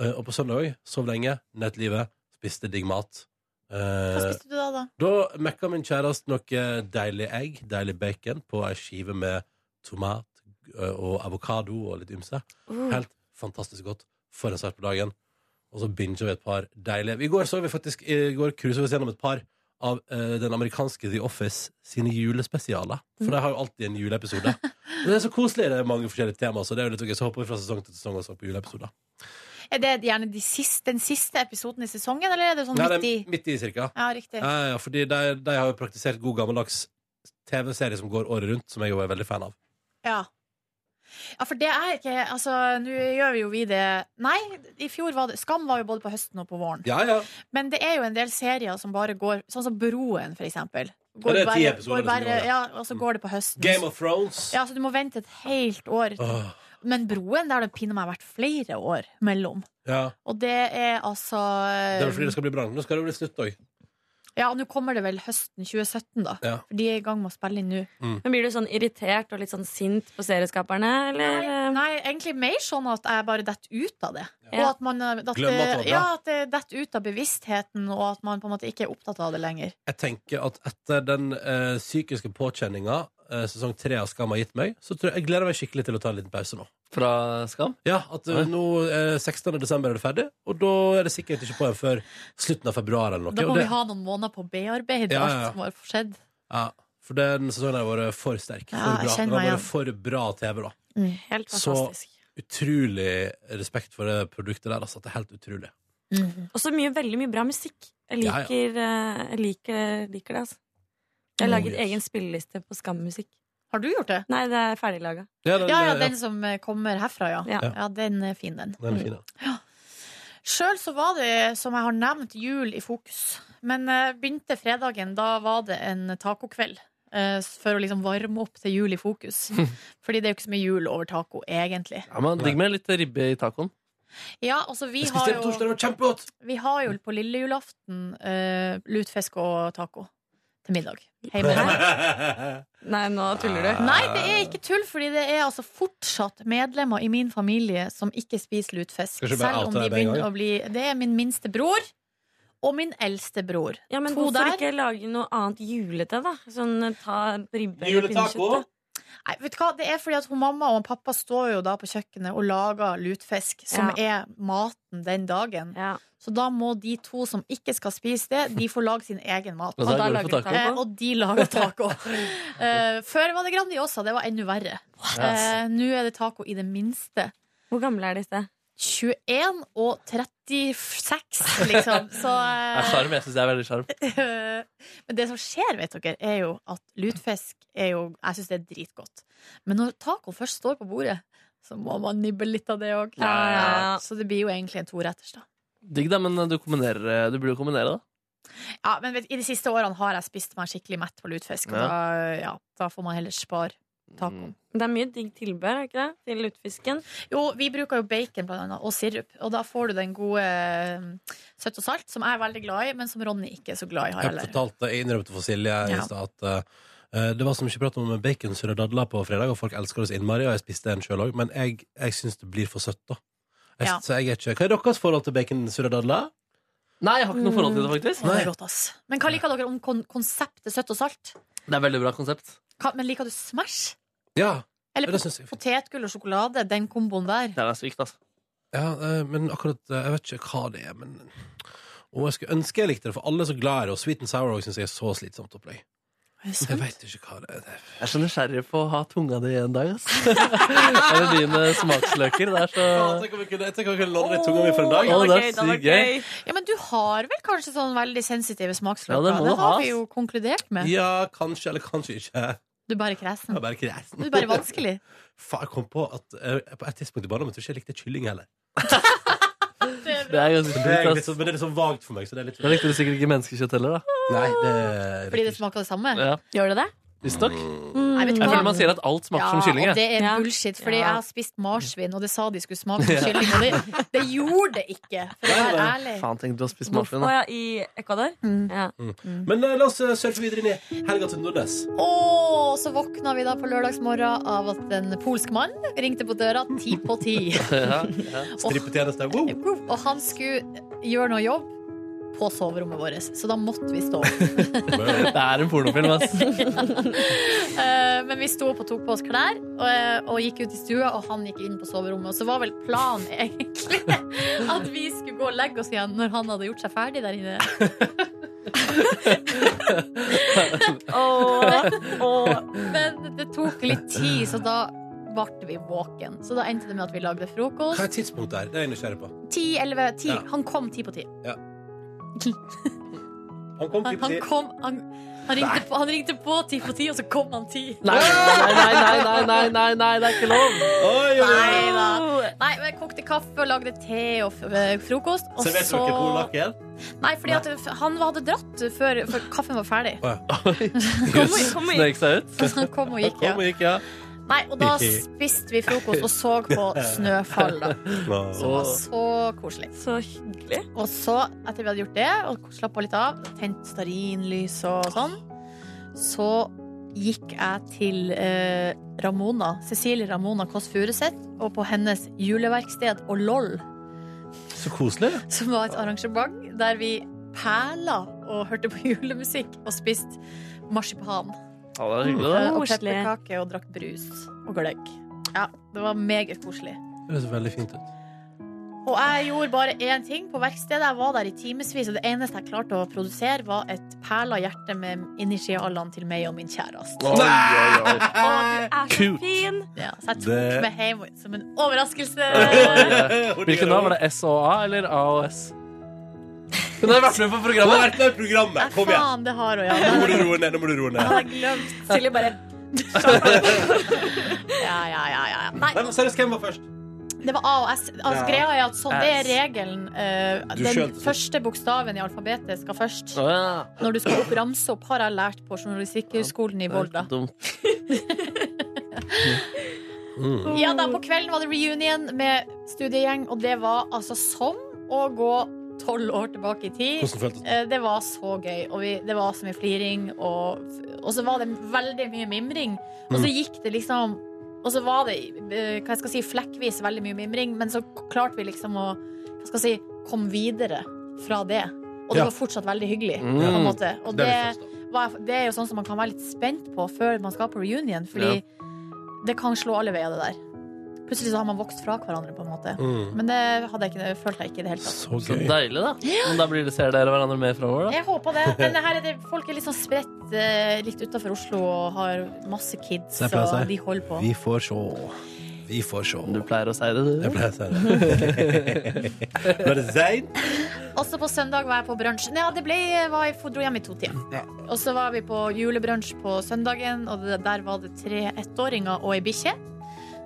S2: Eh, Og på søndag òg. Sov lenge, nettlivet, spiste digg mat.
S3: Hva
S2: Eh,
S3: spiste du da, da?
S2: da mekka min kjæreste noe deilig egg, deilig bacon, på ei skive med tomat eh, og avokado og litt ymse.
S3: Uh.
S11: Mm.
S2: Helt fantastisk godt. For en start på dagen. Og så binger vi et par deilige I går så vi faktisk I går cruiset vi oss gjennom et par av eh, den amerikanske The Office sine julespesialer. For de har jo alltid en juleepisode. Og det er så koselig. Det er mange forskjellige temaer, så det er jo litt gøy. Så hopper vi fra sesong til sesong også på juleepisoder.
S3: Er det gjerne de siste, den siste episoden i sesongen, eller er det sånn
S2: Nei,
S3: midt
S2: det
S3: i?
S2: er midt i, cirka.
S3: Ja, riktig.
S2: Ja, ja, fordi de, de har jo praktisert god gammeldags TV-serie som går året rundt, som jeg jo er veldig fan av.
S3: Ja. ja, for det er ikke Altså, nå gjør vi jo vi det Nei, i fjor var det Skam var jo både på høsten og på våren.
S2: Ja, ja.
S3: Men det er jo en del serier som bare går Sånn som Broen, for eksempel.
S2: Ja, det er ti
S3: bare,
S2: episoder som
S3: går
S2: går,
S3: bare,
S2: ja.
S3: ja, og så går det på høsten.
S2: Game of Thrones.
S3: Ja, så du må vente et helt år.
S2: Åh,
S3: Men Broen, der har det pinne meg vært flere år mellom.
S2: ja.
S3: Og det er altså
S2: Det er vel fordi det skal bli bra. Nå skal det bli slutt òg.
S3: Ja, nå kommer det vel høsten 2017, da.
S2: Ja.
S3: For de er i gang med å spille inn nå.
S7: Men blir du sånn irritert og litt sånn sint på serieskaperne, eller? eh,
S3: Nei, nei, egentlig mer sånn at jeg bare detter ut av det. Og
S7: Ja.
S3: at man eh, at det,
S2: Glemmer at det var bra.
S3: ja, at det detter ut av bevisstheten, og at man på en måte ikke er opptatt av det lenger.
S2: Jeg tenker at etter den eh, psykiske påkjenninga eh, sesong tre av Skam har gitt meg, så tror jeg, jeg gleder meg skikkelig til å ta en liten pause nå.
S4: Mm. Fra Skam?
S2: Ja, at eh, nå eh, 16. desember er det ferdig, og da er det sikkert ikke på en før slutten av februar eller noe.
S3: Da
S2: og
S3: må
S2: det,
S3: vi ha noen måneder på å bearbeide
S2: Ja, ja, ja.
S3: alt som har skjedd.
S2: ja, for den sesongen har vært for sterk. For
S3: Ja, jeg
S2: bra.
S3: kjenner
S2: Den har
S3: meg
S2: vært for bra TV, da.
S7: Helt
S2: Så
S7: fantastisk.
S2: utrolig respekt for det produktet der. Altså, det er helt utrolig.
S3: Mhm.
S7: Og så mye, veldig mye bra musikk. Jeg
S2: Ja, ja.
S7: liker, eh, jeg liker, liker det, altså. Jeg har
S2: Oh,
S7: laget
S2: yes.
S7: egen spilleliste på Skam-musikk.
S3: Har du gjort det?
S7: Nei, det er ferdiglaga.
S2: Ja,
S3: Ja, ja, den som eh, kommer herfra, ja.
S7: Ja.
S3: Ja, den er fin, den.
S2: Den er fin, ja.
S3: Sjøl så var det, som jeg har nevnt, jul i fokus. Men eh, begynte fredagen, da var det en tacokveld. eh, for å liksom varme opp til jul i fokus. Fordi det er jo ikke så mye jul over taco, egentlig.
S4: Ja, men Digg med litt ribbe i tacoen.
S3: Ja, altså vi
S4: Jeg spiste
S3: har
S4: det på torsdag,
S3: jo
S2: var kjempegodt!
S3: Vi har jo på lille julaften eh, lutfisk og taco til middag. Hjemme her.
S7: Nei, nå tuller du.
S3: Nei, det er ikke tull, fordi det er altså fortsatt medlemmer i min familie som ikke spiser lutfisk.
S7: Skal ikke bare
S3: Selv
S7: oute
S3: om de
S7: deg med en gang,
S3: begynner
S7: ja.
S3: å bli Det er min minste bror og min eldste bror.
S7: Ja, men
S3: To
S7: hvorfor
S3: der.
S7: ikke lage noe annet julete, da? Sånn eh, ta ribbe eller
S3: Juletaco?
S7: pinnekjøtt. da.
S3: Nei, vet du hva? Det er fordi at hun mamma og hun pappa står jo da på kjøkkenet og lager lutfisk, som er maten den dagen. Så da må de to som ikke skal spise det, de får lage sin egen mat.
S7: Og da
S4: Altså,
S7: Og da går det lager for taco?
S4: Sånn.
S7: taco?
S3: Eh, og de lager taco. Eh, før var det Grandiosa. Det var enda verre.
S7: What?
S3: Eh, Nå er det taco i det minste.
S7: Hvor gamle er disse?
S3: 21 og 36, liksom. Så
S4: Det er
S3: eh,
S4: sjarm. Jeg syns det er veldig sjarm.
S3: Eh, Men det som skjer, vet dere, er jo at lutfisk er jo Jeg syns det er dritgodt. Men når tacoen først står på bordet, så må man nibbe litt av det òg.
S4: Ja, ja, ja.
S3: Så det blir jo egentlig en toretters, da.
S4: Digg, da, men eh, du, kombinerer, eh, du burde jo kombinere, da.
S3: Ja, men vet, i de siste årene har jeg spist meg skikkelig mett på lutfisk, og
S4: Ja. Mm.
S3: da, ja, da får man heller spare. tacoen.
S7: Det er mye digg tilbehør, er det ikke det? Til lutefisken.
S3: Jo, vi bruker jo bacon blant annet, og sirup, og da får du den gode eh, søtt og salt, som jeg er veldig glad i, men som Ronny ikke er så glad i har
S2: Jeg
S3: heller.
S2: fortalte, jeg innrømte for Silje i
S3: Ja.
S2: stad at eh, det var så mye prat om baconsurre og dadler på fredag, og folk elsker det så innmari, og jeg spiste en sjøl òg, men jeg, jeg syns det blir for søtt, da. Jeg,
S3: Ja.
S2: Så jeg er ikke Hva er deres forhold til baconsurre og dadler?
S4: Nei, jeg har ikke noe forhold til det, faktisk.
S3: Å, det er rått, ass. Men hva liker dere om kon konseptet søtt og salt?
S4: Det er veldig bra konsept.
S3: Hva, men liker du Smash?
S2: Ja.
S3: Eller
S2: Ja, det synes jeg.
S3: potetgull og sjokolade? Den komboen der.
S4: Det er sykt, altså.
S2: Ja, eh, men akkurat eh, Jeg vet ikke hva det er, men Om jeg skulle ønske jeg likte det, for alle er så glad i det, og sweet and sour òg syns jeg er så slitsomt opplegg. Jeg veit ikke hva det er. Det er-
S4: Jeg er så nysgjerrig på å ha tunga di en dag, ass. Eller dine smaksløker. Det er så
S2: Å, Tenk om jeg kunne, tenk om jeg kunne lodde litt tunga mi for en dag.
S4: Å, det er
S7: gøy, det
S4: sykt
S7: var
S4: gøy.
S7: gøy.
S3: Ja, men du har vel kanskje sånn veldig sensitive smaksløker?
S4: Ja, det må du ha,
S3: har
S4: ass.
S3: vi jo konkludert med.
S2: Ja, kanskje, eller kanskje ikke.
S3: Du er bare
S2: Det
S3: kresen.
S2: er bare
S3: Du
S2: kresen.
S3: er bare vanskelig.
S2: Faen, jeg kom på at eh, på et tidspunkt i barndommen tror jeg ikke jeg likte kylling heller.
S4: Det er ganske
S2: Det er
S4: sjukt,
S2: litt
S4: ass.
S2: så, men det er litt sånn vagt for meg, så det er litt
S4: Da likte du sikkert ikke menneskekjøtt heller, da.
S2: Nei, det
S3: Fordi det smaker det samme?
S4: Ja,
S7: Gjør det det?
S4: Visstnok.
S3: Nei, vet du
S4: Jeg
S3: hva?
S4: føler man sier at alt smaker som kylling.
S3: og
S4: jeg.
S3: det er
S7: Ja.
S3: bullshit, fordi
S7: Ja.
S3: jeg har spist marsvin, og det sa de skulle smake som kylling. Og det, det gjorde det ikke, for å være ærlig.
S4: Faen, tenk du har spist
S7: Hvorfor?
S4: marsvin. da.
S7: Å, ja, I Ecuador? Ja.
S2: Men eh, la oss eh, surfe videre inn i helga til Nordnes.
S3: Og så våkna vi da på lørdagsmorgen av at en polsk mann ringte på døra ti på ti.
S4: Ja, ja.
S2: Strippetjeneste. Wow.
S3: Og han skulle gjøre noe jobb på soverommet vårt, så da måtte vi stå.
S4: Det er en pornofilm, ass.
S3: Eh, Men vi sto opp og tok på oss klær og, og gikk ut i stua, og han gikk inn på soverommet. Og så var vel planen egentlig at vi skulle gå og legge oss igjen når han hadde gjort seg ferdig der inne.
S7: Å, å.
S3: Men det tok litt tid, så da ble vi våken. Så da endte det med at vi lagde
S2: Hva
S3: frokost.
S2: er tidspunktet her? Det er jeg nysgjerrig på.
S3: Ti, elleve, ti.
S2: Ja.
S3: Han kom ti på ti.
S2: Han kom
S3: Han,
S2: til
S3: han kom han, han, ringte på, han ringte på ti på ti, og så kom han ti.
S4: Nei, nei, nei, nei, nei, nei, nei, nei, det er ikke lov!
S2: Oi, oi, oi.
S3: Nei da. Nei, men jeg kokte kaffe, lagde te og f- eh, frokost. Og
S2: Så vet dere hvor lakken
S3: Nei, fordi at f- han hadde dratt før, før kaffen var ferdig.
S7: Kom og- kom og-
S4: Snek seg ut.
S3: Så han kom og gikk, ja.
S2: Kom og gikk, ja.
S3: Nei, og da spiste vi frokost og så på snøfall, da. Som var så koselig.
S7: Så hyggelig.
S3: Og så, etter vi hadde gjort det og slappa litt av, tent stearinlys og sånn, så gikk jeg til eh, Ramona, Cecilie Ramona Kåss Furuseth, og på hennes juleverksted og LOL,
S2: Så koselig.
S3: som var et arrangement der vi perla og hørte på julemusikk og spiste marsipan
S4: Ja, det er hyggelig,
S3: eh, og
S7: Koselig.
S3: pepperkake og drakk brus og gløgg. Ja, det var meget koselig.
S2: Det høres veldig fint ut.
S3: Og jeg gjorde bare én ting på verkstedet. Jeg var der i timevis, og det eneste jeg klarte å produsere, var et perla hjerte med initialene til meg og min kjæreste.
S4: Oi, oi, oi.
S7: Å, du er så fin!
S3: Ja, så jeg tok
S2: Det-
S3: meg hjem som en overraskelse.
S4: Hvilken da? Var det S og A eller A og S? Hun har vært med på
S2: Hun har
S4: programmet!
S2: vært med i
S3: Nei,
S2: programmet! Kom igjen!
S3: faen, det har hun, ja.
S2: Nå må
S3: Det
S2: du roe ned. nå må du roe ned
S3: hadde jeg glemt.
S7: Silje bare
S3: Ja, ja, ja, ja. ja. Nei,
S2: Nei, men Seriøst, hvem var først?
S3: det var A og S. Altså,
S2: Ja.
S3: greia er at sånn, det er
S4: S.
S3: regelen. eh,
S2: Du
S3: den
S2: skjønte.
S3: første bokstaven i alfabetet skal først.
S4: Å, ja.
S3: Når du skal opp, ramse opp, har jeg lært på Journalistikkhøgskolen i
S4: Det er
S3: Volda.
S4: ikke dumt.
S3: Ja, da på kvelden var det reunion med studiegjeng, og det var altså som å gå tolv år tilbake i tid.
S2: Hvordan føltes det?
S3: Eh, Det var så gøy, og vi, det var så mye fliring, og, og så var det veldig mye mimring. Og
S2: Mm.
S3: så gikk det liksom Og så var det eh, hva jeg skal si, flekkvis veldig mye mimring, men så klarte vi liksom å hva skal jeg si, komme videre fra det. Og det
S2: Ja.
S3: var fortsatt veldig hyggelig.
S4: Mm.
S3: På en måte. Og
S2: Det
S3: det,
S2: er litt fast, da.
S3: var, det er jo sånn som man kan være litt spent på før man skal på reunion, fordi det kan slå alle veier, det der. Plutselig så har man vokst fra hverandre, på en måte.
S2: Mm.
S3: Men det hadde jeg ikke, det følte jeg ikke i det hele tatt.
S2: Så
S4: Så
S2: gøy.
S4: deilig, da. Men da blir det, ser dere hverandre mer framover, da?
S3: Jeg håper det. Men det her er det, folk er litt sånn spredt eh, litt utafor Oslo og har masse kids,
S2: Jeg pleier å si.
S3: og de holder på.
S2: Vi får sjå. Vi får sjå.
S4: Du pleier å si det,
S2: Jeg
S4: du.
S2: pleier å si det. Var det seint?
S3: Også på søndag var jeg på brunsj. Nei, ja, det ble, eh, var jeg dro hjem i to-tida. Og så var vi på julebrunsj på søndagen, og det, der var det tre ettåringer og ei bikkje.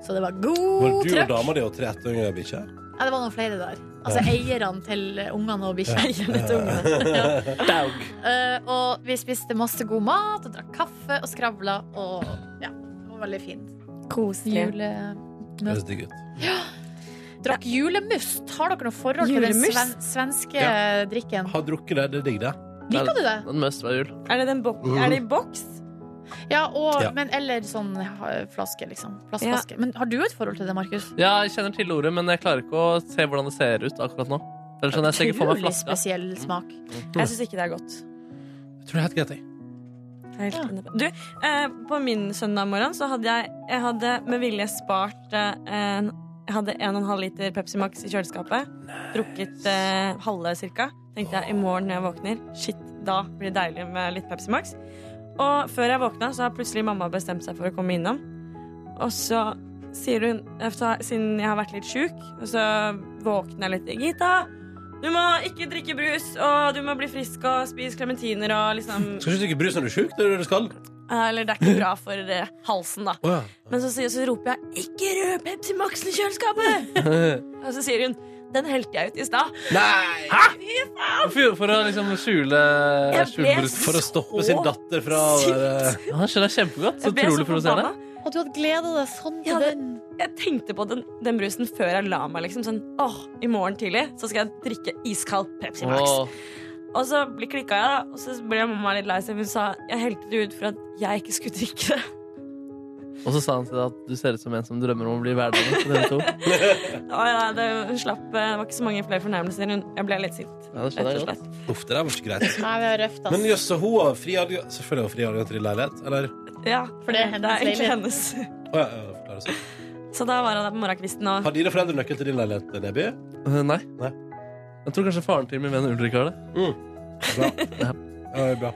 S3: Så det var
S2: Var
S3: god
S2: du og
S3: trøkk.
S2: dama di og tre ettunger og bikkje?
S3: Ja, det var noen flere der. Altså eierne til ungene og bikkja. Eierne til ungene. Ja. Eh, og vi spiste masse god mat og drakk kaffe og skravla og ja. Det var veldig fint.
S6: Koselig.
S2: Høres
S3: Julemøte.
S2: digg ut.
S3: Ja. Drakk julemust. Har dere noe forhold til den
S7: Julemust?
S3: sven svenske
S2: Ja.
S3: drikken?
S2: Har drukket det, det er digg, det.
S3: Liker du det?
S4: Den must hver jul.
S7: Er det, den bok
S2: Mhm.
S7: er det i boks?
S3: Ja, og,
S2: Ja.
S3: men eller sånn ha- flaske, liksom. Plastflaske. Men har du et forhold til det, Markus?
S4: Ja, jeg kjenner til ordet, men jeg klarer ikke å se hvordan det ser ut akkurat nå. Ellers skjønner Altså, jeg sikkert for meg
S3: Utrolig
S4: flaska.
S3: spesiell smak.
S7: Jeg syns ikke det er godt.
S2: Jeg tror det er helt greit, jeg.
S7: Jeg er helt enig på- Du, eh, på min søndag morgen så hadde jeg, jeg hadde med vilje spart eh, en, Jeg hadde en og en halv liter Pepsi Max i kjøleskapet. Drukket eh, halve cirka. Tenkte jeg i morgen når jeg våkner, shit, da blir det deilig med litt Pepsi Max. Og før jeg våkna, så har plutselig mamma bestemt seg for å komme innom. Og så sier hun, efter, siden jeg har vært litt sjuk, og så våkner jeg litt Gita! Du må ikke drikke brus, og du må bli frisk og spise klementiner og liksom
S2: Skal ikke drikke brus når du er sjuk? Det er det du skal.
S7: eller det er ikke bra for eh, halsen, da.
S2: Å ja.
S7: Men så, sier, så roper jeg 'ikke rød Pepsi Max-en i kjøleskapet'! Og så sier hun 'den helte jeg ut i stad'.
S2: Nei!
S4: For, for å liksom skjule,
S7: Jeg
S4: skjule
S7: ble
S4: brus.
S2: For å stoppe sin datter fra å være
S4: Ja, det skjønner jeg kjempegodt. Så
S7: Jeg ble så
S4: utrolig provoserende.
S7: forbanna.
S3: Og du hadde gleda deg sånn til
S7: Ja, det-
S3: den.
S7: Jeg tenkte på den, den brusen før jeg la meg. liksom sånn, åh, I morgen tidlig så skal jeg drikke iskald Pepsi Max.
S4: Åh.
S7: Og så blir- klikka jeg, da, og så ble mamma litt lei seg. Hun sa 'jeg helte det ut for at jeg ikke skulle drikke det'.
S4: Og så sa han til deg at du ser ut som en som drømmer om å bli hverdagen på TV 2.
S7: Å, ja, det, hun slapp, eh, det var ikke så mange flere fornærmelser. Hun- Jeg ble litt sint.
S4: Ja, det
S7: Rett
S4: skjønner
S7: og
S4: jeg godt.
S7: slett.
S2: Uff, det der var ikke greit.
S3: Nei, det er røft, ass.
S2: Men jøss, så hun har fri adgang Selvfølgelig har hun fri adgang til din leilighet, eller?
S7: Ja,
S3: For det er hennes
S7: egentlig
S3: leilighet.
S7: hennes.
S2: Å ja, ja, forklare seg.
S7: Så da var jeg der på morgenkvisten og
S2: Har dine foreldre nøkkel til din leilighet, Neby?
S4: Eh, Nei.
S2: Nei.
S4: Jeg tror kanskje faren til min venn Ulrik har det.
S2: Bra. Ja, det er bra.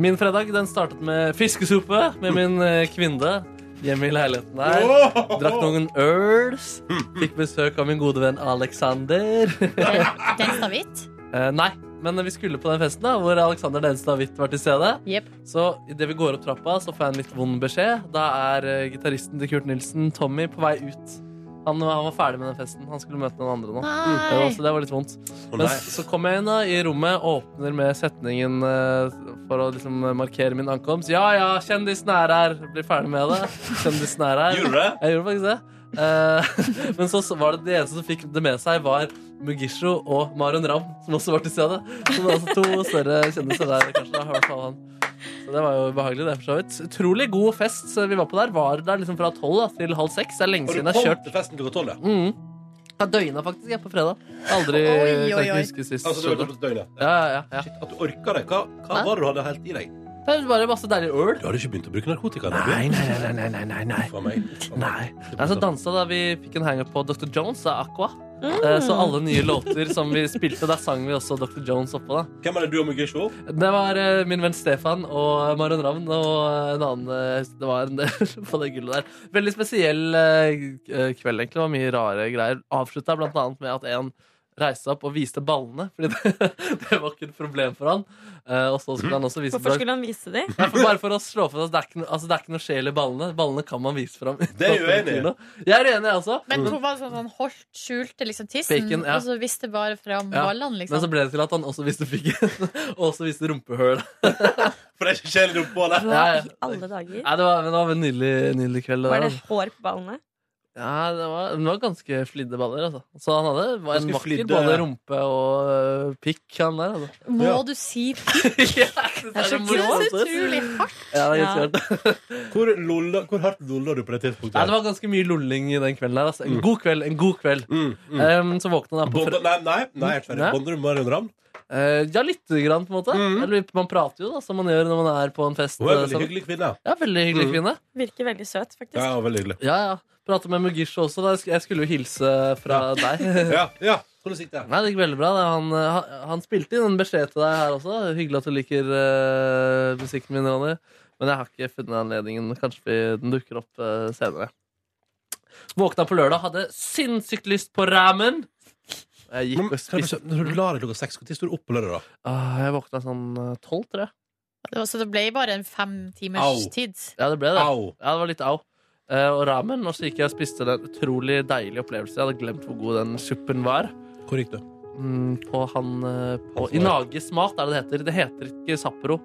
S4: Min fredag den startet med fiskesuppe med min eh, kvinne hjemme i leiligheten her.
S2: Åh!
S4: Drakk noen øls. Fikk besøk av min gode venn Alexander.
S3: Den stavitt.
S4: Eh, nei, men vi skulle på den festen da, hvor Alexander Denstad Hvitt var til stede.
S3: Jepp.
S4: Så idet vi går opp trappa, så får jeg en litt vond beskjed. Da er eh, gitaristen til Kurt Nilsen, Tommy, på vei ut. Han, han var ferdig med den festen. Han skulle møte noen andre nå. Det var,
S3: Nei.
S4: så det var litt vondt.
S2: Å,
S4: Men
S2: nei.
S4: så kom jeg inn da, i rommet og åpner med setningen eh, for å liksom markere min ankomst. Ja, ja, kjendisen er her. Blir ferdig med det. Kjendisen er her.
S2: Gjorde du det?
S4: Jeg gjorde faktisk det. Eh, men så så var det de eneste som fikk det med seg, var Mugisho og Marion Ramm, som også var til stede. Så det var altså to større kjendiser der, kanskje. Da, i hvert fall han. Så det var jo behagelig, det, for så vidt. Utrolig god fest vi var på der. Var der liksom fra tolv da, til halv seks. Det er lenge
S2: Og du
S4: siden jeg
S2: kom
S4: har kjørt.
S2: til festen klokka tolv, ja?
S4: Mm. Jeg døgna faktisk jeg på fredag. Aldri
S3: Oi, oi,
S4: kan jeg ikke
S3: oi.
S4: huske sist.
S2: Altså, du var ute på døgnet?
S4: Ja, ja, ja.
S2: Shit, at du orka det. Hva, hva
S4: Hæ?
S2: var det du hadde helt i deg?
S4: Det er bare masse deilig øl.
S2: Du hadde ikke begynt å bruke narkotika? Neby?
S4: nei, nei. nei, nei, nei, nei.
S2: For meg. For meg.
S4: Nei. Nei, så dansa da vi fikk en hangup på Dr. Jones av Aqua.
S3: Mm.
S4: Eh, Så alle nye låter som vi spilte, der sang vi også Dr. Jones oppå. da
S2: Hvem er det du og Mugisho?
S4: Det var eh, min venn Stefan og Marion Ravn og en annen eh, Det var en del på det gullet der. Veldig spesiell eh, kveld, egentlig. Det var mye rare greier. Avslutta blant annet med at en reiste seg opp og viste ballene, Fordi det, det var ikke et problem for han. Eh, Og så skulle han også vise
S7: Hvorfor skulle han vise de?
S4: Nei, for bare for å slå fast at det er ikke, no- altså, det er ikke noe sjel i ballene. Ballene kan man vise fram.
S2: Det er jeg uenig i.
S4: Jeg er uenig, jeg også.
S3: Men hun var sånn, sånn holdt, skjulte liksom tissen,
S4: Mm. Bacon, ja.
S3: og så visste bare fram
S4: Ja,
S3: ballene,
S4: Men så
S3: liksom.
S4: ble det til at han også viste fikken, og også viste rumpehølet.
S2: For det er ikke kjedelig oppå der.
S7: Hva
S4: Ja, ja.
S7: i alle dager?
S4: Nei, det var, men det var en nydelig, nydelig kveld.
S7: Var
S4: der,
S7: det
S4: altså.
S7: hår på ballene?
S4: Ja, det var, det var ganske flidde baller, altså. Så han hadde var en
S2: Ganske
S4: vakker
S2: flidde-
S4: både rumpe og øh, pikk, han der, altså.
S3: Må
S2: Ja.
S3: du si
S4: Ja, det
S3: Det er så kult, utrolig hardt.
S4: Ja, det er
S7: Ja.
S4: helt svært.
S2: Hvor, lolla, hvor hardt lolla du på det tidspunktet?
S4: Nei, det var ganske mye lolling i den kvelden her, altså. En god kveld, en god kveld.
S2: Mm, mm.
S4: Um, så våkna han da på
S2: Bonda, nei, nei, nei, jeg er ferdig.
S4: Nei.
S2: Bonder du med Marion Ravn?
S4: Eh, ja, lite grann, på en måte.
S2: Mhm.
S4: Eller, man prater jo, da, som man gjør når man er på en fest.
S2: Hun er en
S4: eh,
S2: veldig
S4: sammen.
S2: hyggelig kvinne.
S4: Ja, veldig hyggelig
S2: Mhm.
S4: kvinne.
S7: Virker veldig søt, faktisk.
S2: Ja, veldig hyggelig.
S4: Ja, ja. Prater med Mugisho også. Da. Jeg sk- Jeg skulle jo hilse fra deg.
S2: Ja, ja. Hvordan gikk det?
S4: Nei, det gikk veldig bra. det. Han, eh, han- han spilte inn en beskjed til deg her også. Hyggelig at du liker eh, musikken min, Ronny. Men jeg har ikke funnet anledningen. Kanskje vi, den dukker opp eh, senere. Våkna på lørdag, hadde sinnssykt lyst på ramen. Jeg
S2: Men,
S4: gikk og
S2: kan jeg
S4: spiste
S2: bare- når du la deg klokka seks, når sto du opp på lørdag? da?
S4: ah, Jeg våkna sånn tolv, tror jeg.
S3: Det var, så det ble bare en fem timers
S2: Au.
S3: tid.
S4: Ja, det ble det.
S2: Au.
S4: Ja, det var litt au. Eh, og ramen. Og så gikk jeg og spiste den utrolig deilige opplevelsen. Jeg hadde glemt hvor god den suppen var.
S2: Hvor gikk det?
S4: Mm, på han eh, på,
S2: Hans
S4: I Nages mat, er det det heter. Det heter ikke Sapporo.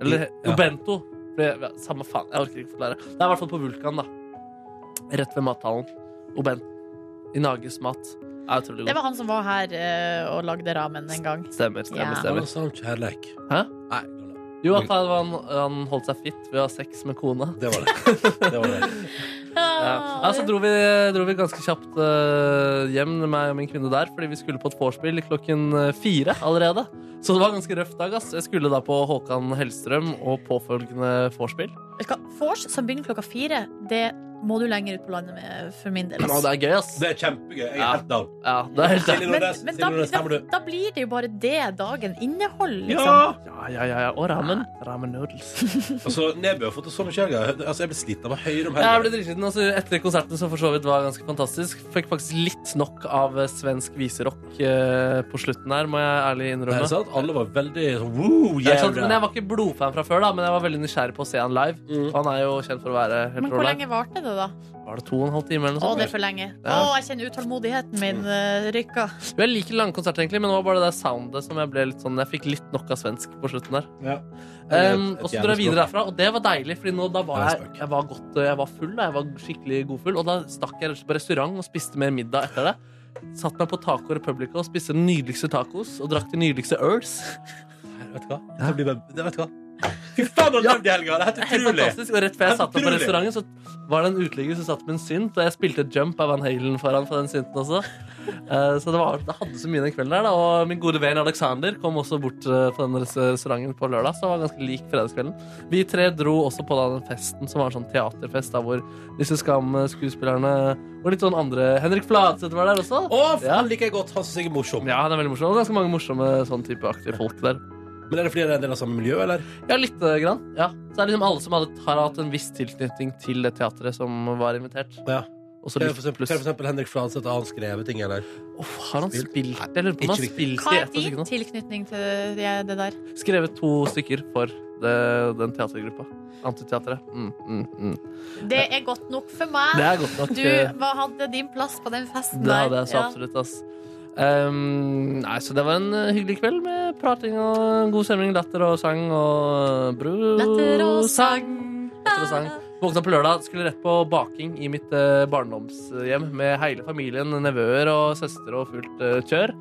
S4: Eller
S2: Ja.
S4: Obento. ble, Samme faen, jeg orker ikke forklare. Det er i hvert fall på Vulkan, da. Rett ved mathallen. Oben. I Nages mat. Er utrolig
S3: Det
S4: god.
S3: var han som var her eh, og lagde ramen en gang.
S4: Stemmer, stemmer,
S3: Ja.
S4: stemmer.
S2: Sånn kjærlek.
S4: Hæ?
S2: Nei,
S4: Jo, at han, han, han holdt seg fit ved å ha sex med kona.
S2: det var det. det, var det.
S4: Ja, altså, så dro vi, dro vi ganske kjapt eh, hjem, meg og min kvinne der, fordi vi skulle på et vorspiel klokken eh, fire allerede. Så det var en ganske røff dag, ass. Jeg skulle da på Håkan Hellstrøm og påfølgende vorspiel.
S3: Vet du hva? Vors som begynner klokka fire, det må du lenger ut på landet med for min del. altså. ass.
S4: Og det er gøy, ass.
S2: det er kjempegøy. Jeg er
S4: Ja.
S2: helt down.
S4: Ja, det er helt
S2: Silje
S3: Men,
S2: Nordnes,
S3: men da,
S2: Silje Nordnes, stemmer
S3: da,
S2: du?
S3: da blir det jo bare det dagen inneholder, liksom.
S2: Ja!
S4: Ja, ja, ja, ja. Og ramen. Ramen noodles.
S2: Altså, Nebø har fått det sånn kjærlig. Altså, jeg ble slitt av å høre om
S4: Ja, Jeg ble
S2: helgen.
S4: dritsliten. Altså, etter konserten, som for så vidt var ganske fantastisk, fikk faktisk litt nok av eh, svensk viserock eh, på slutten her, må jeg ærlig
S2: Det
S4: innrømme.
S2: er sant? Alle var veldig sånn Woo,
S4: Jeg,
S2: yeah,
S4: skjønte, men jeg var ikke blodfan fra før, da, men jeg var veldig nysgjerrig på å se han live.
S2: Mm.
S4: Han er jo kjent for å være
S3: Men
S4: helt
S3: hvor
S4: rå
S3: lenge
S4: live.
S3: varte det, da?
S4: Var det to og en halv time eller
S3: Å,
S4: noe
S3: det
S4: sånt?
S3: er for lenge. Å,
S4: Ja. Mm.
S3: jeg kjenner utålmodigheten min uh, rykka.
S4: Jo, Jeg liker lange konserter, egentlig, men det var bare det der soundet som jeg ble litt sånn Jeg fikk litt nok av svensk på slutten der.
S2: Ja.
S4: Um,
S2: Et- et
S4: og så dro jeg
S2: jævlig
S4: videre derfra, og det var deilig, Fordi nå da var
S2: Ja,
S4: jeg,
S2: spøk.
S4: jeg var godt Jeg var full, da. Jeg var skikkelig godfull. Og da stakk jeg på restaurant og spiste mer middag etter det. Satt meg på Taco Republica og spiste den nydeligste tacos og drakk de nydeligste øls.
S2: Vet du hva? Det blir bare, det vet du hva? Fy faen, du har levd i helga! Det er helt
S4: Helt
S2: utrolig!
S4: fantastisk, og Rett før jeg satt opp på
S2: Utrolig.
S4: restauranten, så var det en uteligger som satt med en synt, og jeg spilte jump av Van Halen foran på den synten også. Eh, Så det, var, det hadde så mye den kvelden der. Da. Og min gode venn Alexander kom også bort eh, på den restauranten på lørdag, så det var ganske lik fredagskvelden. Vi tre dro også på da den festen som var en sånn teaterfest, da, hvor disse Skam-skuespillerne og litt sånn andre Henrik Fladseth var der også.
S2: Å,
S4: Ja.
S2: faen, liker jeg godt. Han syns jeg er morsom.
S4: Ja, han er veldig morsom. Og ganske mange morsomme sånn type aktive folk der.
S2: Men er det fordi det er en del av samme miljø, eller?
S4: Ja, lite grann. Ja. Så det er liksom alle som hadde, har hatt en viss tilknytning til det teatret som var invitert.
S2: Ja.
S4: Og så
S2: Kan jeg
S4: litt
S2: for eksempel,
S4: pluss.
S2: kan jeg for eksempel Henrik Fladseth har han skrevet ting, eller?
S4: Åh, har han
S2: Spilt?
S4: spilt? Jeg lurer på om
S2: Ikke
S4: han
S2: riktig.
S4: spilte
S3: Hva
S4: i
S3: er
S4: et av
S3: din
S4: stykkene.
S3: tilknytning til det, det der?
S4: Skrevet to stykker for det, den teatergruppa. Antiteatret. Mm, mm, mm.
S3: Det er godt nok for
S4: Det
S3: meg.
S4: er godt nok.
S3: Ah. Du
S4: eh,
S3: hva hadde din plass på den festen
S4: Det
S3: der.
S4: hadde jeg så
S3: Ja.
S4: absolutt, ass. Ehm, nei, så det var en eh, hyggelig kveld med prating og god stemning, latter og sang og brus.
S3: Latter og sang.
S4: Latter og sang. Våkna på lørdag, skulle rett på baking i mitt eh, barndomshjem med hele familien, nevøer og søstre og fullt eh, kjør.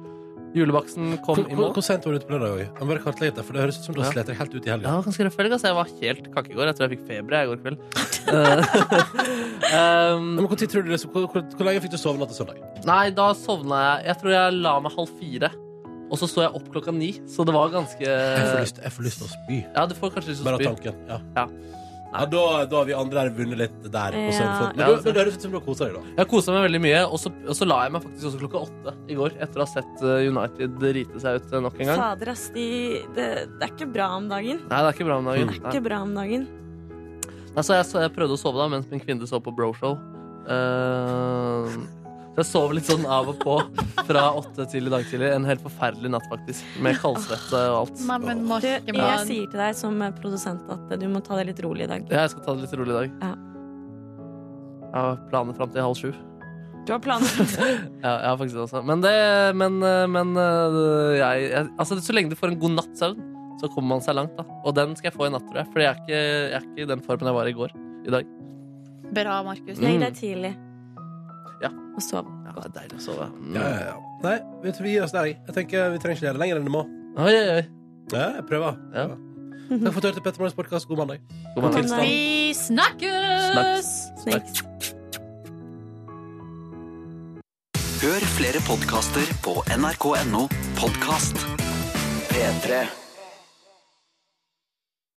S4: Julebaksten kom i mål.
S2: Hvor sent var du ute på lørdag? Roy? Jeg må bare kartlegge det, for det høres ut som du har
S4: Ja.
S2: slet deg helt ut i
S4: Ja,
S2: helga.
S4: det var ganske røff helg, ass. Jeg var helt kakk i går. Jeg tror jeg fikk feber jeg i går kveld. Eh, ehm,
S2: Men hvor, tid tror du, det- hvor, hvor, hvor lenge fikk du sove natt til søndag?
S4: Nei, da sovna jeg. Jeg tror jeg la meg halv fire. Og så så jeg opp klokka ni, så det var ganske
S2: Jeg får lyst, jeg får lyst til å spy.
S4: Ja, du får kanskje lyst til
S2: Bare
S4: å
S2: av
S4: Eh, spy.
S2: tanken. Ja.
S4: Ja.
S2: Ja, da, da har vi andre her vunnet litt der. På
S7: Ja.
S2: Sørfold. Men,
S4: Ja, altså.
S2: du, men det høres ut som du har kosa deg, da.
S4: Jeg kosa meg veldig mye, og så, og så la jeg meg faktisk også klokka åtte i går etter å ha sett eh, United rite seg ut eh, nok en gang.
S7: Fader, ass. De, det, det er ikke bra om dagen.
S4: Nei, det er ikke bra om
S2: Mm.
S4: dagen.
S7: Det er
S4: Nei.
S7: ikke bra om dagen.
S4: Nei, så jeg, så jeg prøvde å sove da mens min kvinne så på Broshow. Eh, så jeg sov litt sånn av og på fra åtte til i dag tidlig. En helt forferdelig natt, faktisk. Med kaldsvette og alt.
S3: Nei, men
S7: Du, jeg
S3: Markemann.
S7: sier til deg som eh, produsent at du må ta det litt rolig i dag.
S4: Ja, jeg skal ta det litt rolig i dag.
S7: Ja.
S4: Jeg har planer fram til halv sju.
S7: Du har planer.
S4: Ja, jeg har faktisk det også. Men det Men, eh, men jeg, jeg Altså, så lenge du får en god natts søvn, så kommer man seg langt, da. Og den skal jeg få i natt, tror jeg. For jeg er ikke, jeg er ikke i den formen jeg var i går. I dag.
S3: Bra, Markus.
S7: Legg deg tidlig.
S4: Mm. Ja.
S7: Og sov.
S4: Ja, det er deilig å sove. Mm.
S2: Ja, ja, ja. Nei, vi, vi gir oss der. jeg. Jeg tenker Vi trenger ikke gjøre det lenger enn det må.
S4: Oi, oi, oi.
S2: Ja, jeg prøver.
S4: Ja.
S2: Takk for at du hørte Petter Morgens podkast. God mandag.
S4: God mandag.
S7: Tilstand.
S3: Vi snakkes!
S7: Snakes.
S9: Hør flere podkaster på nrk.no podkast. P3.